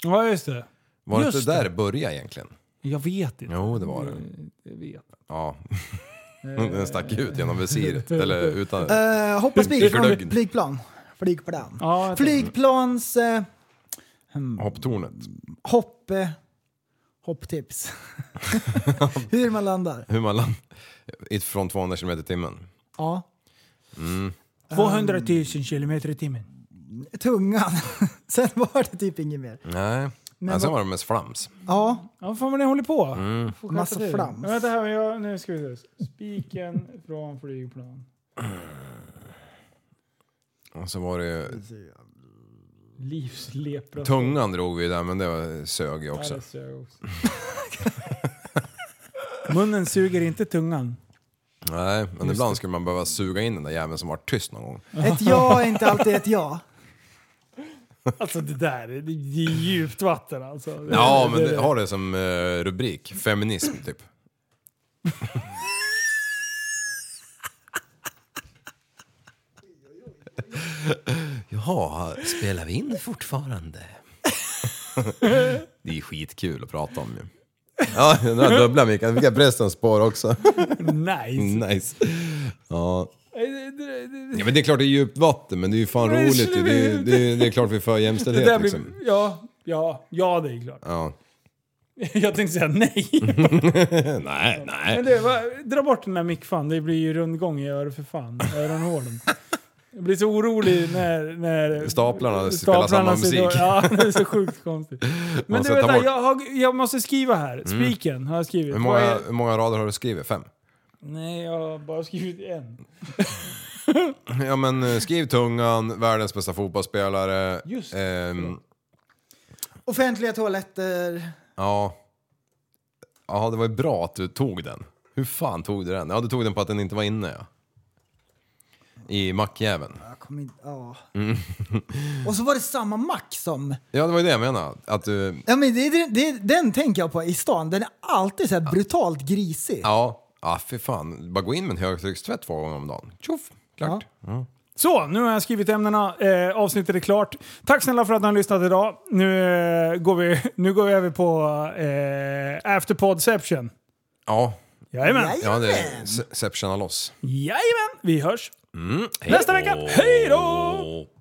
Speaker 3: Ja, just det.
Speaker 2: Var det
Speaker 3: Just
Speaker 2: inte där det Mm. började egentligen?
Speaker 3: Jag vet inte.
Speaker 2: Jo, det var det.
Speaker 3: Jag vet.
Speaker 2: Ja. *laughs* Den stack ut genom *laughs* visiret, eller utan...
Speaker 8: Eh, hoppa spik från
Speaker 2: Glögg.
Speaker 8: flygplan. Flygplan.
Speaker 3: Ja, jag tänkte-
Speaker 8: Flygplans eh, hmm,
Speaker 2: Hopptornet.
Speaker 8: hopp... Eh,
Speaker 2: *laughs*
Speaker 8: hopptips. Hur man landar.
Speaker 2: Hur man landar. Från 200 km i timmen. Mm.
Speaker 8: Ja.
Speaker 3: 200 000 kilometer i timmen.
Speaker 8: Tungan. *laughs* Sen var det typ inget mer.
Speaker 2: Nej. Men sen var det mest flams.
Speaker 8: Ja,
Speaker 3: Ja, vad fan vad ni håller på.
Speaker 2: Mm.
Speaker 3: Får skärpa
Speaker 8: Massa
Speaker 3: till.
Speaker 8: flams.
Speaker 3: Men Vänta här, men jag, nu ska vi se. Spiken från flygplan.
Speaker 2: Och så var det ju...
Speaker 3: Livslepra.
Speaker 2: Tungan drog vi där, men det var, sög ju också.
Speaker 3: Ja, det ser jag också. *laughs* Munnen suger inte tungan.
Speaker 2: Nej, men ibland skulle man behöva suga in den där jäveln som var tyst någon gång.
Speaker 8: ett ja är inte alltid ett ja.
Speaker 3: Alltså det där, det det är djupt vatten alltså. Det-
Speaker 2: Ja, men det, har det som eh, rubrik. Feminism, typ. *laughs* Jaha, spelar vi in fortfarande? det är skitkul att prata om ju. Ja, den där dubbla micken. Fick jag prästens spår också. *laughs*
Speaker 3: Nice.
Speaker 2: nice. Ja. ja, men Mm. det är klart det är djupt vatten, men det är ju fan
Speaker 3: Men
Speaker 2: roligt. ju. Det är, det är, det är klart vi är för
Speaker 3: Det där
Speaker 2: jämställdhet
Speaker 3: blir,
Speaker 2: liksom.
Speaker 3: ja, ja, ja det är klart.
Speaker 2: Ja.
Speaker 3: *laughs* Jag tänkte säga nej.
Speaker 2: Eh, Nej, nej.
Speaker 3: Men du, va, dra bort den där mickfan. Det blir ju rundgång i öron för fan. Öronhålen. Jag blir så orolig när... när
Speaker 2: Staplarna spelar samma
Speaker 3: sitter-
Speaker 2: musik.
Speaker 3: Ja, *laughs* det är så sjukt konstigt. Men
Speaker 2: *laughs* Man
Speaker 3: du,
Speaker 2: ska ta
Speaker 3: vänta,
Speaker 2: bort- Mm.
Speaker 3: jag, har, jag måste skriva här. Spiken har jag skrivit.
Speaker 2: Hur
Speaker 3: Vad
Speaker 2: många,
Speaker 3: är-
Speaker 2: hur många rader har du skrivit? Fem?
Speaker 3: Nej, jag har bara skrivit en.
Speaker 2: Ja men eh, skriv tungan, världens bästa fotbollsspelare.
Speaker 3: Just det.
Speaker 2: Ehm,
Speaker 8: Offentliga toaletter.
Speaker 2: ja. ja, det var ju bra att du tog den. Hur fan tog du den? Ja, du tog den på att den inte var inne ja. I mackjäveln.
Speaker 8: Jag kommer inte... Ja. Och så var det samma mack som...
Speaker 2: Ja, det var ju det jag menade. Att du...
Speaker 8: Ja, men det, det, det, den tänker jag på i stan. Den är alltid så här brutalt grisig.
Speaker 2: Ja, ja fy fan. Bara gå in med en högtryckstvätt två gånger om dagen. Tjoff! Klart.
Speaker 3: Så, nu har jag skrivit ämnena. Eh, avsnittet är klart. Tack snälla för att ni har lyssnat idag. Nu, eh, går, vi, nu går vi över på eh, Afterpodception.
Speaker 2: Ja,
Speaker 3: Jajamän.
Speaker 8: Nej.
Speaker 2: ja det är se- septiona loss.
Speaker 3: Jajamän. Vi hörs
Speaker 2: Mm.
Speaker 3: nästa vecka. Hej då!
Speaker 2: Hej då!